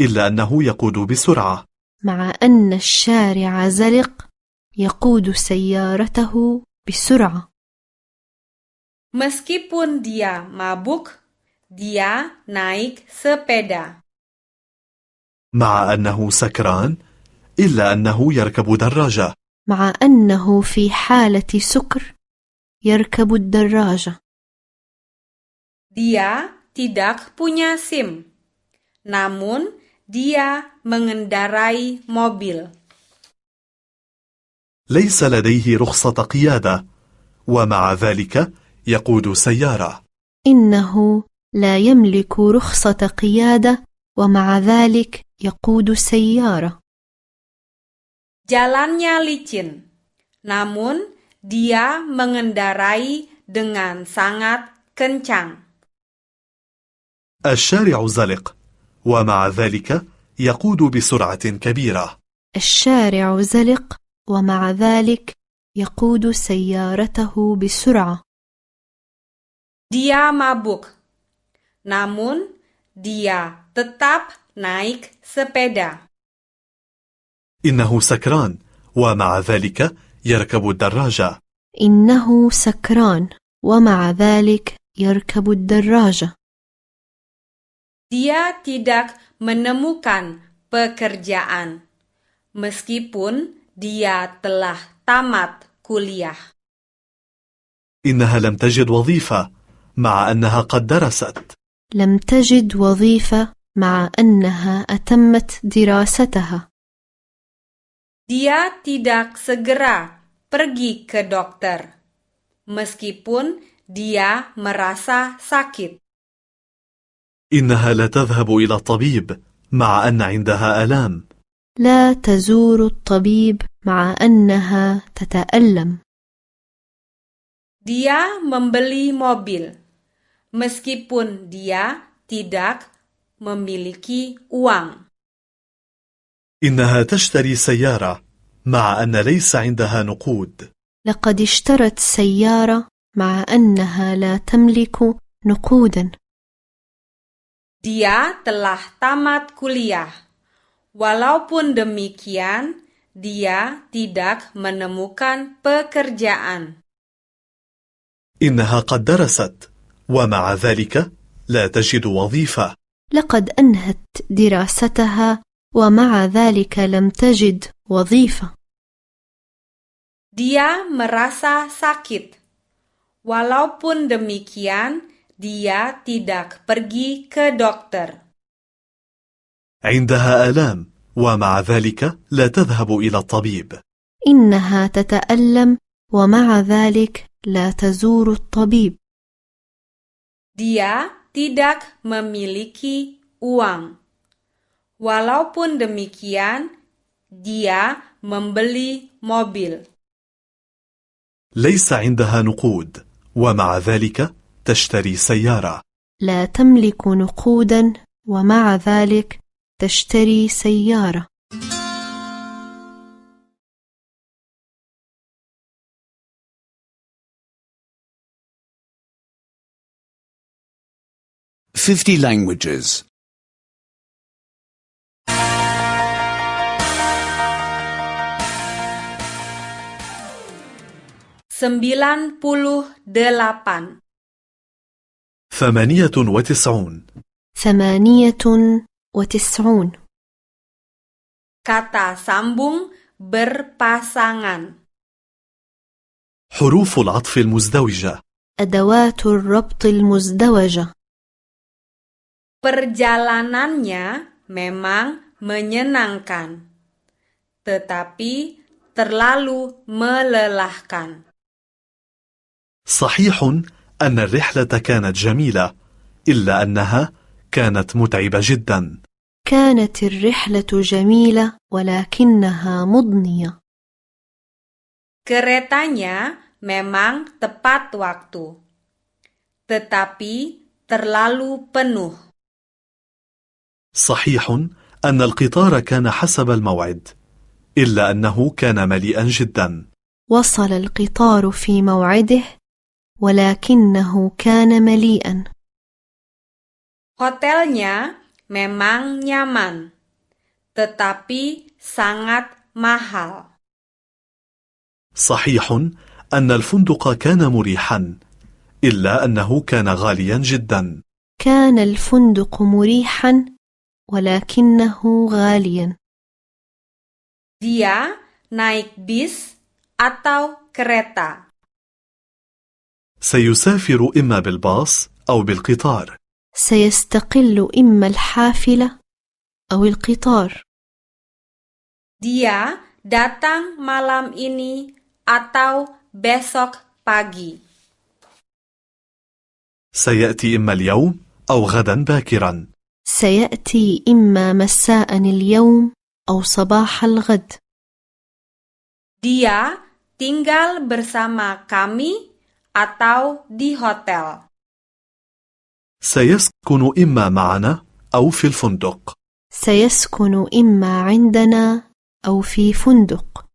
D: إلا أنه يقود بسرعة
E: مع أن الشارع زلق يقود سيارته بسرعة
C: Meskipun dia mabuk, dia naik sepeda.
D: مع أنه سكران إلا أنه يركب دراجة
E: مع أنه في حالة سكر يركب الدراجة
C: Dia tidak punya SIM, namun dia mengendarai mobil.
D: ليس لديه رخصة قيادة ومع ذلك يقود سيارة
E: إنه لا يملك رخصة قيادة ومع ذلك يقود سيارة
C: Jalannya licin, namun dia mengendarai dengan sangat kencang.
D: الشارع زلق ومع ذلك يقود بسرعة كبيرة
E: الشارع زلق ومع ذلك يقود سيارته بسرعة
C: Dia mabuk, namun dia tetap naik sepeda.
D: إنه سكران ومع ذلك يركب الدراجة
E: إنه سكران ومع ذلك يركب الدراجة
C: Dia tidak menemukan pekerjaan, meskipun dia telah tamat kuliah.
D: إنها لم تجد وظيفة مع أنها قد درست
E: لم تجد وظيفة مع أنها أتمت دراستها
C: Dia tidak segera pergi ke dokter, meskipun dia merasa sakit.
D: إنها لا تذهب إلى الطبيب مع أن عندها آلام
E: لا تزور الطبيب مع أنها تتألم
C: Dia membeli mobil, meskipun dia tidak memiliki uang.
D: إنها تشتري سيارة مع أن ليس عندها نقود
E: لقد اشترت سيارة مع أنها لا تملك نقودا
C: Dia telah tamat kuliah. Walaupun demikian, dia tidak menemukan pekerjaan.
D: إنها قد درست ومع ذلك لا تجد وظيفة
E: لقد أنهت دراستها ومع ذلك لم تجد وظيفة
C: Dia merasa sakit. Walaupun demikian, dia tidak pergi ke dokter.
D: عندها آلام ومع ذلك لا تذهب إلى الطبيب
E: إنها تتألم ومع ذلك لا تزور الطبيب
C: Dia tidak memiliki uang. Walaupun demikian, dia membeli mobil.
D: ليس عندها نقود ومع ذلك تشتري سيارة
E: لا تملك نقودا ومع ذلك تشتري سيارة
B: Fifty languages.
C: 10 98
D: ثمانية وتسعون
E: ثمانية وتسعون
C: Kata sambung berpasangan.
D: حروف العطف المزدوجة
E: أدوات الربط المزدوجة
C: Perjalanannya memang menyenangkan, tetapi terlalu melelahkan.
D: صحيح أن الرحلة كانت جميلة إلا أنها كانت متعبة جدا
E: كانت الرحلة جميلة ولكنها مضنية
C: Keretanya memang tepat waktu, tetapi terlalu penuh.
D: صحيح أن القطار كان حسب الموعد إلا أنه كان مليئا جدا
E: وصل القطار في موعده ولكنه كان مليئا
C: Hotelnya memang nyaman, tetapi sangat mahal.
D: صحيح أن الفندق كان مريحا إلا أنه كان غاليا جدا
E: كان الفندق مريحا ولكنه غاليا
C: Dia naik bis atau kereta.
D: سيسافر إما بالباص أو بالقطار
E: سيستقل إما الحافلة أو القطار
C: Dia datang malam ini atau besok pagi.
D: سيأتي إما اليوم أو غدا باكرا
E: سيأتي إما مساء اليوم أو صباح الغد
C: Dia tinggal bersama kami atau di hotel.
D: سيسكن إما معنا أو في الفندق
E: سيسكن إما عندنا أو في فندق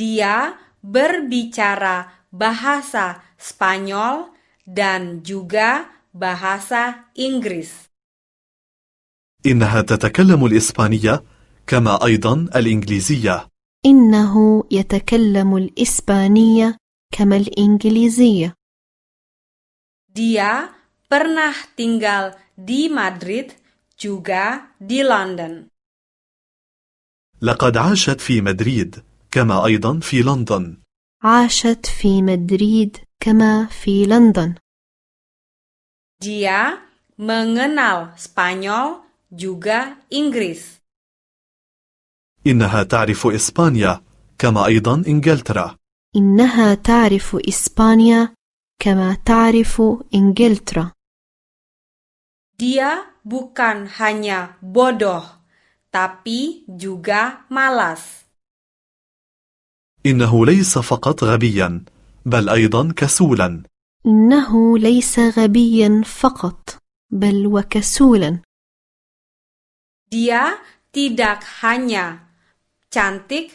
C: Dia berbicara bahasa Spanyol dan juga bahasa Inggris.
D: إنها تتكلم الإسبانية كما أيضا الإنجليزية
E: إنه يتكلم الإسبانية كما الإنجليزية
C: Dia pernah tinggal di Madrid juga di London.
D: لقد عاشت في مدريد كما أيضا في لندن
E: عاشت في مدريد كما في لندن
C: Dia mengenal Spanyol juga Inggris.
D: إنها تعرف إسبانيا كما أيضا إنجلترا
E: إنها تعرف إسبانيا كما تعرف إنجلترا
C: Dia bukan hanya bodoh, tapi juga malas.
D: إنه ليس فقط غبيا بل أيضا كسولا
E: إنه ليس غبيا فقط بل وكسولا
C: Dia tidak hanya cantik,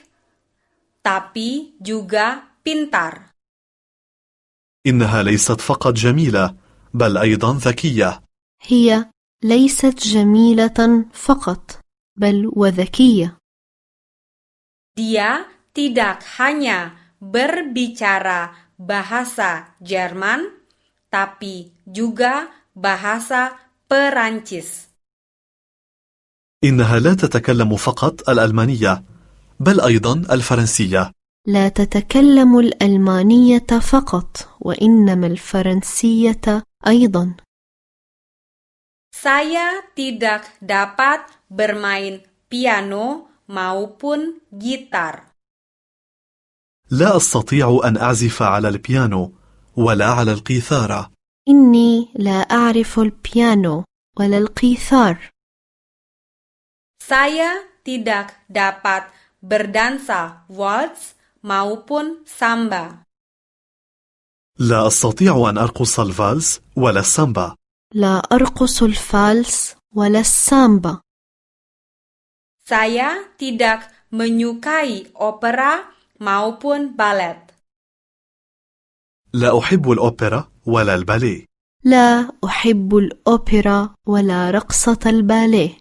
C: tapi juga pintar.
D: إنها ليست فقط جميلة بل أيضا ذكية
E: هي ليست جميلة فقط بل وذكية
C: Dia tidak hanya berbicara bahasa Jerman, tapi juga bahasa Perancis.
D: إنها لا تتكلم فقط الألمانية بل أيضا الفرنسية
E: لا تتكلم الألمانية فقط وإنما الفرنسية أيضا
C: Saya tidak dapat bermain piano maupun gitar.
D: لا أستطيع أن أعزف على البيانو ولا على القيثارة
E: إني لا أعرف البيانو ولا القيثار
C: Saya tidak dapat berdansa waltz maupun samba.
D: لا أستطيع أن أرقص الفالس ولا السامبا
E: لا أرقص الفالس ولا السامبا
C: Saya tidak menyukai opera maupun balet.
D: لا أحب الأوبرا ولا الباليه
E: لا أحب الأوبرا ولا رقصة الباليه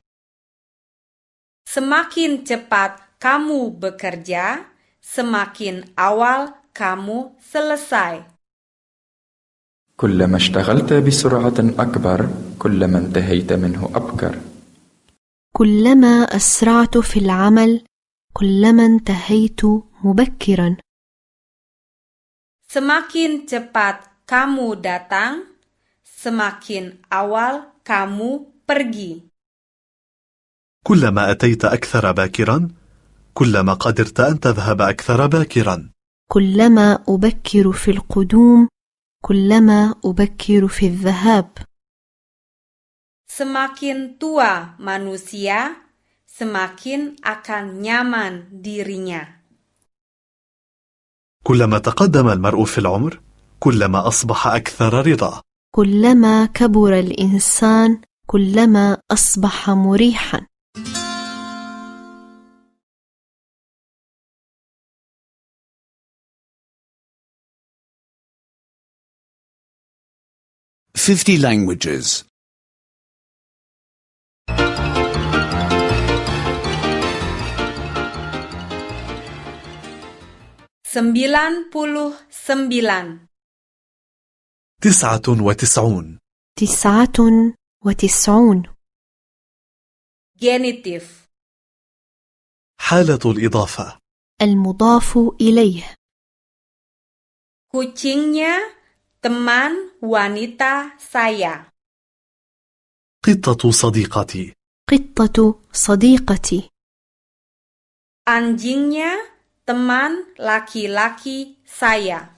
C: Semakin cepat kamu bekerja, semakin awal kamu selesai.
F: كلما اشتغلت بسرعة أكبر كلما انتهيت منه أبكر
E: كلما أسرعت في العمل كلما انتهيت مبكرا
C: Semakin cepat kamu datang, semakin awal kamu pergi.
D: كلما أتيت أكثر باكرا كلما قدرت أن تذهب أكثر باكرا
E: كلما أبكر في القدوم كلما أبكر في الذهاب
C: Semakin tua manusia, semakin akan nyaman dirinya.
D: كلما تقدم المرء في العمر كلما أصبح أكثر رضا
E: كلما كبر الإنسان كلما أصبح مريحا
B: Fifty languages.
C: 99.
D: تسعة وتسعون
E: تسعة وتسعون
C: Genitif.
D: حالة الإضافة
E: المضاف إليه
C: Kucingnya teman wanita saya.
D: قطة صديقتي
E: قطة صديقتي
C: Anjingnya teman laki-laki saya.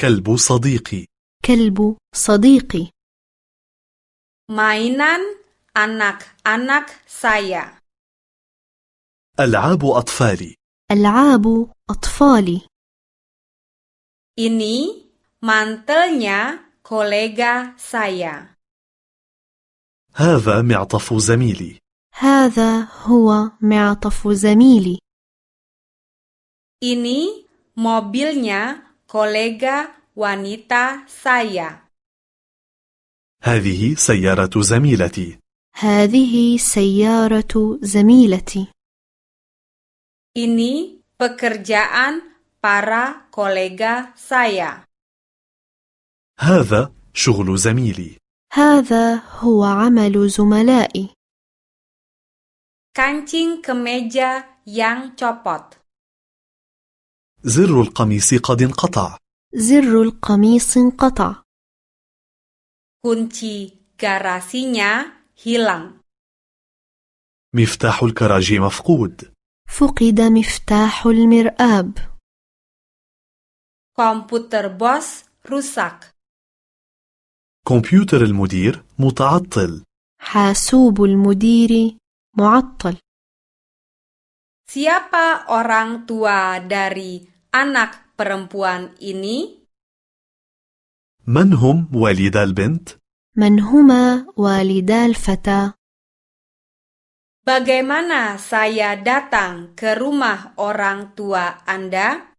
D: كلب صديقي
E: كلب صديقي
C: Mainan anak-anak saya.
D: ألعاب أطفالي
E: ألعاب أطفالي
C: Ini mantelnya kolega saya.
D: هذا معطف زميلي
E: هذا هو معطف زميلي
C: Ini mobilnya kolega wanita saya.
D: هذه سيارة زميلتي
E: هذه سيارة زميلتي
C: Ini pekerjaan para kolega saya.
D: هذا شغل زميلي
E: هذا هو عمل زملائي
C: Kancing kemeja yang copot.
D: زر القميص قد انقطع
E: زر القميص انقطع
C: Kunci garasinya hilang.
D: مفتاح الكراج مفقود
E: فقد مفتاح المرآب
C: Komputer bos rusak.
D: كمبيوتر المدير متعطل
E: حاسوب المدير معطل
C: Siapa orang tua dari anak perempuan ini?
D: من هم والدا البنت؟
E: من هما والدا الفتى
C: Bagaimana saya datang ke rumah orang tua Anda?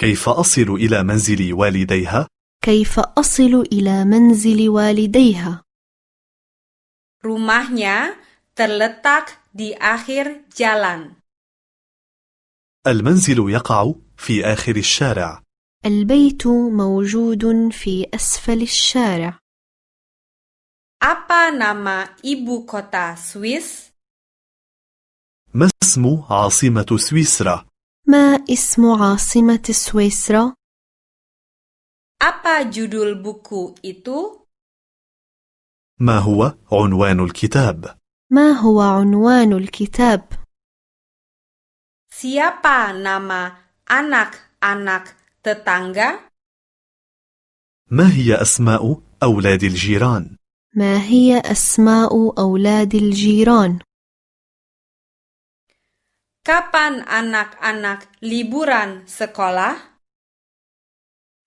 D: كيف أصل إلى منزل والديها؟
E: كيف أصل إلى منزل والديها
C: Rumahnya terletak di akhir jalan.
D: المنزل يقع في آخر الشارع
E: البيت موجود في أسفل الشارع
C: Apa nama ibu kota Swiss?
D: ما اسم عاصمة سويسرا؟
E: ما اسم عاصمة سويسرا؟
C: Apa judul buku itu?
D: ما هو عنوان الكتاب؟
E: ما هو عنوان الكتاب؟
C: Siapa nama anak-anak tetangga?
D: ما هي أسماء أولاد الجيران؟
E: ما هي أسماء أولاد الجيران؟
C: Kapan anak-anak liburan sekolah?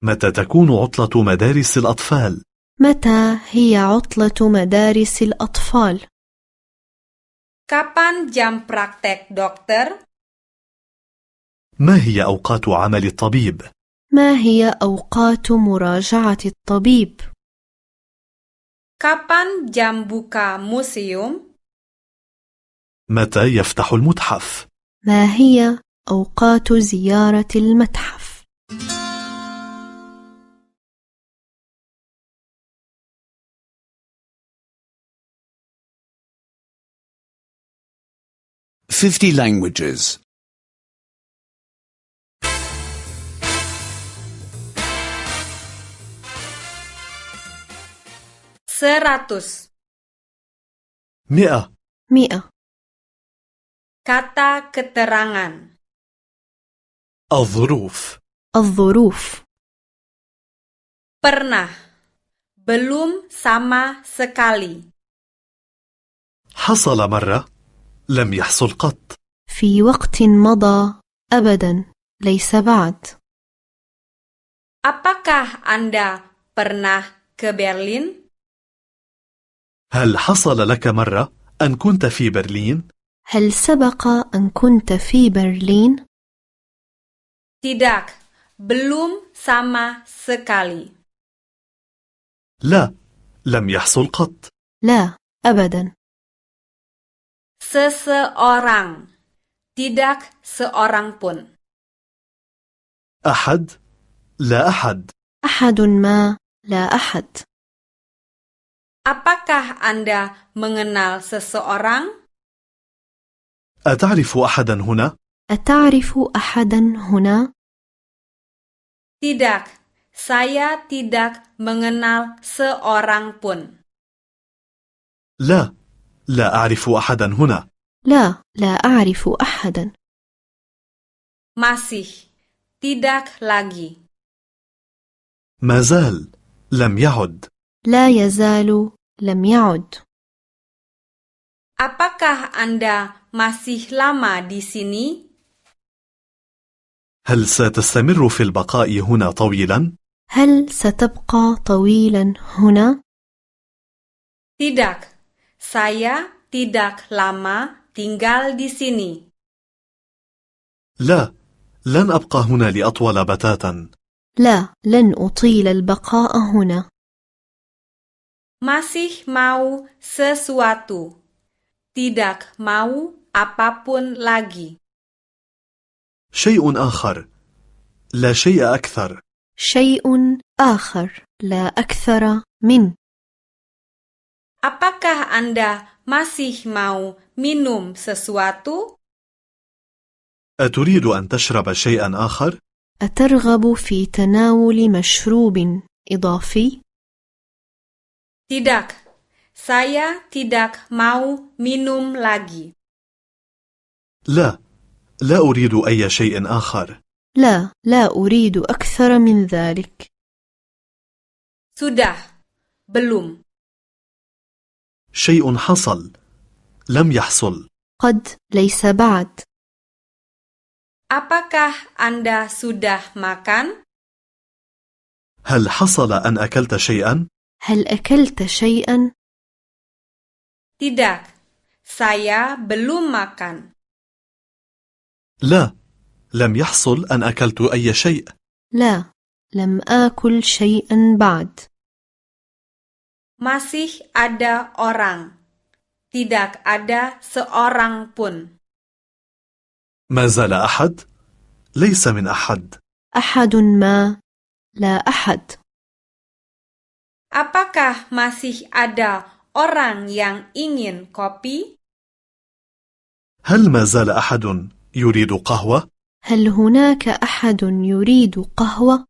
D: متى تكون عطلة مدارس الأطفال؟
E: متى هي عطلة مدارس الأطفال؟
C: Kapan jam praktek dokter?
D: ما هي أوقات عمل الطبيب؟
E: ما هي أوقات مراجعة الطبيب؟
C: Kapan jam buka museum?
D: متى يفتح المتحف؟
E: ما هي أوقات زيارة المتحف
B: Fifty languages.
C: 100.
D: مئة
E: مئة
C: Kata keterangan.
D: الظروف
E: الظروف
C: Pernah. Belum sama sekali.
D: حصل مرة لم يحصل قط
E: في وقت مضى أبدا ليس بعد
C: Apakah Anda pernah ke Berlin?
D: هل حصل لك مرة أن كنت في برلين؟
E: هل سبق أن كنت في برلين؟
C: Tidak. Belum sama sekali.
D: لا لم يحصل قط
E: لا أبدا
C: Seseorang. Tidak seorang pun.
D: أحد لا أحد
E: أحد ما لا أحد
C: Apakah Anda mengenal seseorang?
D: أتعرف أحدا هنا؟
E: أتعرف أحدا هنا؟
C: Tidak. Saya tidak mengenal seorang pun.
D: لا لا أعرف أحدا هنا
E: لا لا أعرف أحدا
C: Masih. Tidak lagi.
D: ما زال لم يعد
E: لا يزال لم يعد
C: Apakah Anda masih lama di sini?
D: هل ستستمر في البقاء هنا طويلا؟
E: هل ستبقى طويلا هنا؟
C: Tidak. Saya tidak lama tinggal di sini.
D: لا لن أبقى هنا لأطول بتاتا
E: لا لن أطيل البقاء هنا
C: Masih mau sesuatu. Tidak mau apapun lagi.
D: شيء آخر لا شيء أكثر
E: شيء آخر لا أكثر من
C: Apakah Anda masih mau minum sesuatu?
D: أتريد أن تشرب شيئا آخر؟
E: أترغب في تناول مشروب إضافي؟
C: Tidak. Saya tidak mau minum lagi.
D: لا لا أريد أي شيء آخر
E: لا لا أريد أكثر من ذلك
C: Sudah. Belum.
D: شيء حصل لم يحصل
E: قد ليس بعد
C: Apakah Anda sudah makan?
D: هل حصل أن أكلت شيئا؟
E: هل أكلت شيئا؟
C: Tidak. Saya belum makan.
D: لا لم يحصل أن أكلت أي شيء
E: لا لم آكل شيئا بعد
C: Masih ada orang. Tidak ada seorang pun.
D: ما زال أحد؟ ليس من أحد
E: أحد ما لا أحد
C: Apakah masih ada orang yang ingin kopi?
D: هل ما زال أحد يريد قهوة؟
E: هل هناك أحد يريد قهوة؟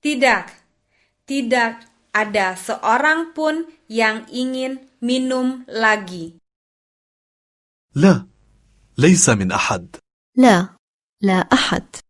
C: Tidak. Tidak ada seorang pun yang ingin minum lagi.
D: لا ليس من أحد
E: لا لا أحد